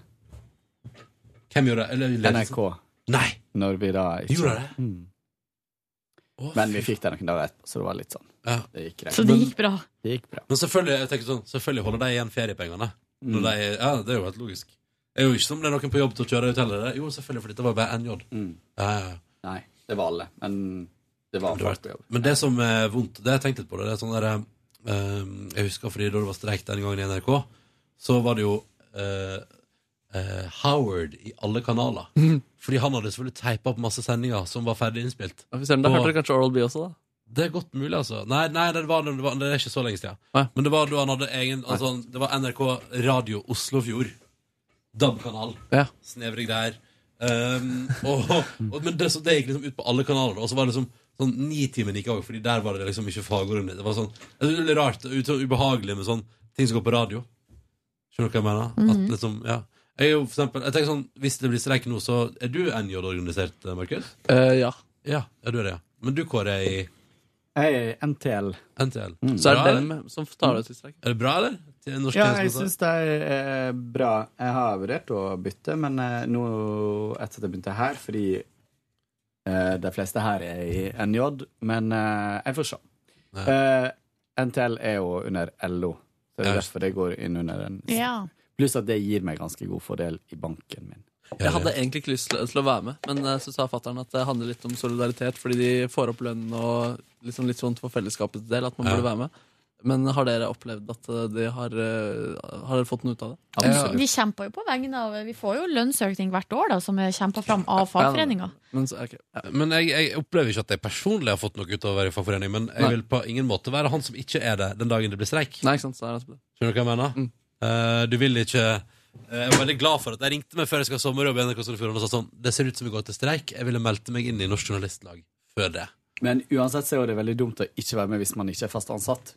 B: Hvem gjorde det? ledelsen?
N: NRK.
B: Nei!
N: Når vi da ikke
B: Gjorde det?
N: Mm. Men vi fikk det noen dager etterpå, så det var litt sånn. Det gikk greit.
C: Så det gikk bra.
N: Det gikk bra.
B: Men selvfølgelig, jeg tenker sånn, selvfølgelig holder de igjen feriepengene.
N: Mm.
B: Når de, ja, det er jo helt logisk. Det er jo ikke som om det er noen på jobb til å kjøre ut heller. det. Jo, selvfølgelig, for dette var jo bare NJ. Ja, ja, ja.
N: Mm. Nei, det var alle. Men det var folk på jobb.
B: Men det som er vondt, det har jeg tenkt litt på det, det er sånn der, eh, Jeg husker fordi da det var streik den gangen i NRK, så var det jo eh, eh, Howard i alle kanaler. Fordi han hadde selvfølgelig teipa opp masse sendinger som var ferdig innspilt.
D: Ja, fy søren, Da
B: Og-
D: hørte dere kanskje Oral B også, da?
B: Det er godt mulig, altså. Nei, nei det, var, det, var, det er ikke så lenge siden. Men det var da han hadde egen altså, han- Det var NRK Radio Oslofjord. DAB-kanal.
D: Ja.
B: Snevre greier. Um, og, og, men det, så det gikk liksom ut på alle kanaler. Og så var det liksom sånn Nitimen gikk òg, Fordi der var det liksom ikke fagordet. Det var sånn jeg synes det er litt rart ut- sånn ubehagelig med sånn ting som går på radio. Skjønner du hva jeg mener? At
K: Mhm.
B: liksom, ja jeg, er jo, for eksempel, jeg tenker sånn, Hvis det blir streik nå, så er du NJ-organisert, Markus?
D: ja.
B: ja. Ja, du er det, ja. Men du, Kåre, er i
N: Jeg er i NTL.
B: NTL.
N: Mm.
B: Så er det
N: Bra,
B: dem
N: eller?
D: som tar det til streik.
B: Er det bra, eller? Til norsk
N: ja,
B: tjeneste-
N: jeg syns det er eh, bra. Jeg har vurdert å bytte, men eh, nå etter at jeg begynte her, fordi eh, de fleste her er i NJ, men eh, jeg får se. Eh, NTL er jo under LO, så det
B: Ja,
N: er
B: just.
N: derfor det går inn under den.
C: Ja.
N: Pluss at det gir meg ganske god fordel i banken min.
D: Jeg hadde egentlig ikke lyst til til å være med, men eh, så sa fattern at det handler litt om solidaritet, fordi de får opp lønnen og liksom litt sånn for fellesskapets del, at man
B: Ja.
D: burde være med. Men har dere opplevd at eh, de har, eh, har dere fått noe ut av det?
C: De kjemper jo på vegne av Vi får jo lønnsøkning hvert år, da, som er kjempa fram av fagforeninga.
D: Men, så- ok.
B: Men jeg, jeg opplever ikke at jeg personlig har fått noe ut av å være i fagforening, men jeg
D: Nei.
B: vil på ingen måte være han som ikke er det den dagen det blir streik.
D: Nei, ikke sant, så er det altså det.
B: Skjønner du hva jeg mener? Eh, du vil ikke eh, Jeg var veldig glad for at jeg ringte meg før jeg skal ha sommerjobb i NRK Sogn og Fjordane og sa sånn Det ser ut som vi går til streik. Jeg ville meldt meg inn i Norsk Journalistlag før det.
N: Men uansett så er jo det veldig dumt å ikke være med hvis man ikke er fast ansatt.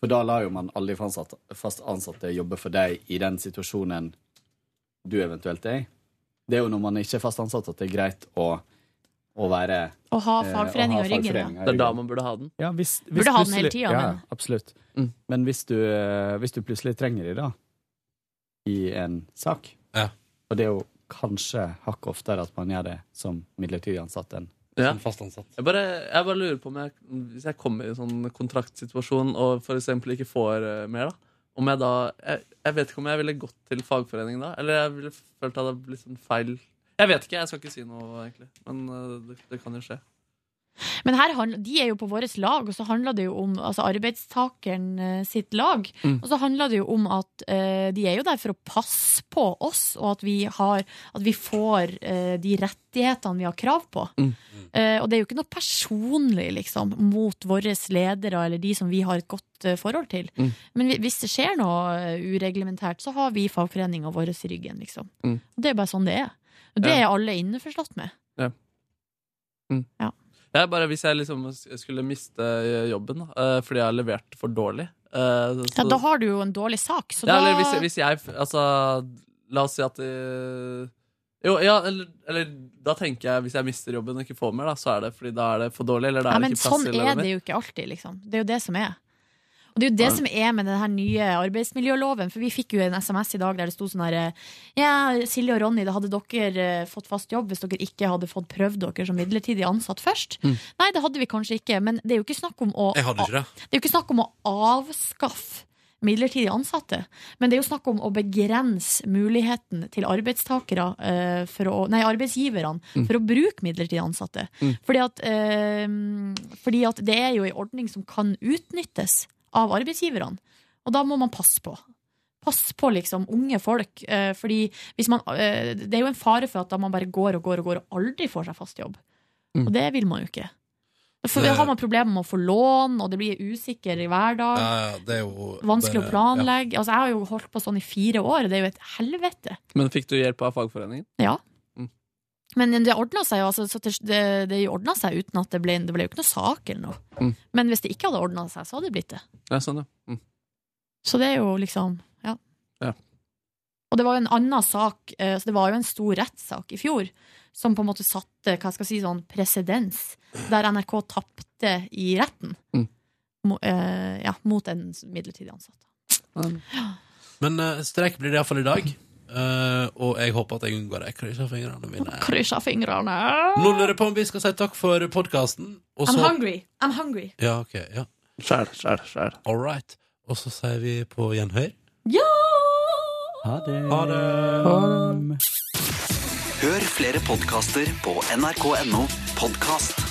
N: For da lar jo man alle de fast ansatte, fast ansatte jobbe for deg i den situasjonen du eventuelt er i. Det er jo når man ikke er fast ansatt at det er greit å, å være
C: Å ha
N: eh, å ha
C: fagforeninga i ryggen.
N: fagforeninga i
C: ja.
D: Det er da man burde ha den.
N: Ja, hvis,
C: Burde
N: hvis
C: ha den hele
N: plutselig-
C: tida,
N: Ja,
C: men-
N: absolutt.
D: Mm.
N: Men hvis du, eh, hvis du plutselig trenger det, da, i en sak Og det er jo kanskje hakket oftere at man gjør det som midlertidig ansatt enn
D: Ja.
N: som fast ansatt.
D: Jeg bare, jeg bare lurer på om jeg, hvis jeg kommer i en sånn kontraktsituasjon og for eksempel ikke får eh, mer, da. Om jeg da jeg, jeg vet ikke om jeg ville gått til fagforeningen da, eller jeg ville følt at det hadde blitt sånn feil Jeg vet ikke, jeg skal ikke si noe, egentlig. Men eh, det, det kan jo skje.
C: Men her handler, de er jo på vårt lag, og så handler det jo om altså arbeidstakeren eh, sitt lag.
D: Mm.
C: Og så handler det jo om at eh, de er jo der for å passe på oss, og at vi, har, at vi får eh, de rettighetene vi har krav på.
D: Mm.
C: Eh, og det er jo ikke noe personlig liksom, mot våre ledere eller de som vi har et godt eh, forhold til.
D: Mm.
C: Men hvi- hvis det skjer noe eh, ureglementært, så har vi fagforeninga vår i ryggen. Liksom.
D: Mm.
C: Og det er bare sånn det er. Og det
D: Ja.
C: er alle innforstått med.
D: Ja. Mm. Jeg bare, hvis jeg liksom skulle miste jobben da, eh, fordi jeg har levert for dårlig eh, så,
C: Ja, da har du jo en dårlig sak. Så
D: ja,
C: da...
D: eller hvis, hvis jeg Altså, la oss si at eh, Jo, ja, eller, eller da tenker jeg hvis jeg mister jobben og ikke får mer, da, så er det fordi da er det for dårlig, eller da
C: Ja,
D: er det
C: men
D: ikke plass
C: sånn
D: til
C: er det
D: det
C: jo ikke alltid, liksom. Det er jo det som er. Og det er jo det
D: Ja.
C: som er med den her nye arbeidsmiljøloven. For vi fikk jo en SMS i dag der det sto sånn her Ja, Silje og Ronny, da hadde dere eh, fått fast jobb hvis dere ikke hadde fått prøvd dere som midlertidig ansatt først.
B: Mm.
C: Nei, det hadde vi kanskje ikke, men det er jo ikke snakk om å
B: Jeg hadde ikke det.
C: det er jo ikke snakk om å avskaffe midlertidig ansatte, men det er jo snakk om å begrense muligheten til arbeidstakere, eh, for å, nei, arbeidsgiverne,
R: Mm.
C: for å bruke midlertidig ansatte.
R: Mm.
C: Fordi, at, eh, fordi at det er jo en ordning som kan utnyttes av arbeidsgiverne, og da må man passe på. Pass på liksom unge folk, eh, fordi hvis man, eh, det er jo en fare for at da man bare går og går og går og aldri får seg fast jobb.
D: Mm.
C: Og det vil man jo ikke. For
B: Det-
C: da har man problemer med å få lån, og det blir usikker i hverdag.
B: Ja, ja, det er jo
C: Vanskelig å
B: bare-
C: planlegge. Altså, jeg har jo holdt på sånn i fire år, og det er jo et helvete.
D: jo Men fikk du hjelp av fagforeningen?
C: Ja.
D: Mm.
C: Men det ordna seg jo, altså, så til- det, det ordna seg uten at det ble, det ble jo ikke noe sak eller noe.
D: Mm.
C: Men hvis det ikke hadde ordna seg, så hadde det blitt det.
D: Ja, sånn, ja. Mm.
C: Så det er jo liksom Ja.
D: Ja.
C: Og det var jo en annen sak, eh, så det var jo en stor rettssak i fjor, som på en måte satte hva skal jeg si, sånn presedens, der NRK tapte i retten.
D: Mm.
C: Mo- eh, ja, mot en midlertidig ansatt.
B: Men eh, streik blir det iallfall i dag. Eh, og jeg håper at jeg unngår det. Jeg Krysser fingrene mine.
C: Kryssa fingrene.
B: Nå lurer jeg på om vi skal si takk for podkasten. Og
C: I'm
B: så
C: hungry. I'm hungry.
B: Ja, ok. Ja.
D: Skjær, skjær, skjær.
B: All right. Og så sier vi på gjenhør.
C: Ja!
N: Ha det.
B: Ha det.
S: Hør flere podkaster på nrk.no podkast.